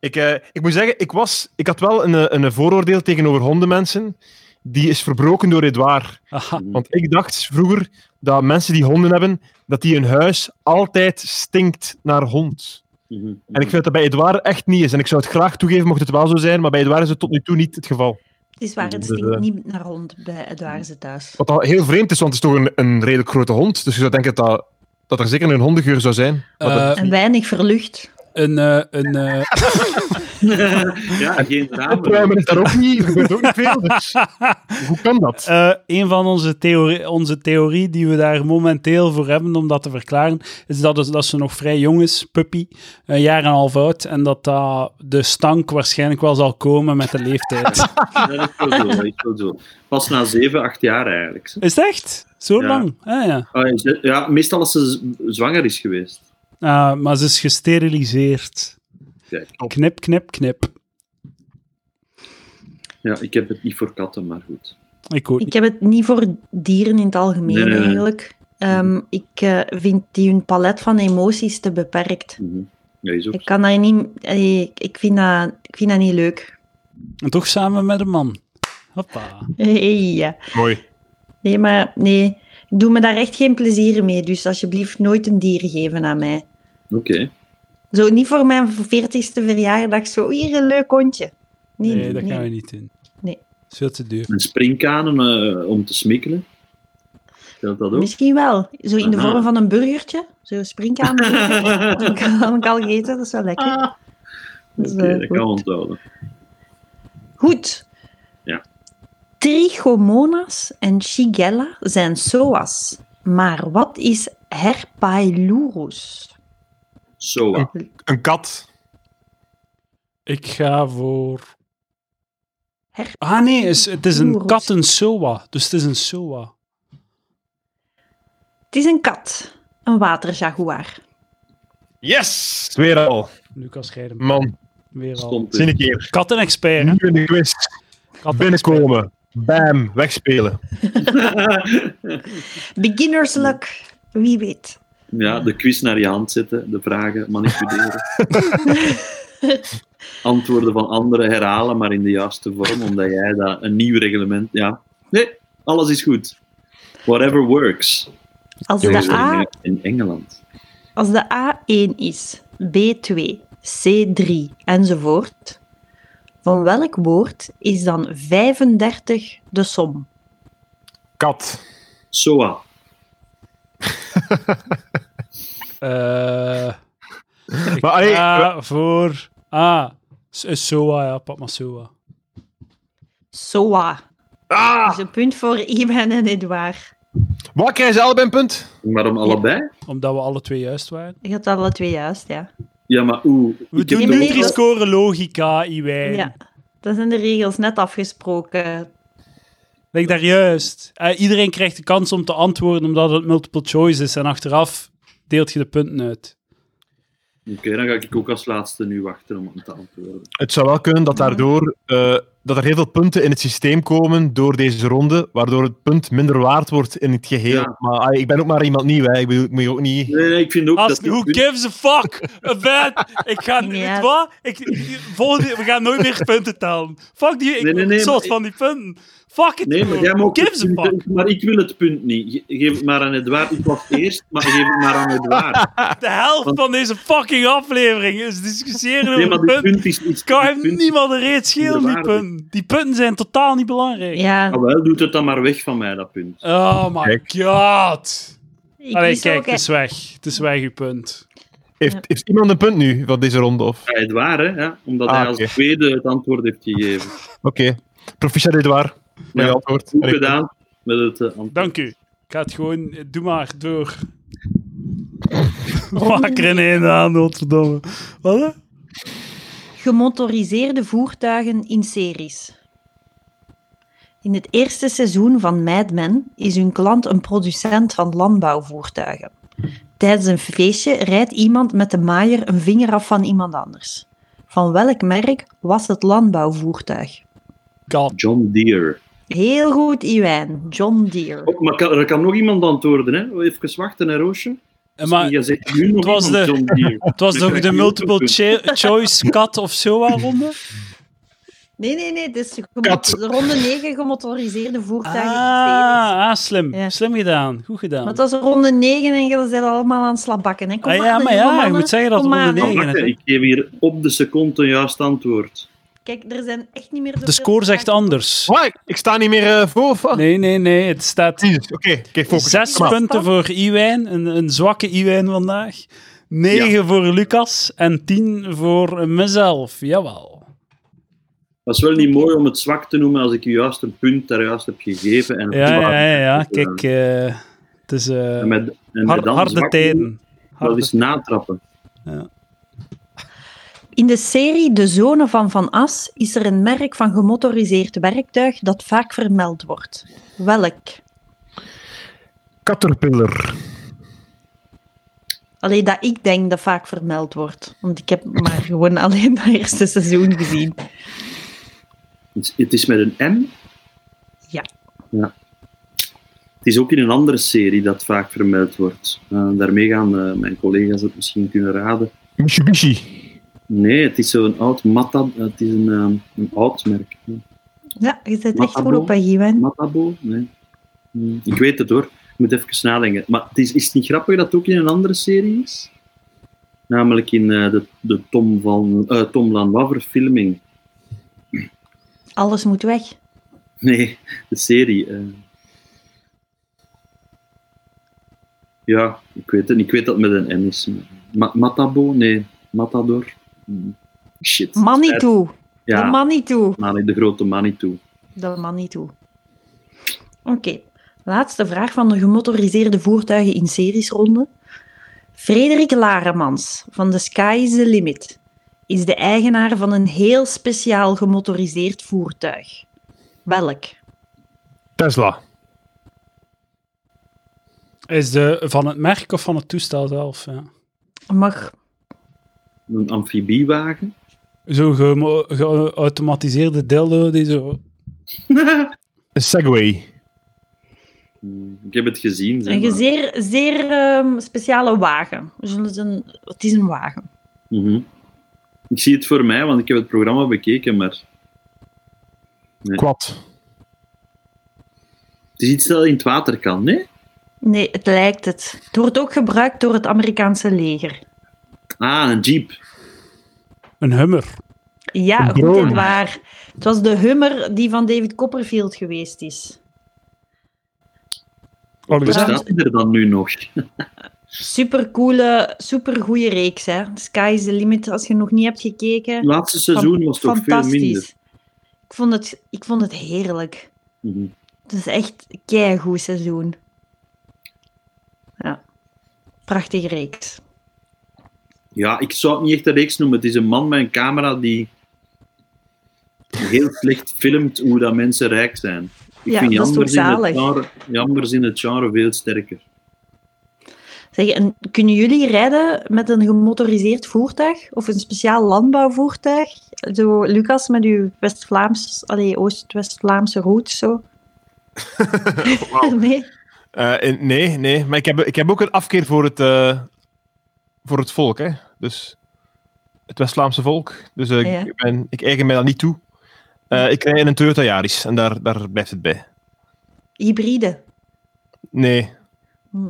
B: Ik, eh, ik moet zeggen, ik, was, ik had wel een, eh, een vooroordeel tegenover hondenmensen. Die is verbroken door Edouard.
A: Aha.
B: Want ik dacht vroeger dat mensen die honden hebben, dat die hun huis altijd stinkt naar hond.
E: Mhm.
B: En ik vind dat dat bij Edouard echt niet is. En ik zou het graag toegeven mocht het wel zo zijn, maar bij Edouard is het tot nu toe niet het geval.
D: Het is waar, het
B: Dus,
D: stinkt
B: eh,
D: niet naar hond bij Edouard
E: Oh,
D: thuis.
B: Wat al heel vreemd is, want het is toch een, een redelijk grote hond. Dus je zou denken dat, dat er zeker een hondengeur zou zijn. Maar dat-
A: Eh,
D: En weinig verlucht.
E: Oh,
A: een, eh, een, eh,
E: Ja, geen ramen.
B: Opruimen is daar ook niet. Er gebeurt ook niet [laughs] veel. Dus hoe kan dat?
A: Eh, een van onze, theorie, onze theorie die we daar momenteel voor hebben om dat te verklaren, is dat, het- dat ze nog vrij jong is, puppy, een jaar en een half oud, en dat dat de stank waarschijnlijk wel zal komen met de leeftijd.
E: Ja, dat is wel zo, dat is wel zo. Pas na 7, 8 jaar eigenlijk.
A: is het echt? Zo
E: Ja.
A: lang? Ah, ja.
E: Ah, is het- Ja, meestal als ze z- zwanger is geweest.
A: Ah, maar ze is gesteriliseerd.
E: Kijk.
A: Knip, knip, knip.
E: Ja, ik heb het niet voor katten, maar goed.
A: Ik ook niet.
D: Ik heb het niet voor dieren in het algemeen
E: Nee, nee, nee.
D: eigenlijk. Ehm, ik eh, vind die hun palet van emoties te beperkt.
E: Mhm. Nee, zo.
D: Ik kan daar niet... eh, ik- Ik vind dat, ik vind dat niet leuk. [laughs]
A: En toch samen met een man. Hoppa.
D: Hey, ja.
B: Mooi.
D: Nee, maar nee. Ik doe me daar echt geen plezier mee. Dus alsjeblieft nooit een dier geven aan mij.
E: Oké.
D: Zo niet voor mijn 40ste verjaardag. Zo, hier een leuk hondje. Nee,
A: Nee,
D: nee,
A: dat
D: nee.
A: gaan we niet doen.
D: Nee.
A: Dat is veel te duur.
E: En springkanen eh, om te smikkelen. Geldt dat ook?
D: Misschien wel. Zo in de
E: Aha.
D: vorm van een burgertje. Zo'n
E: [laughs]
D: springkamer. dat heb ik al gegeten, dat is wel lekker. Dat is,
E: Oké,
D: eh,
E: dat
D: goed.
E: kan onthouden.
D: Goed.
E: Ja.
D: Trichomonas en Shigella zijn psoas. Maar wat is Herpailurus?
E: Soa.
B: Een kat.
A: Ik ga voor...
D: Her-
A: Ah nee, is- het is een
D: Oerels.
A: kat een soa. Dus het is een soa.
D: Het is een kat. Een waterjaguar.
B: Yes! Weer al.
A: Lucas Geiden,
B: Man,
A: weer al.
E: Stond
B: zie
E: er.
B: een keer.
A: Kattenexpert, hè?
E: Hm.
B: Nieuw in de quiz.
A: Kattenexpert.
B: Binnenkomen. Bam. Wegspelen.
D: Beginner's luck. Wie weet.
E: Ja, de quiz naar je hand zetten, de
D: [laughs]
E: vragen manipuleren. Antwoorden van anderen herhalen, maar in de juiste vorm, omdat jij dat een nieuw reglement. Ja, nee, alles is goed. Whatever works.
D: Als
E: Zo
D: de,
E: is er
D: A,
E: in- in Engeland.
D: als de A1 is, B2, C3 enzovoort, van welk woord is dan 35 de som?
B: Kat.
E: Soa.
A: Eh, ik
B: Maar, hey,
A: ga voor... Ah, s- eh, soa, ja. Pak maar soa.
D: Soa.
B: Ah!
D: Dus een punt voor Iben en Edouard.
B: Wat krijgen ze allebei een punt?
E: Waarom allebei?
A: Omdat we alle twee juist waren.
D: Je had alle twee juist, ja.
E: Ja, maar oeh.
A: We
E: ik heb
A: doen
D: de
E: toch-
A: de
D: regels.
A: drie scoren logica, Iwijn.
D: Ja, dat zijn de regels net afgesproken.
A: Denk daar juist. Eh, iedereen krijgt de kans om te antwoorden omdat het multiple choice is. En achteraf deelt je de punten uit.
E: Oké, dan ga ik ook als laatste nu wachten om te antwoorden.
B: Het zou wel kunnen dat daardoor eh, dat er heel veel punten in het systeem komen door deze ronde, waardoor het punt minder waard wordt in het geheel.
E: Ja.
B: Maar ah, ik ben ook maar iemand nieuw, hè. Ik bedoel, ik moet je ook niet...
E: Nee, nee, ik vind ook
A: Als,
E: dat.
A: who gives a fuck about... Ik ga...
D: [laughs] Ja.
A: Weet wat? Ik, volgende, we gaan nooit meer punten tellen. Fuck die... Ik
E: Nee, nee,
A: ben
E: nee,
A: zot
E: maar-
A: van die punten. Fuck it.
E: Nee, maar
A: gewoon.
E: jij
A: who
E: mag
A: gives a
E: het
A: fuck?
E: punt, maar ik wil het punt niet. Ge- Geef het maar aan Edouard. Ik was eerst, maar geef het maar aan
A: [laughs]
E: Edouard.
A: De helft van deze fucking aflevering is discussiëren
E: Nee,
A: over
E: maar dit
A: punten.
E: punt is iets.
A: Het kan
E: dit
A: hem
E: punt-
A: niemand een reet schelen, die
E: Minderwaardig.
A: punten. Die punten zijn totaal niet belangrijk.
E: Ah,
D: Ja,
E: wel, doet het dan maar weg van mij, dat punt.
A: Oh my
B: Kijk.
A: god.
D: ik
A: Allee,
D: wist
A: kijk,
D: ook, hè.
A: het is weg. Het is weg, uw punt.
B: Heeft, heeft iemand een punt nu van deze ronde? Of...
E: Ja, Edouard, hè? Ja, omdat
B: Ah,
E: hij als
B: oké.
E: tweede het antwoord heeft gegeven.
B: Oké. Proficiat Edouard, met
E: Ja,
B: je antwoord.
E: Goed
B: En ik-
E: gedaan met het eh, antwoord.
A: Dank u. Ik ga het gewoon... eh, Doe maar, [laughs] door. Wakker in één aan, godverdomme. Wat? hè?
D: Gemotoriseerde voertuigen in series. In het eerste seizoen van Mad Men is hun klant een producent van landbouwvoertuigen. Tijdens een feestje rijdt iemand met de maaier een vinger af van iemand anders. Van welk merk was het landbouwvoertuig?
A: God.
E: John Deere.
D: Heel goed, Iwijn. John Deere.
E: Oh, maar kan, er kan nog iemand antwoorden, hè? Even wachten, hè, Roosje?
A: Eh, Maar
E: Je zegt nu nog
A: het was
E: iemand
A: de-
E: John Deere. [laughs]
A: het was
E: Ik
A: toch
E: krijg
A: de
E: nu ook een
A: multiple
E: punt.
A: cho- choice kat of zo [laughs] ronde?
D: Nee, nee, nee. Het is gemo-
B: Kat.
D: ronde 9 gemotoriseerde voertuigen in series.
A: Ah, ah, slim.
D: Ja.
A: Slim gedaan. Goed gedaan.
D: Maar het was ronde 9 en jullie zijn allemaal aan het slabakken. Hè? Kom
A: Ah, ja,
D: aan,
A: maar
D: jonge
A: ja, je
D: mannen.
A: moet zeggen dat
D: Kom
A: ronde
D: aan, hè.
E: Maar
A: negen-
E: wacht, hè, Ik geef hier op de seconde een juist antwoord.
D: Kijk, er zijn echt niet meer
A: De score zegt anders.
B: Wat? Ik sta niet meer eh, voor of wat?
A: Nee, nee, nee. Het staat
B: Jezus, Oké, oké, focus.
A: Zes
B: Kom aan.
A: punten voor Iwijn, een, een zwakke Iwijn vandaag. Negen voor Lucas en tien voor mezelf. Jawel.
E: Dat is wel niet mooi om het zwak te noemen als ik je juist een punt daar juist heb gegeven. En
A: Ja, ja, ja. ja. Kijk, eh, het is eh,
E: Dus, En met, en met
A: hard-
E: dan
A: harde
E: zwak noemen,
A: tijden.
E: Dat
A: Harde-
E: is natrappen.
D: In de serie De Zonen van Van As is er een merk van gemotoriseerd werktuig dat vaak vermeld wordt. Welk?
B: Caterpillar.
D: Alleen dat ik denk dat vaak vermeld wordt. Want ik heb maar gewoon alleen dat eerste seizoen gezien.
E: Het is- Het is met een M.
D: Ja.
E: Ja. Het is ook in een andere serie dat vaak vermeld wordt. Eh, daarmee gaan eh, mijn collega's het misschien kunnen raden.
B: Mitsubishi.
E: Nee, het is zo'n oud Mata, het is een, ehm, een oud merk.
D: Ja, je zit echt goed
E: Matabo.
D: op bij Giwen.
E: Matabo? Nee. Hm, Ik weet het hoor. Ik moet even nadenken. Maar het is, is het niet grappig dat het ook in een andere serie is? Namelijk in eh, de, de Tom, van, eh Tom Lanois verfilming. [laughs]
D: Alles moet weg.
E: Nee, de serie. eh. Ja, ik weet het niet. Ik weet dat het met een N is. Ma- Matabo? Nee, Matador. Hm, Shit.
D: Manitou. De
E: Ja,
D: Manitou.
E: Mani- de grote Manitou.
D: De Manitou. Oké. Laatste vraag van de gemotoriseerde voertuigen in seriesronde. Frederik Laremans van de Sky is the Limit is de eigenaar van een heel speciaal gemotoriseerd voertuig. Welk?
B: Tesla.
A: Is de van het merk of van het toestel zelf? Ja.
D: Mag
E: Een amfibiewagen.
A: Zo'n gemo- geautomatiseerde dildo die zo...
B: Een Segway.
E: Hm, Ik heb het gezien. zeg
D: een
E: maar.
D: zeer, zeer ehm, speciale wagen. Dus het is een- het is een wagen.
E: Mhm. Ik zie het voor mij, want ik heb het programma bekeken, maar
B: Quad.
E: het is iets dat in het water kan, nee?
D: Nee, het lijkt het. Het wordt ook gebruikt door het Amerikaanse leger.
E: Ah, een jeep.
A: Een hummer.
D: Ja,
B: Een
D: goed
B: drone.
D: en waar. Het was de Hummer die van David Copperfield geweest is.
E: Bestaat die er dan nu nog?
D: Supercoole, supergoeie reeks. Hè? Sky is the limit als je nog niet hebt gekeken.
E: Het laatste
D: Fan-
E: seizoen was toch veel minder.
D: Ik vond, het, ik vond het heerlijk.
E: Mhm.
D: Het is echt een keigoed seizoen. Ja. Prachtige reeks.
E: Ja, ik zou het niet echt een reeks noemen. Het is een man met een camera die heel slecht filmt hoe dat mensen rijk zijn. Ik
D: Ja,
E: vind
D: dat is
E: Jambers in,
D: toch
E: het
D: zalig?
E: genre, Jambers in het genre veel sterker.
D: Zeg, en kunnen jullie rijden met een gemotoriseerd voertuig of een speciaal landbouwvoertuig? Zo, Lucas, met uw West-Vlaams, allee, Oost-West-Vlaamse roots, zo. [laughs] nee?
B: Eh, in- nee, nee. Maar ik heb, ik heb ook een afkeer voor het, eh, voor het volk. Hè. Dus het West-Vlaamse volk. Dus eh,
D: Ja.
B: ik, ben, ik eigen mij dat niet toe. Eh, ik rij in een Toyota Yaris en daar, daar blijft het bij.
D: Hybride.
B: Nee.
D: Hm.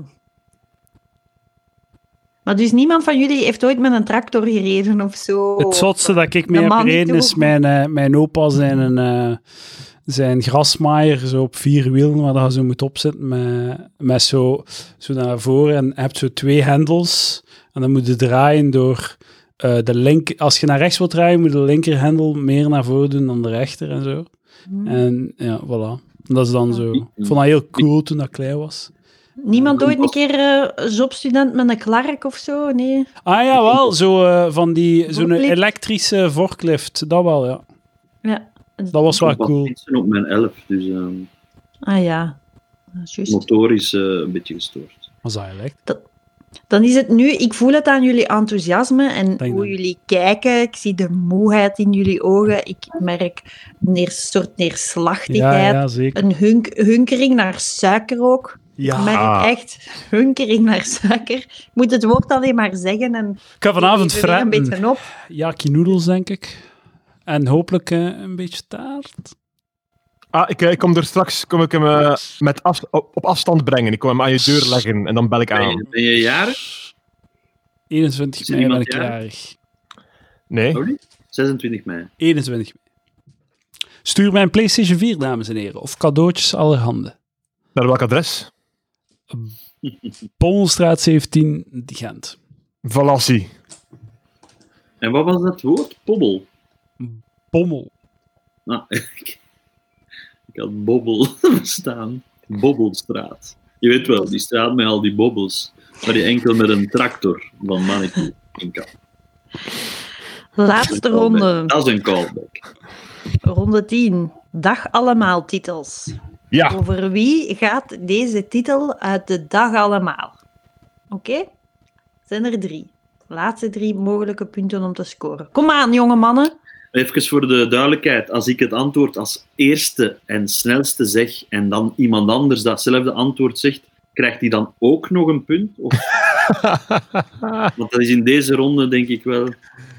D: Maar dus niemand van jullie heeft ooit met een tractor gereden of zo?
A: Het zotste dat ik mee
D: De
A: heb
D: Oh. man niet
A: gereden is
D: toe.
A: mijn, eh, mijn opa zijn, een, eh, zijn grasmaaier zo op vier wielen, waar dat je zo moet opzitten met, met zo, zo naar voren. En je hebt zo twee hendels en dan moet je draaien door eh, de link. Als je naar rechts wilt draaien, moet je de linkerhendel meer naar voren doen dan de rechter en zo.
D: Hm.
A: En ja, voilà. Dat is dan zo. Ik vond dat heel cool toen dat klein was.
D: Niemand ooit een keer eh jobstudent met een klark of zo? Nee.
A: Ah ja, wel, zo eh, van die, zo'n
D: Forklift.
A: elektrische forklift, dat wel, ja.
D: Ja.
A: Dat was wel
E: Ik was
A: Ah, cool.
E: mensen op mijn elf, dus eh,
D: Ah ja, Dat is juist.
E: motorisch eh, een beetje gestoord.
A: Was dat elekt?
D: Dan is het nu, ik voel het aan jullie enthousiasme en
A: Dank
D: hoe
A: je.
D: jullie kijken. Ik zie de moeheid in jullie ogen. Ik merk een neer- soort neerslachtigheid.
A: Ja, ja, zeker.
D: Een hunk- hunkering naar suiker ook. Ik merk echt hunkering naar suiker. Ik moet het woord alleen maar zeggen en
A: Ik ga vanavond
D: even weer een
A: fretten.
D: beetje op.
A: Jaki noedels, denk ik. En hopelijk eh, een beetje taart.
B: Ah, ik, eh, ik kom er straks kom ik hem, eh, met af, op, op afstand brengen. Ik kom hem aan je deur leggen en dan bel ik
E: Ben
B: aan.
E: je, ben je jarig?
A: 21
E: Is er
A: mei ben
E: iemand
A: ik
E: jarig?
A: jarig.
B: Nee.
E: Sorry? 26 mei.
A: 21 mei. Stuur mij een PlayStation 4, dames en heren. Of cadeautjes allerhande.
B: Naar welk adres?
A: Pommelstraat 17, Gent.
B: Valassi.
E: En wat was dat woord? Pobbel.
A: Pommel.
E: Ah, [laughs] ik, ik had bobbel [laughs] staan. Bobbelstraat. Je weet wel, die straat met al die bobbels. Maar die enkel met een tractor van Manitou. in kan.
D: Laatste ronde,
E: Dat is een callback.
D: ronde 10. Dag allemaal titels.
B: Ja.
D: Over wie gaat deze titel uit de dag allemaal? Oké? Zijn er drie. Laatste drie mogelijke punten om te scoren. Kom aan, jonge mannen.
E: Even voor de duidelijkheid, als ik het antwoord als eerste en snelste zeg en dan iemand anders datzelfde antwoord zegt, krijgt hij dan ook nog een
B: [laughs]
E: punt? Of... Want dat is in deze ronde denk ik wel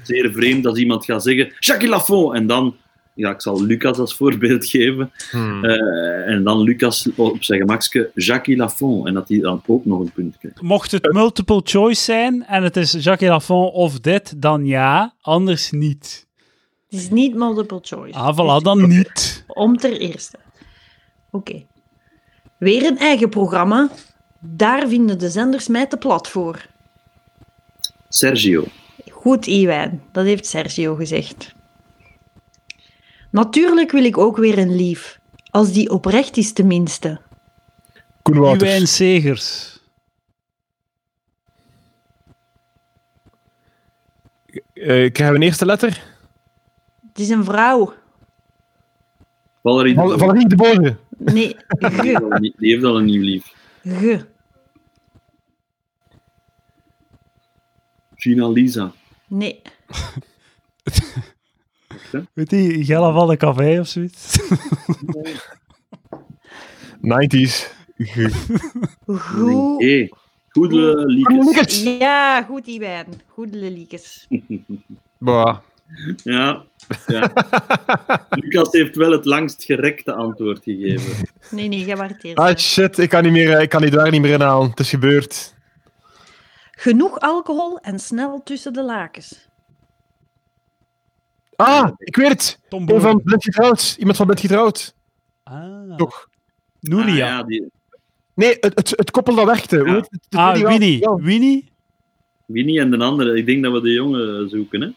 E: zeer vreemd als iemand gaat zeggen Jacques Lafont en dan, ja, ik zal Lucas als voorbeeld geven,
B: Hmm.
E: eh, en dan Lucas op zijn gemakske Jacques Lafont en dat hij dan ook nog een punt krijgt.
A: Mocht het multiple choice zijn en het is Jacques Lafont of dit, dan ja, anders niet.
D: Het is niet multiple choice. Dus
A: Ah, voilà, dan niet.
D: Om ter eerste. Oké. Weer een eigen programma. Daar vinden de zenders mij te plat voor.
E: Sergio.
D: Goed, Iwijn. Dat heeft Sergio gezegd. Natuurlijk wil ik ook weer een lief. Als die oprecht is tenminste.
B: Koen
A: Uwijn
B: Wouters.
A: Segers.
B: Eh, krijgen we een eerste letter?
D: Het is een vrouw.
E: Valerie de
B: Val-
E: Boer.
B: Valerie de Boze. [laughs]
D: Nee,
E: Die heeft
D: ge.
E: al een- die heeft al een nieuw lief.
D: Ge.
E: Gina Lisa.
D: Nee.
A: Weet die, Gella van de Café of zoiets?
B: 90s.
D: Goed.
E: Hey, goede liedjes.
D: Ja, goed, Iwijn. Goed, Leliekes.
B: Bah.
E: Ja, ja. Lucas heeft wel het langst gerekte antwoord gegeven.
D: Nee, nee, jij waart eerst.
B: Ah shit, ik kan, niet meer, eh, ik kan die daar niet meer inhalen. Het is gebeurd.
D: Genoeg alcohol en snel tussen de lakens.
B: Ah, ik weet het.
A: [laughs] Tom
B: Een van
A: Boeren.
B: Blind Getrouwd. Iemand van Blind Getrouwd.
A: Ah,
B: Toch?
E: Ah,
A: Nuria.
E: ja, die,
B: Nee, het, het, het koppel dat werkte. Hoe heet het? Het
A: Ah,
B: tweede jaar-
A: Winnie.
B: Ja.
A: Winnie?
E: Winnie en de andere. Ik denk dat we de jongen zoeken, hè?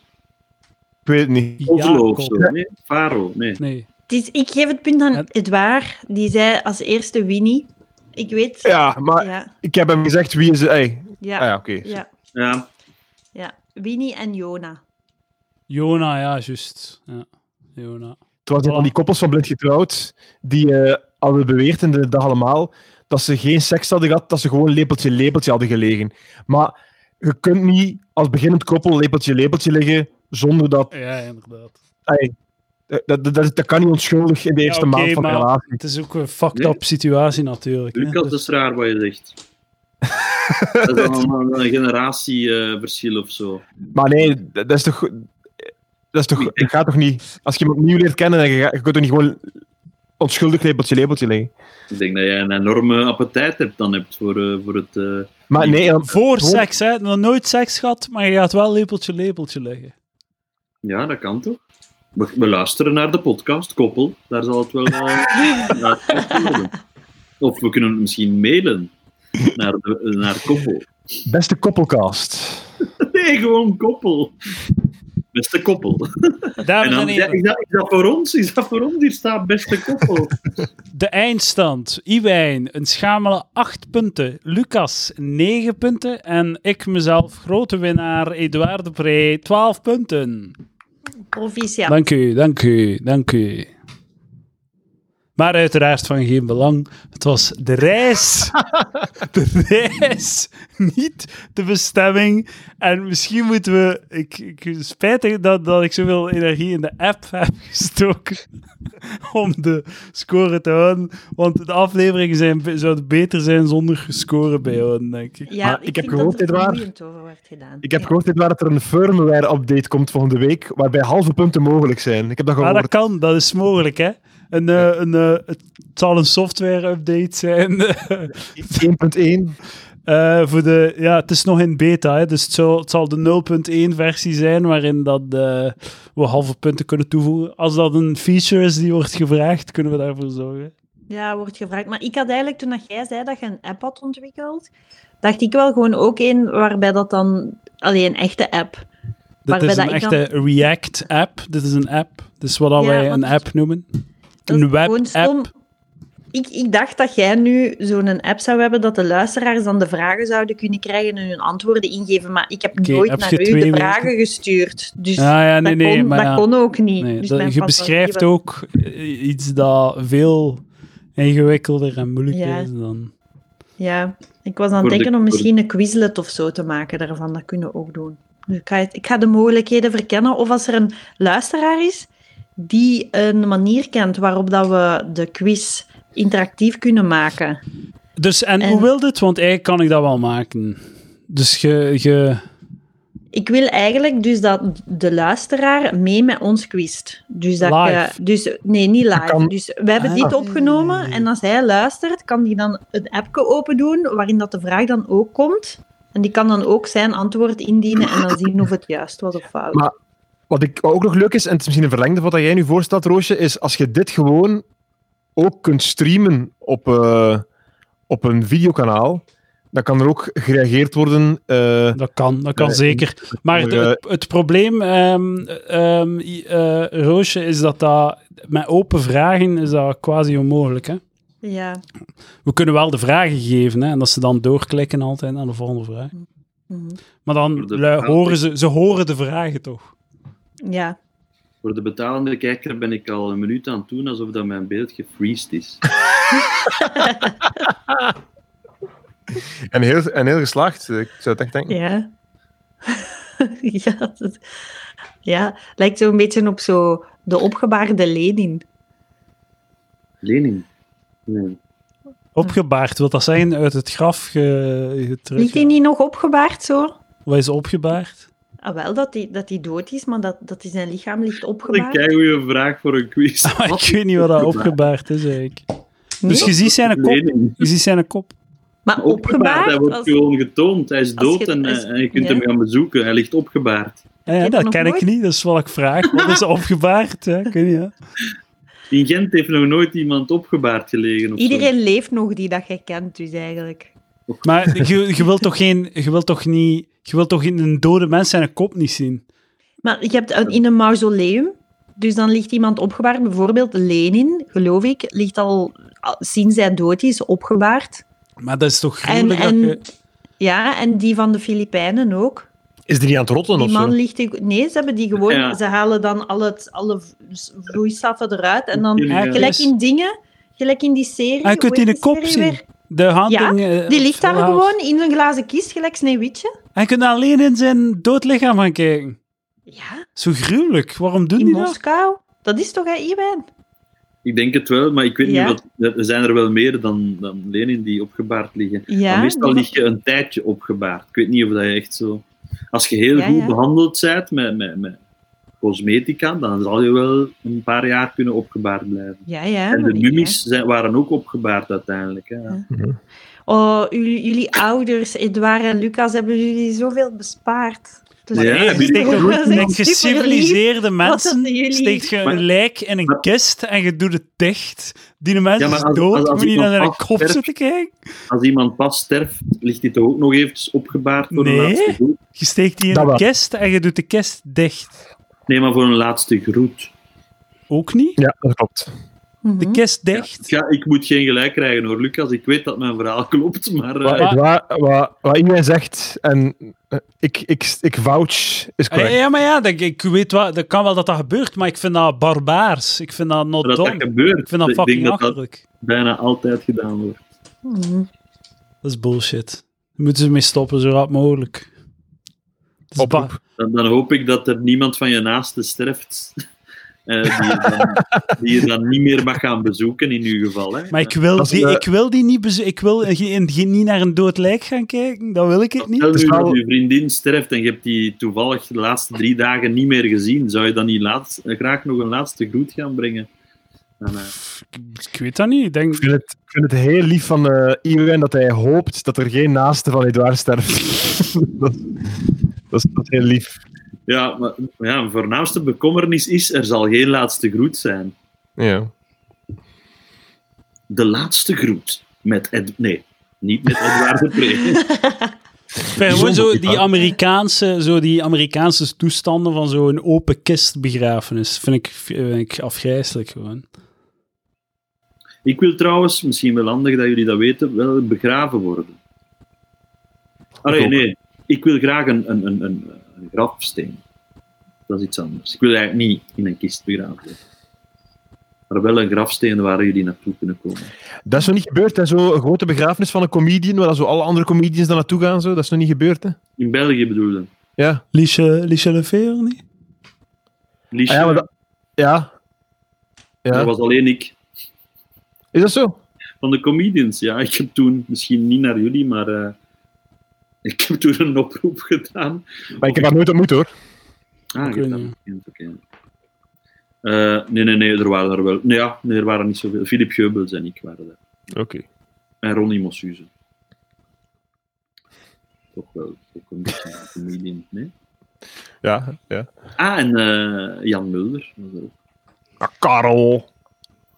B: Ik weet het niet.
E: Ozelo
A: Jacob.
E: of zo. Nee, Faro. Nee.
A: Nee.
D: Het is, ik geef het punt
A: Ja.
D: aan Edouard. Die zei als eerste Winnie. Ik weet.
B: Ja, maar
D: Ja.
B: ik heb hem gezegd wie is... Hey.
D: Ja.
B: Ah ja, oké.
D: ja,
E: Ja,
D: ja. Winnie en Jona.
A: Jona, ja, juist. Ja. Jona.
B: Het was een van die koppels van Blind Getrouwd die eh, hadden beweerd in de dag allemaal dat ze geen seks hadden gehad, dat ze gewoon lepeltje-lepeltje hadden gelegen. Maar je kunt niet als beginnend koppel lepeltje-lepeltje liggen zonder dat...
A: Ja, inderdaad.
B: Ay, dat, dat, dat, dat kan niet onschuldig in de eerste
A: oké,
B: maand van
A: maar-
B: een relatie.
A: Het is ook een fucked up situatie natuurlijk. hè. Dus
E: Lucas, dat is raar wat je zegt. Dat is dan allemaal een generatieverschil of zo.
B: Maar nee, dat dat is toch... Dat, is toch, dat gaat toch niet... Als je iemand nieuw leert kennen, dan ga- je kunt toch niet gewoon onschuldig lepeltje-lepeltje liggen.
E: Ik denk dat jij een enorme appetijt hebt dan hebt voor, eh, voor het... eh,
B: Maar nee, dan-
A: Voor
B: dus- Gewoon-
A: seks, hè. Nog nooit seks gehad, maar je gaat wel lepeltje lepeltje leggen.
E: Ja, dat kan toch? We, we luisteren naar de podcast, koppel. Daar zal het wel eh, naar worden. Of we kunnen het misschien mailen naar, de, naar koppel. [laughs]
B: beste koppelcast.
E: Nee, gewoon koppel. Beste koppel. En
A: Dames en
E: dan, ja,
A: heren,
E: is, dat, is dat voor ons? Is dat voor ons? Hier staat beste koppel.
A: de eindstand. Iwijn, een schamele 8 punten. Lucas, 9 punten. En ik mezelf, grote winnaar, Edouard de Pre, 12 punten.
D: Proficiat.
A: Dank u, dank u, dank u. Maar uiteraard van geen belang. Het was de reis. De reis. Niet de bestemming. En misschien moeten we. Ik, ik spijtig dat, dat ik zoveel energie in de app heb [laughs] gestoken. Om de score te houden. Want de afleveringen zijn, zouden beter zijn zonder score bijhouden, denk ik.
D: Ja,
B: Maar
D: ik,
B: ik heb
D: vind
B: gehoord,
D: dat er
B: Edouard.
D: vermoeiend over wordt gedaan.
B: Ik heb
D: Ja.
B: gehoord dit waar dat er een firmware-update komt volgende week, waarbij halve punten mogelijk zijn. Ik heb dat
A: Ja,
B: gehoord.
A: dat kan, dat is mogelijk, hè? Een, eh, een, eh, het zal een software-update zijn. [laughs]
B: 1.1.
A: Eh, voor de, ja, het is nog in beta, hè, dus het zal, het zal de 0.1-versie zijn waarin dat, eh, we halve punten kunnen toevoegen. Als dat een feature is die wordt gevraagd, kunnen we daarvoor zorgen.
D: Ja, wordt gevraagd. Maar ik had eigenlijk, toen dat jij zei dat je een app had ontwikkeld, dacht ik wel gewoon ook een waarbij dat dan... Alleen een echte app.
A: Dit
D: Waarbij
A: is
D: dat
A: een
D: ik dan-
A: echte React-app. Dit is een app. Dit is wat dat
D: Ja,
A: wij
D: want-
A: een app noemen.
D: Dat
A: Een
D: is gewoon stom.
A: web-app.
D: Ik, ik dacht dat jij nu zo'n app zou hebben dat de luisteraars dan de vragen zouden kunnen krijgen en hun antwoorden ingeven. Maar ik heb
A: Oké,
D: nooit
A: heb
D: naar
A: je
D: u
A: twee
D: de
A: weken?
D: vragen gestuurd. Dus
A: Ja, ja, nee,
D: dat,
A: nee.
D: kon,
A: maar
D: dat
A: ja.
D: kon ook niet.
A: Nee,
D: dus
A: dat-
D: mijn
A: je
D: fantasie
A: beschrijft
D: was-
A: ook eh, iets dat veel ingewikkelder en moeilijker
D: Ja.
A: is dan.
D: Ja, ik was aan het
E: Voor de-
D: denken om
E: voor de-
D: misschien een quizlet of zo te maken daarvan. Dat kunnen we ook doen. Dus Ik ga, het- ik ga de mogelijkheden verkennen. Of als er een luisteraar is die een manier kent waarop dat we de quiz interactief kunnen maken.
A: Dus, en,
D: En-
A: hoe wil dit? Want eigenlijk kan ik dat wel maken. Dus je... je...
D: Ik wil eigenlijk dus dat de luisteraar mee met ons quizt. Dus dat
A: Live.
D: Je, dus, nee, niet live.
B: kan-
D: Dus we hebben dit opgenomen en als hij luistert, kan hij dan een appje open doen waarin dat de vraag dan ook komt. En die kan dan ook zijn antwoord indienen en dan zien of het juist was of fout.
B: Maar- Wat, ik, wat ook nog leuk is, en het is misschien een verlengde van wat jij nu voorstelt, Roosje, is als je dit gewoon ook kunt streamen op, eh, op een videokanaal, dan kan er ook gereageerd worden. eh,
A: Dat kan, dat kan
B: Nee,
A: zeker. Maar de-
B: eh,
A: het, het probleem, ehm, ehm, i- eh, Roosje, is dat dat met open vragen is dat quasi onmogelijk. Hè?
D: Ja.
A: We kunnen wel de vragen geven hè, en dat ze dan doorklikken altijd naar de volgende vraag.
D: Mhm.
A: Maar dan
E: De
A: lui-
E: vraag-
A: horen ze, ze horen de vragen toch?
D: Ja.
E: Voor de betalende kijker ben ik al een minuut aan het doen alsof dat mijn beeld gefreezed is.
B: en, heel, en heel geslaagd, eh, ik zou het echt denken.
D: Ja. [laughs] ja, dat- ja, lijkt zo een beetje op zo de opgebaarde Lenin.
E: Lening. Nee.
A: Opgebaard, wil dat zijn uit het graf ge,
D: Ligt hij
A: getrokken?
D: niet nog opgebaard zo?
A: Wat is opgebaard? [laughs]
D: Ah, wel, dat hij dat die dood is, maar dat, dat die zijn lichaam ligt
E: Wat een
D: opgebaard.
E: keigoeie vraag voor een quiz.
A: Maar ik weet niet wat dat opgebaard is eigenlijk.
D: Nee?
A: Dus je ziet zijn kop.
E: Lening.
A: Je ziet zijn kop.
D: maar
E: Opgebaard, hij
D: opgebaard
E: wordt
D: was...
E: gewoon getoond. Hij is
D: als
E: dood
D: je-
E: en,
D: als-
E: eh, en je kunt
D: ja.
E: hem gaan bezoeken. Hij ligt opgebaard.
A: Ja, ja,
D: heb
A: dat
D: nog
A: ken ik
D: nooit-
A: niet, dat is wat ik vraag. Wat
D: [laughs]
A: is opgebaard? Ja, ik weet niet, hè.
E: In Gent heeft nog nooit iemand opgebaard gelegen. Of zo.
D: Iedereen leeft nog die dat jij kent, dus eigenlijk.
E: [laughs]
A: Maar je, je wilt toch geen, je wilt toch niet, je wilt toch een dode mens zijn kop niet zien?
D: Maar je hebt een- in een mausoleum, dus dan ligt iemand opgebaard. Bijvoorbeeld Lenin, geloof ik, ligt al al sinds hij dood is opgebaard.
A: Maar dat is toch
D: En,
A: gruwelijk dat je...
D: en, ja, en die van de Filipijnen ook.
B: Is die niet aan het rotten
D: Die
B: of zo?
D: man ligt... in- Nee, ze hebben die gewoon...
E: Ja.
D: Ze halen dan al het, alle v- vloeistoffen eruit en dan...
E: Ja.
A: Ja,
D: Gelijk
A: dus-
D: in dingen, gelijk in die serie...
A: Ah, je kunt
D: hoe heet
A: die kop
D: serie
A: zien.
D: weer?
A: De handing... eh,
D: Die ligt daar
A: verhaal.
D: gewoon in een glazen kist, gelijk Sneeuwwitje.
A: Hij kunt alleen in zijn dood lichaam gaan kijken.
D: Ja,
A: Zo gruwelijk. Waarom doen
D: in
A: die dat?
D: Moskou. Dat is toch, hè, Iwijn?
E: Ik denk het wel, maar ik weet
D: Ja.
E: niet wat. Er zijn er wel meer dan, dan Lenin die opgebaard liggen.
D: Ja.
E: maar meestal
D: die-
E: lig je een tijdje opgebaard. Ik weet niet of dat je echt zo. Als je heel
D: Ja,
E: goed
D: ja.
E: behandeld bent met, met, met cosmetica, dan zal je wel een paar jaar kunnen opgebaard blijven.
D: Ja, ja.
E: en de
D: maar niet, hè.
E: mummies zijn, waren ook opgebaard uiteindelijk. Hè.
D: Oh, jullie, jullie ouders, Edouard en Lucas, hebben jullie zoveel bespaard. Dus
E: Ja,
D: [laughs] dat is
E: hebben
A: Je steekt
D: toch-
A: een-
D: dat is echt
A: een
D: superlief.
A: geciviliseerde mensen,
D: dat jullie-
A: steekt je een
E: Maar-
A: lijk in een
E: maar-
A: kist en je doet het dicht. Die mens
E: Ja, maar
A: is
E: als-
A: dood,
E: als- als
A: moet je niet
E: iemand
A: naar zijn
E: afsterft-
A: kop zitten kijken.
E: Als iemand pas sterft, ligt die toch ook nog eventjes opgebaard voor
A: Nee.
E: een laatste groet?
A: Je steekt die in
B: Dat
A: een
B: wel.
A: kist en je doet de kist dicht.
E: Nee, maar voor een laatste groet.
A: Ook niet?
B: Ja, dat klopt.
A: De
D: Mhm.
A: kist dicht.
E: Ja, ik moet geen gelijk krijgen hoor, Lucas. Ik weet dat mijn verhaal [laughs] klopt, maar... eh,
B: Wat,
A: Maar-
B: Edouard- wat, wat iedereen zegt, en eh, ik, ik, ik vouch, is
A: Ah, Ja,
B: correct.
A: ja, maar ja, dat, ik weet wat, dat kan wel dat dat gebeurt, maar ik vind dat barbaars. Ik vind dat not
E: dat
A: done.
E: dat gebeurt.
A: ik vind dat
E: denk
A: fucking
E: dat dat
A: achterlijk. Dat...
E: bijna altijd gedaan wordt.
D: Mhm.
A: is bullshit. Daar moeten ze mee stoppen, zo rap mogelijk. Dat is
B: Oproep.
A: ba-
E: Dan, dan hoop ik dat er niemand van je naasten sterft. [laughs] eh, die, je dan,
A: [laughs]
E: die je dan niet meer mag gaan bezoeken in uw geval. Hè.
A: Maar ik wil,
B: Dat is,
A: die,
B: eh,
A: ik wil die niet bezo- Ik wil geen- geen- niet naar een dood lijk gaan kijken. Dat wil ik het niet.
E: Stel
B: Het
E: nu
B: is
E: dat
B: wel-
E: je vriendin sterft en je hebt die toevallig de laatste drie dagen niet meer gezien. Zou je dan niet laatst, eh, graag nog een laatste groet gaan brengen? Dan, eh,
A: Ik, ik weet dat niet. Ik denk,
B: Ik vind, het, ik vind het heel lief van eh Iwan dat hij hoopt dat er geen naaste van Edouard sterft. [laughs] dat, dat, is, dat is heel lief.
E: ja, maar ja, mijn voornaamste bekommernis is, er zal geen laatste groet zijn.
B: Ja.
E: De laatste groet met Ed... Nee, niet met Edouard de Pre.
A: Ik vind gewoon zo die Amerikaanse, zo die Amerikaanse toestanden van zo'n open kist begrafenis. Vind ik, vind ik afgrijselijk gewoon.
E: Ik wil trouwens, misschien wel handig dat jullie dat weten, wel begraven worden. Allee,
B: ook.
E: nee. Ik wil graag een, een, een, een, een grafsteen. Dat is iets anders. Ik wil eigenlijk niet in een kist begraven worden. Maar wel een grafsteen waar jullie naartoe kunnen komen.
B: Dat is nog niet gebeurd, hè? Zo een grote begrafenis van een comedian, waar dan zo alle andere comedians dan naartoe gaan. Zo. Dat is nog niet gebeurd, hè?
E: In België bedoelde.
B: Ja.
A: Liesje, Liesje Lefevre niet?
E: Liesje,
B: Ah, ja, maar dat... Ja.
E: dat
B: ja.
E: was alleen ik.
B: Is dat zo?
E: Van de comedians, ja. Ik heb toen, misschien niet naar jullie, maar eh, ik heb toen een oproep gedaan.
B: Maar ik heb haar nooit ontmoet, hoor.
E: Ah,
A: Ik
E: je
A: weet
E: hebt dat
A: niet.
E: bekend, oké. Eh, nee, nee, nee, er waren er wel. Nee, ja, nee, er waren niet zoveel. Philip Geubels en ik waren er.
B: Oké.
E: En Ronnie Mossuze. Toch wel, ook een beetje een comedian, nee?
B: Ja, ja.
E: Ah, en eh, Jan Mulder. was er ook.
B: Ah, Karel.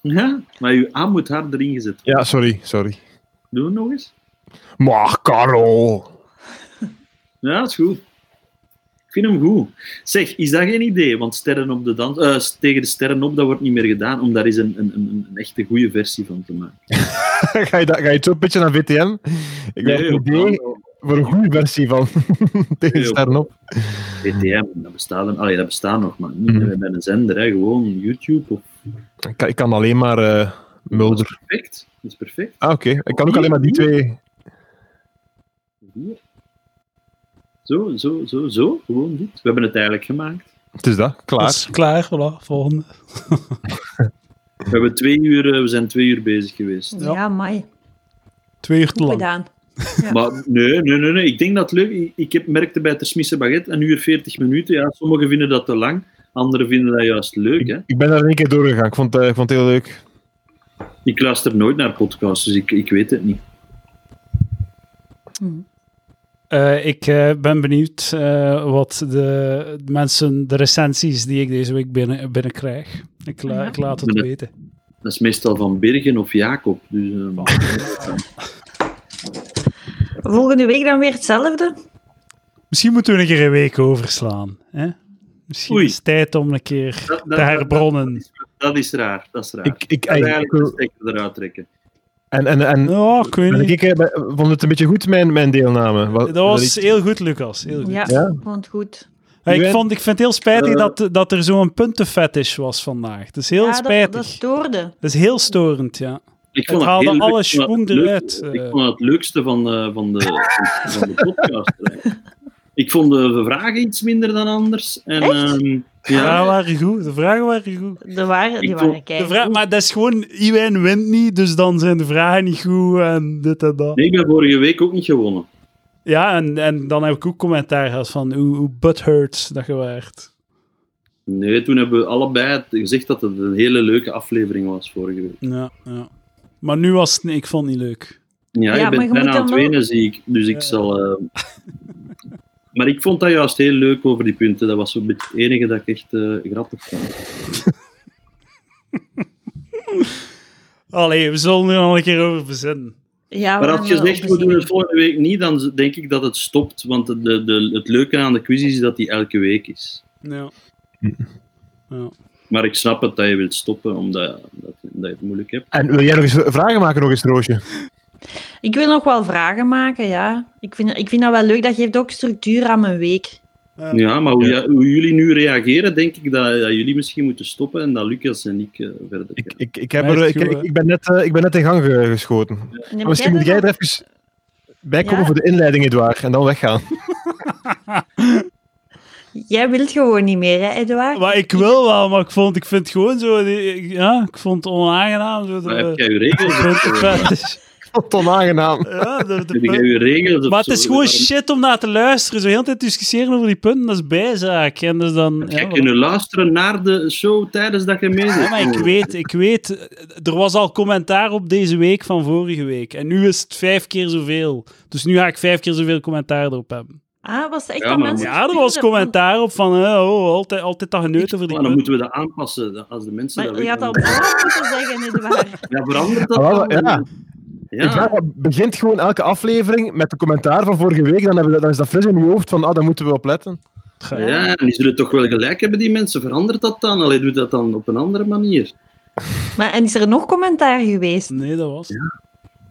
E: Ja, maar uw A moet harder ingezet worden.
B: Ja, sorry, sorry.
E: Doen we nog eens?
B: Maar Karel. [laughs]
E: Ja, is goed. Ik vind hem goed. Zeg, is dat geen idee? Want Sterren op de dans, eh, tegen de Sterren op, dat wordt niet meer gedaan, om daar eens een, een, een, een echte goede versie van te maken.
B: ga, je dat, ga je zo een beetje naar VTM? Ik heb een idee voor een goede versie van [laughs] tegen
E: Nee, op-
B: Sternop.
E: BTM, E dat bestaat, een- allee, dat bestaat nog, maar niet
B: Mhm.
E: meer bij een zender, hè, gewoon YouTube of
B: Ik kan, ik kan alleen maar eh, Mulder.
E: perfect. Dat is perfect.
B: Ah, oké. Ik kan ook alleen maar die twee.
E: Hier. Zo, zo, zo, zo, gewoon dit. We hebben het eigenlijk gemaakt.
B: Het is dat,
A: Dat
B: klaar.
A: is klaar, voilà, volgende.
E: We, hebben twee uur, eh, we zijn twee uur bezig geweest.
A: Ja.
D: Ja, mai.
A: Twee uur te
D: Goed
A: lang.
D: gedaan.
E: Maar nee, nee, nee, nee. Ik denk dat het leuk ik- Ik heb, merkte bij Ter Smisse Baguette een uur 40 minuten. Ja, sommigen vinden dat te lang, anderen vinden dat juist leuk. Hè.
B: Ik ben daar in één keer doorgegaan. Ik vond, eh, ik vond het heel leuk.
E: Ik luister nooit naar podcasts, dus ik, ik weet het niet.
A: Eh, ik eh, ben benieuwd eh, wat de, de mensen, de recensies die ik deze week binnen, binnenkrijg. Ik, la-
D: Ja.
A: ik laat het
E: Binnen-
A: weten.
E: Dat is meestal van Bergen of Jacob. Dus,
A: [laughs]
E: eh,
D: Volgende week dan weer hetzelfde.
A: Misschien moeten we een keer een week overslaan. Hè? Misschien
E: Oei.
A: is het tijd om een keer
E: dat,
A: te herbronnen.
E: dat is raar. Dat is raar.
B: Ik, ik,
E: Dat is
B: eigenlijk,
E: eigenlijk de stekker eruit trekken.
B: en, en, en,
A: Ja, ik weet
B: en
A: niet.
B: ik eh, ben- vond het een beetje goed, mijn, mijn deelname. Wat-
A: Dat was heel goed, Lucas. Heel goed.
D: Ja,
B: Ja.
D: vond goed.
A: Hey, ik,
B: Juwen-
A: vond, ik vind het heel spijtig
E: Eh.
A: dat, dat er zo'n puntenfetish was vandaag. Het is heel
D: ja, dat-
A: spijtig.
D: Dat,
A: Dat,
D: stoorde.
A: is heel storend, ja.
E: Ik vond
A: Het
E: het
A: haalde
E: heel leuk.
A: alle
E: Ik vond
A: schwung
E: het leuk.
A: eruit, eh.
E: Ik vond het leukste van, eh, van, de, van- van de podcast. eigenlijk. Ik vond de vragen iets minder dan anders. En, ehm,
A: De vragen
E: ja,
A: waren goed. De vragen waren goed.
D: De waren, die
E: Ik vond-
D: waren
A: De
D: kei.
A: vraag, maar dat is gewoon, Iwijn wint niet, dus dan zijn de vragen niet goed en dit en dat.
E: nee, ik ben vorige week ook niet gewonnen.
A: Ja, en, en dan heb ik ook commentaar gehad van hoe, hoe butthurt dat je waart.
E: Nee, toen hebben we allebei het- gezegd dat het een hele leuke aflevering was vorige week.
A: Ja, ja. Maar nu was het, ik vond het niet leuk.
E: Ja,
D: Ja,
E: je
D: maar je
E: bent
D: moet
E: bijna
D: dan
E: aan het
D: wel-
E: wenen, zie ik. Dus ik
A: Ja.
E: zal... ehm, Maar ik vond dat juist heel leuk over die punten. Dat was zo'n beetje het enige dat ik echt eh, grappig vond.
D: Ah,
A: Allee, we zullen er nog een keer over verzinnen.
D: Ja,
E: Maar
D: we
E: als je
D: hebben
E: zegt, we doen het volgende week niet, dan z- denk ik dat het stopt. Want de, de, het leuke aan de quiz is dat die elke week is.
A: Ja. ja.
E: Maar ik snap het dat je wilt stoppen, omdat, omdat, omdat je het moeilijk hebt.
B: En wil jij nog eens vragen maken, nog eens, Roosje?
D: Ik wil nog wel vragen maken, ja. Ik vind, ik vind dat wel leuk. Dat geeft ook structuur aan mijn week.
E: Ja, maar hoe, ja- hoe jullie nu reageren, denk ik dat, dat jullie misschien moeten stoppen en dat Lucas en ik eh, verder
B: Ik,
E: gaan.
B: ik, ik, heb
A: Echt
B: er, ik,
A: goed, hè?
B: ik, ik ben net, eh, ik ben net in gang ge- geschoten.
D: En heb
B: Misschien moet
D: dat
B: jij
D: dan-
B: er even bij komen
D: Ja.
B: voor de inleiding, Edouard, en dan weggaan. [laughs]
D: Jij wilt gewoon niet meer, hè, Edouard?
A: Maar ik wil wel, maar ik, vond, ik vind het gewoon zo... die- ik- Ja, ik vond het onaangenaam. Zo
E: Maar heb
A: de,
E: jij je
A: [laughs]
E: regels? of zo?
A: puntenfetish.
B: Wat onaangenaam.
A: Ja, de, de
E: Heb jij
A: pun-
E: je regels? of
A: Maar het is
E: zo?
A: gewoon
E: Waarom-
A: shit om naar te luisteren. Zo heel de tijd discussiëren over die punten, dat is bijzaak. En dus dan...
E: Heb jij
A: Ja, voilà.
E: kunnen luisteren naar de show tijdens dat je mee
A: Ja,
E: zit? Oh.
A: maar ik weet, ik weet, er was al commentaar op deze week van vorige week. En nu is het vijf keer zoveel. Dus nu ga ik vijf keer zoveel commentaar erop hebben.
D: Ah, was dat echt
E: Ja,
D: dat
E: maar-
D: mensen...
A: Ja, er
D: stuurden
A: was
D: van-
A: commentaar op van, eh, oh, altijd, altijd dat geneut over die
E: Maar
A: punt.
E: dan moeten we dat aanpassen. dat- Als de mensen
D: Maar
E: dat
D: je had al
E: weten.
D: braaf moeten zeggen,
A: [laughs]
D: Edouard.
E: Ja, verandert dat?
B: Ah, wel,
E: dan?
B: ja.
E: Ja.
B: Ik vraag me, begint gewoon elke aflevering met de commentaar van vorige week, dan, hebben we, dan is dat fris in je hoofd van, ah, daar moeten we op letten.
E: Ja, en die zullen toch wel gelijk hebben, die mensen. Verandert dat dan? Allee, doe dat dan op een andere manier.
D: Maar, en is er nog commentaar geweest?
A: Nee, dat was het.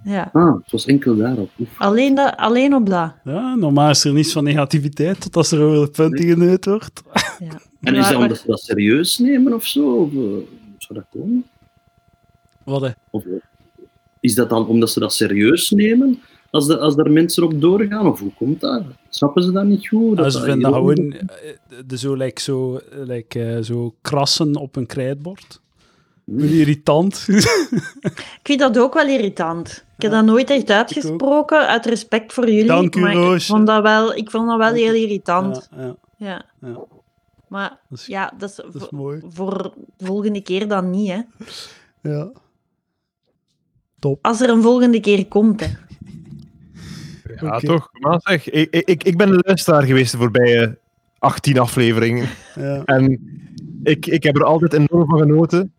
D: Ja.
E: Ah, het was enkel daarop. Oef.
D: Alleen, dat, alleen op dat.
A: ja, Normaal is er niets van negativiteit, tot als er over de punten geneut wordt.
E: En is
D: Ja,
E: dat
D: maar-
E: omdat ze dat serieus nemen of zo? Of, eh, hoe zou dat komen?
A: Wat, hè?
E: Of eh, is dat dan omdat ze dat serieus nemen? als, de, als daar mensen op doorgaan? Of hoe komt dat? Snappen ze dat niet goed?
A: Ja, Ah, ze
E: dat
A: vinden
E: heel-
A: gewoon eh, de, zo, like, zo, eh, like, eh, zo krassen op een krijtbord. Irritant.
D: Ik vind dat ook wel irritant. Ik heb dat nooit echt uitgesproken, uit respect voor jullie.
A: Dank u,
D: maar ik
A: Roosje.
D: vond dat wel, ik vond dat wel heel
A: ja,
D: irritant.
A: ja,
D: Ja.
A: Ja.
D: Maar
A: dat is,
D: ja, dat is,
A: dat is
D: voor,
A: mooi.
D: voor de volgende keer dan niet, hè.
A: Ja.
D: Als er een volgende keer komt, hè.
B: Ja,
A: Oké.
B: toch? Maar zeg, ik, ik, ik ben een luisteraar geweest de voorbije 18 afleveringen.
A: Ja.
B: En ik, ik heb er altijd enorm van genoten.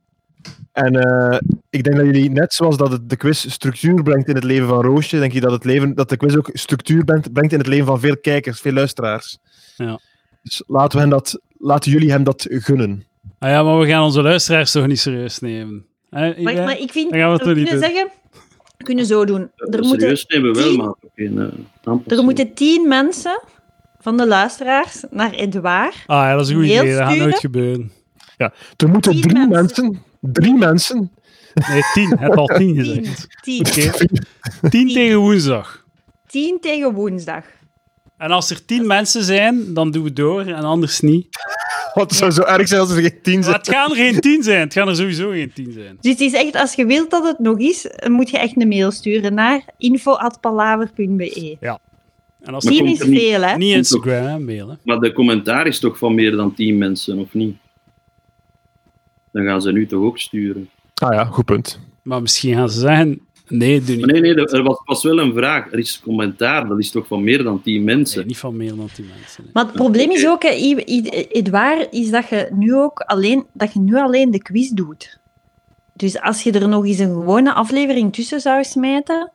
B: En eh, ik denk dat jullie, net zoals dat het de quiz structuur brengt in het leven van Roosje, denk je dat, het leven, dat de quiz ook structuur brengt, brengt in het leven van veel kijkers, veel luisteraars.
A: Ja.
B: Dus laten, we hen dat, laten jullie hem dat gunnen.
A: Ah ja, maar we gaan onze luisteraars toch niet serieus nemen. Hè, Ida?
D: Maar, maar ik vind,
A: Dan gaan we
D: we
A: het niet
D: kunnen
A: doen.
D: zeggen... We kunnen zo doen. Er moeten,
E: Serieus nemen we wel,
D: tien-
E: maar ook geen eh, aanpassing.
D: er moeten tien mensen van de luisteraars naar Edouard.
A: Ah ja, dat is een goed
D: Mail
A: idee. Dat gaat
D: sturen?
A: nooit gebeuren.
B: Er moeten
D: Tien
B: drie
D: mensen.
B: mensen. drie mensen.
A: Nee, tien. Het had al tien
D: Tien.
A: gezegd.
D: Tien.
A: Oké. Tien tegen woensdag.
D: Tien tegen woensdag.
A: En als er tien mensen zijn, dan doen we door en anders niet.
B: Wat zou zo erg zijn als er geen tien
A: Maar
B: zijn.
A: het gaan er geen tien zijn. Het gaan er sowieso geen tien zijn.
D: Dus het is echt, als je wilt dat het nog is, dan moet je echt een mail sturen naar info.palaver.be.
A: En als
E: Maar
D: Tien
A: er
E: komt
D: is
E: er niet-
D: veel, hè?
A: niet Instagram hè, mailen.
E: Maar de commentaar is toch van meer dan 10 mensen, of niet? Dan gaan ze nu toch ook sturen.
B: Ah ja, goed punt.
A: Maar misschien gaan ze zeggen: nee, doe niet.
E: Maar nee, nee, er er was, was wel een vraag. Er is commentaar, dat is toch van meer dan 10
A: Nee,
E: mensen?
A: niet van mail dan tien mensen. nee.
D: Maar het probleem is ook, hè, I- I- Edouard, is dat je, nu ook alleen, dat je nu alleen de quiz doet. Dus als je er nog eens een gewone aflevering tussen zou smijten,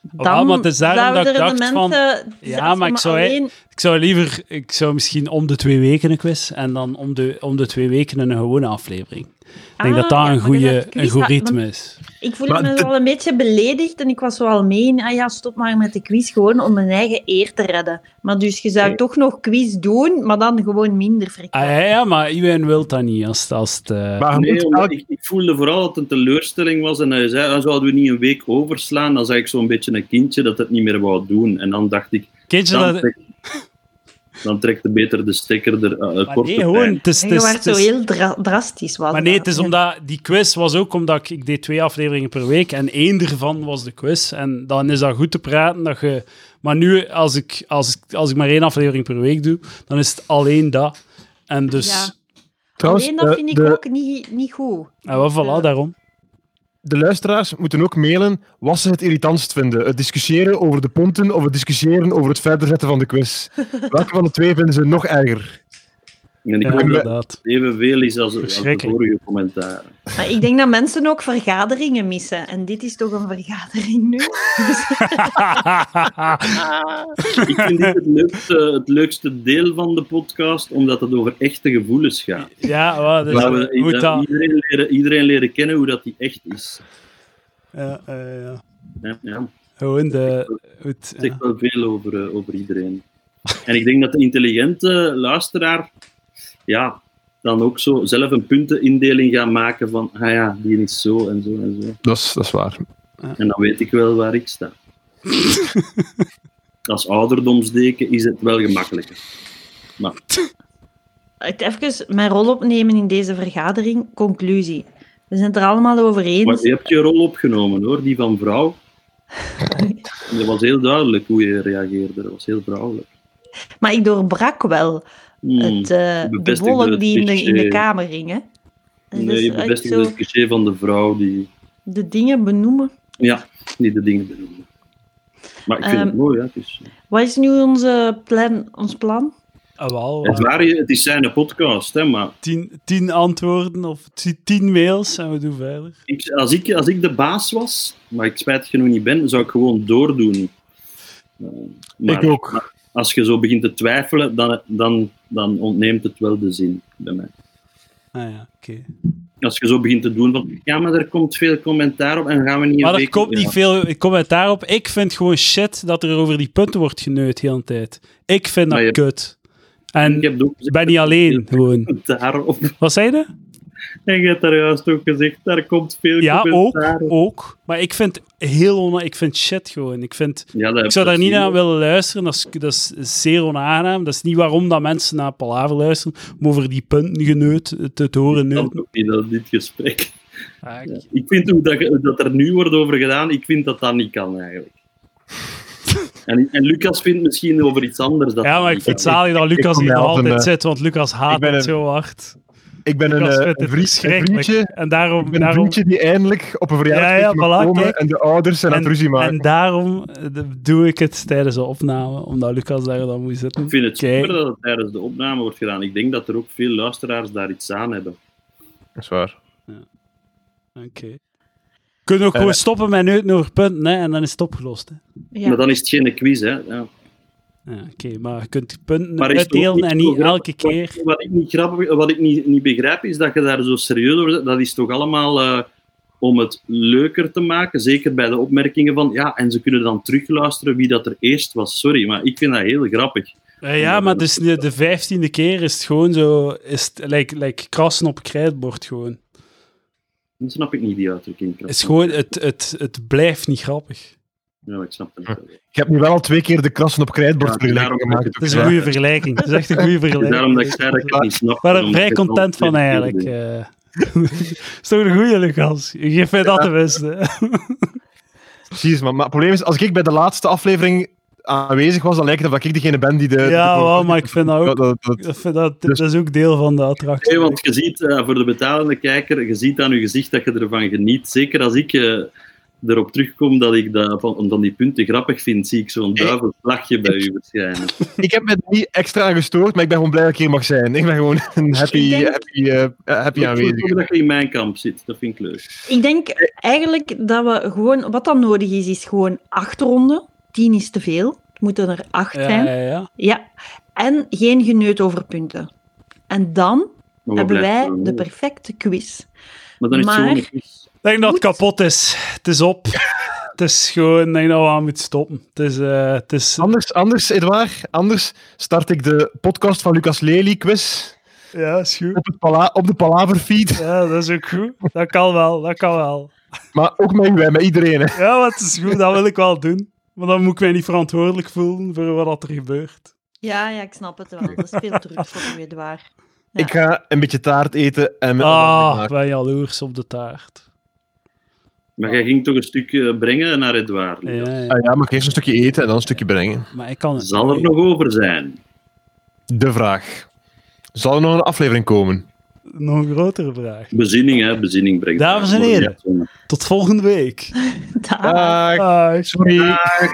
D: dan
A: maar het is daarom dat ik
D: zouden er de
A: dacht van-
D: mensen... dus
A: Ja,
D: als
A: maar
D: je
A: ik zou-
D: alleen-
A: Ik zou liever, ik zou misschien om de twee weken een quiz en dan om de, om de twee weken een gewone aflevering. Ik denk
D: Ah,
A: dat dat
D: ja,
A: een,
D: maar dat
A: goede,
D: het quiz
A: een goed
D: had-
A: ritme is.
D: Ik voelde
B: Maar
D: me
B: te-
D: wel een beetje beledigd en ik was zo al mee in, ah ja, stop maar met de quiz, gewoon om mijn eigen eer te redden. Maar dus je zou toch nog quiz doen, maar dan gewoon minder
A: Ah,
D: frequent.
A: ja, ja, maar iedereen wil dat niet. Als, het- als het, eh,
B: Maar je moet
E: Nee, omdat
B: elk-
E: ik, ik voelde vooral dat het een teleurstelling was. En hij zei, dan zouden we niet een week overslaan. Dan zag ik zo'n beetje een kindje dat het niet meer wou doen. En dan dacht ik,
A: kindje,
E: dan,
A: dat,
E: trekt, dan trekt de beter de stekker er eh,
A: maar
E: kort
A: nee,
E: op
A: gewoon,
E: eind.
A: het is,
D: En
A: het
D: je
A: is-
D: werd
A: het
D: zo
A: is-
D: heel dra- drastisch. Was
A: Maar
D: dat.
A: nee, het is
D: Ja.
A: omdat die quiz was ook omdat ik, ik deed twee afleveringen per week en één ervan was de quiz. En dan is dat goed te praten. Dat je, maar nu, als ik, als, ik, als ik maar één aflevering per week doe, dan is het alleen dat. En dus,
D: Ja.
B: trouwens,
D: Alleen dat
B: eh,
D: vind ik
B: de-
D: ook niet, niet goed. Eh,
A: en Ah, wel, voilà,
D: Ja.
A: daarom.
B: De luisteraars moeten ook mailen wat ze het irritantst vinden. Het discussiëren over de ponten of het discussiëren over het verder zetten van de quiz. Welke van de twee vinden ze
A: [laughs]
B: nog erger?
E: En ik
A: Ja,
E: hoop dat
A: inderdaad.
E: het evenveel is als, als de
A: Verschrikkelijk.
E: vorige commentaar.
D: Maar ik denk dat mensen ook vergaderingen missen. En dit is toch een vergadering nu?
E: Ik vind dit het leukste, het leukste deel van de podcast, omdat het over echte gevoelens gaat.
A: ja, wel, dus,
E: Laten we
A: moet
E: dat
A: dat.
E: Iedereen, leren, iedereen leren kennen hoe dat die echt is.
A: Ja, ja, ja.
E: Ja, ja.
A: Gewoon de. Goed,
E: Het
A: ja.
E: zegt wel veel over, eh, over iedereen. En ik denk dat de intelligente luisteraar ja, dan ook zo zelf een puntenindeling gaat maken van ah ja, die is zo en zo en zo.
B: Dat is, dat is waar.
E: En dan weet ik wel waar
B: [laughs]
E: ik sta. Als ouderdomsdeken is het wel gemakkelijker.
D: Het Even mijn rol opnemen in deze vergadering. Conclusie. We zijn het er allemaal over
E: Maar
D: eens.
E: je hebt je rol opgenomen hoor, die van vrouw. En dat was heel duidelijk hoe je reageerde. Dat was heel vrouwelijk.
D: Maar ik doorbrak wel
E: Hmm.
D: het, eh de
E: bevestigde
D: wolk
E: het
D: die in de, in de
E: cliché.
D: kamer ging. Hè? En
E: nee, je
D: dus echt
E: bevestigde
D: zo
E: het cliché van de vrouw die,
D: de dingen benoemen.
E: ja, die de dingen benoemde. Maar ik vind
D: Ehm,
E: het mooi, hè. Het is,
D: Wat is nu onze plan, ons plan?
A: Ah, wel,
E: het,
A: eh,
E: waren, het is zijn podcast, hè, maar
A: tien, tien antwoorden of ti- tien mails en we doen verder.
E: ik, als, ik, als ik de baas was, maar ik spijt genoeg niet ben, zou ik gewoon doordoen. Eh, maar
B: ik ook.
E: als je zo begint te twijfelen, dan, dan, dan ontneemt het wel de zin bij mij.
A: Ah ja, oké.
E: Als je zo begint te doen van, ja, maar er komt veel commentaar op en gaan we niet... een
A: Maar er
E: week-
A: komt
E: Ja.
A: niet veel commentaar op. Ik vind gewoon shit dat er over die punten wordt geneut heel de tijd. Ik vind dat
E: Maar je-
A: kut. En
E: Ik heb ook gezegd,
A: ben niet alleen, gewoon.
E: Commentaar op. [laughs]
A: Wat zei je?
E: En je hebt daar juist ook gezegd, daar komt veel
A: Ja, ook,
E: commentaar op.
A: ook. Maar ik vind heel ona- ik vind shit gewoon. Ik, vind,
E: Ja, dat heb
A: ik zou daar
E: gezien,
A: niet naar
E: hoor.
A: willen luisteren. Dat is, dat is zeer onaangenaam. Dat is niet waarom dat mensen naar Palaver luisteren, om over die punten geneut te, te horen
E: Dat
A: neuten.
E: kan ook niet, dat dit gesprek. [laughs]
A: Ah, ik-
E: Ik vind hoe dat, hoe dat er nu wordt over gedaan, ik vind dat dat niet kan
A: [laughs]
E: eigenlijk. En, en Lucas vindt misschien over iets anders dat
A: Ja,
E: dat
A: maar ik
E: niet
A: vind het
E: kan.
A: zalig dat
B: ik
A: Lucas
B: kom
A: hier
B: wel
A: altijd
B: van, eh,
A: zit, want Lucas
B: ik
A: haat
B: ben
A: het
B: een-
A: zo hard.
B: Ik ben een,
A: Lucas
B: eh,
A: vindt
B: een
A: het
B: vriend, een
A: verschrikkelijk.
B: vriendje,
A: En daarom,
B: ik ben een
A: daarom,
B: vriendje die eindelijk op een
A: Ja, ja,
B: verjaardag
A: voilà,
B: mag komen
A: kijk.
B: en de ouders zijn aan het ruzie maken.
A: en daarom eh, doe ik het tijdens de opname, omdat Lucas daar dan moet zitten.
E: Ik vind het
A: Kijk.
E: super dat het tijdens de opname wordt gedaan. Ik denk dat er ook veel luisteraars daar iets aan hebben.
B: Dat is waar.
A: Oké. Kunnen we ook
B: Eh.
A: gewoon stoppen met neuten over punten, hè, en dan is het opgelost. Hè.
D: Ja.
E: Maar dan is het geen quiz, hè. Ja.
A: Ja, Oké, maar je kunt punten
E: Maar is het ook
A: uitdelen
E: niet
A: en niet
E: zo grappig?
A: elke keer.
E: Wat ik niet, grappig, wat ik niet, niet begrijp, is dat je daar zo serieus over zit. Dat is toch allemaal eh, om het leuker te maken, zeker bij de opmerkingen van ja, en ze kunnen dan terugluisteren wie dat er eerst was. Sorry, maar ik vind dat heel grappig.
A: Eh, ja, maar dus de, de vijftiende keer is het gewoon zo, is het like, like krassen op krijtbord gewoon.
E: Dan snap ik niet die uitdrukking.
A: Het Is gewoon het, het, het blijft niet grappig.
E: Ja, ik snap het.
B: Ik heb nu wel al twee keer de krassen op krijtbord
E: Ja, het is
B: vergeleken
E: daarom dat
B: gemaakt.
A: Het is een goede vergelijking. Het is echt een goede
E: Het is
A: vergelijking.
E: [laughs] daarom dat ik zei dat ik het niet snap.
A: Ik ben er
E: Omdat
A: vrij
E: ik het al
A: content van
E: twee keer
A: eigenlijk.
E: deed.
A: eh. [laughs] is toch een goeie, Lucas? Je geeft mij dat de [laughs] beste.
B: Precies, maar, maar het probleem is, als ik bij de laatste aflevering aanwezig was, dan lijkt het of dat ik degene ben die de...
A: ja,
B: de-
A: wel, maar ik vind dat ook...
B: dat- dat- dat-
A: ik vind dat,
B: dus-
A: dat is ook deel van de
E: Nee,
A: attractie.
E: want je ziet, eh, voor de betalende kijker, je ziet aan je gezicht dat je ervan geniet. Zeker als ik eh, erop terugkom dat ik dat, van, van die punten grappig vind, zie ik zo'n duivelslachje bij u verschijnen.
B: ik heb me er niet extra aan gestoord, maar ik ben gewoon blij dat ik hier mag zijn. Ik ben gewoon een happy,
D: denk-
B: happy, eh, happy
E: Ik voel
B: aanwezig.
E: ook dat je in mijn kamp zit, dat vind ik leuk.
D: Ik denk eigenlijk dat we gewoon, wat dan nodig is, is gewoon acht ronden. Tien is te veel. Het moeten er acht
A: Ja,
D: zijn.
A: ja, ja.
D: Ja. En geen geneut over punten. En dan
E: Maar we
D: hebben wij
E: blijven
D: de
E: wel.
D: perfecte quiz.
E: Maar dan is het
D: maar-
E: gewoon een quiz.
A: Ik denk dat het
D: Goed.
A: kapot is. Het is op. Het is gewoon... Ik denk dat we aan moeten stoppen. Het is... eh, het is
B: Anders, anders, Edouard, anders start ik de podcast van Lucas Lely quiz
A: ja, is goed.
B: op, het pala op de Palaver feed.
A: Ja, dat is ook goed. Dat kan wel, dat kan wel.
B: Maar ook met u, hè, met iedereen. Hè.
A: Ja, maar het is goed. Dat wil ik wel doen. Maar dan moet ik mij niet verantwoordelijk voelen voor wat dat er gebeurt.
D: Ja, ja, ik snap het wel. Dat is veel druk voor u, Edouard. [laughs] Ja.
B: Ik ga een beetje taart eten en met
A: Ah,
B: anderen
A: ik
B: maken.
A: ben jaloers op de taart.
E: Maar jij ging toch een stuk eh, brengen naar Edouard. Lucas?
A: Ja, ja.
B: Ah ja, maar eerst een stukje eten en dan een stukje brengen.
A: Maar ik kan het
E: Zal er
A: niet.
E: nog over zijn?
B: De vraag. Zal er nog een aflevering komen?
A: nog een grotere vraag.
E: Bezinning, hè? Bezinning brengt.
D: Ah.
A: Dames en heren. Tot volgende week.
D: Daar.
B: Dag.
A: Bye.
B: Sorry.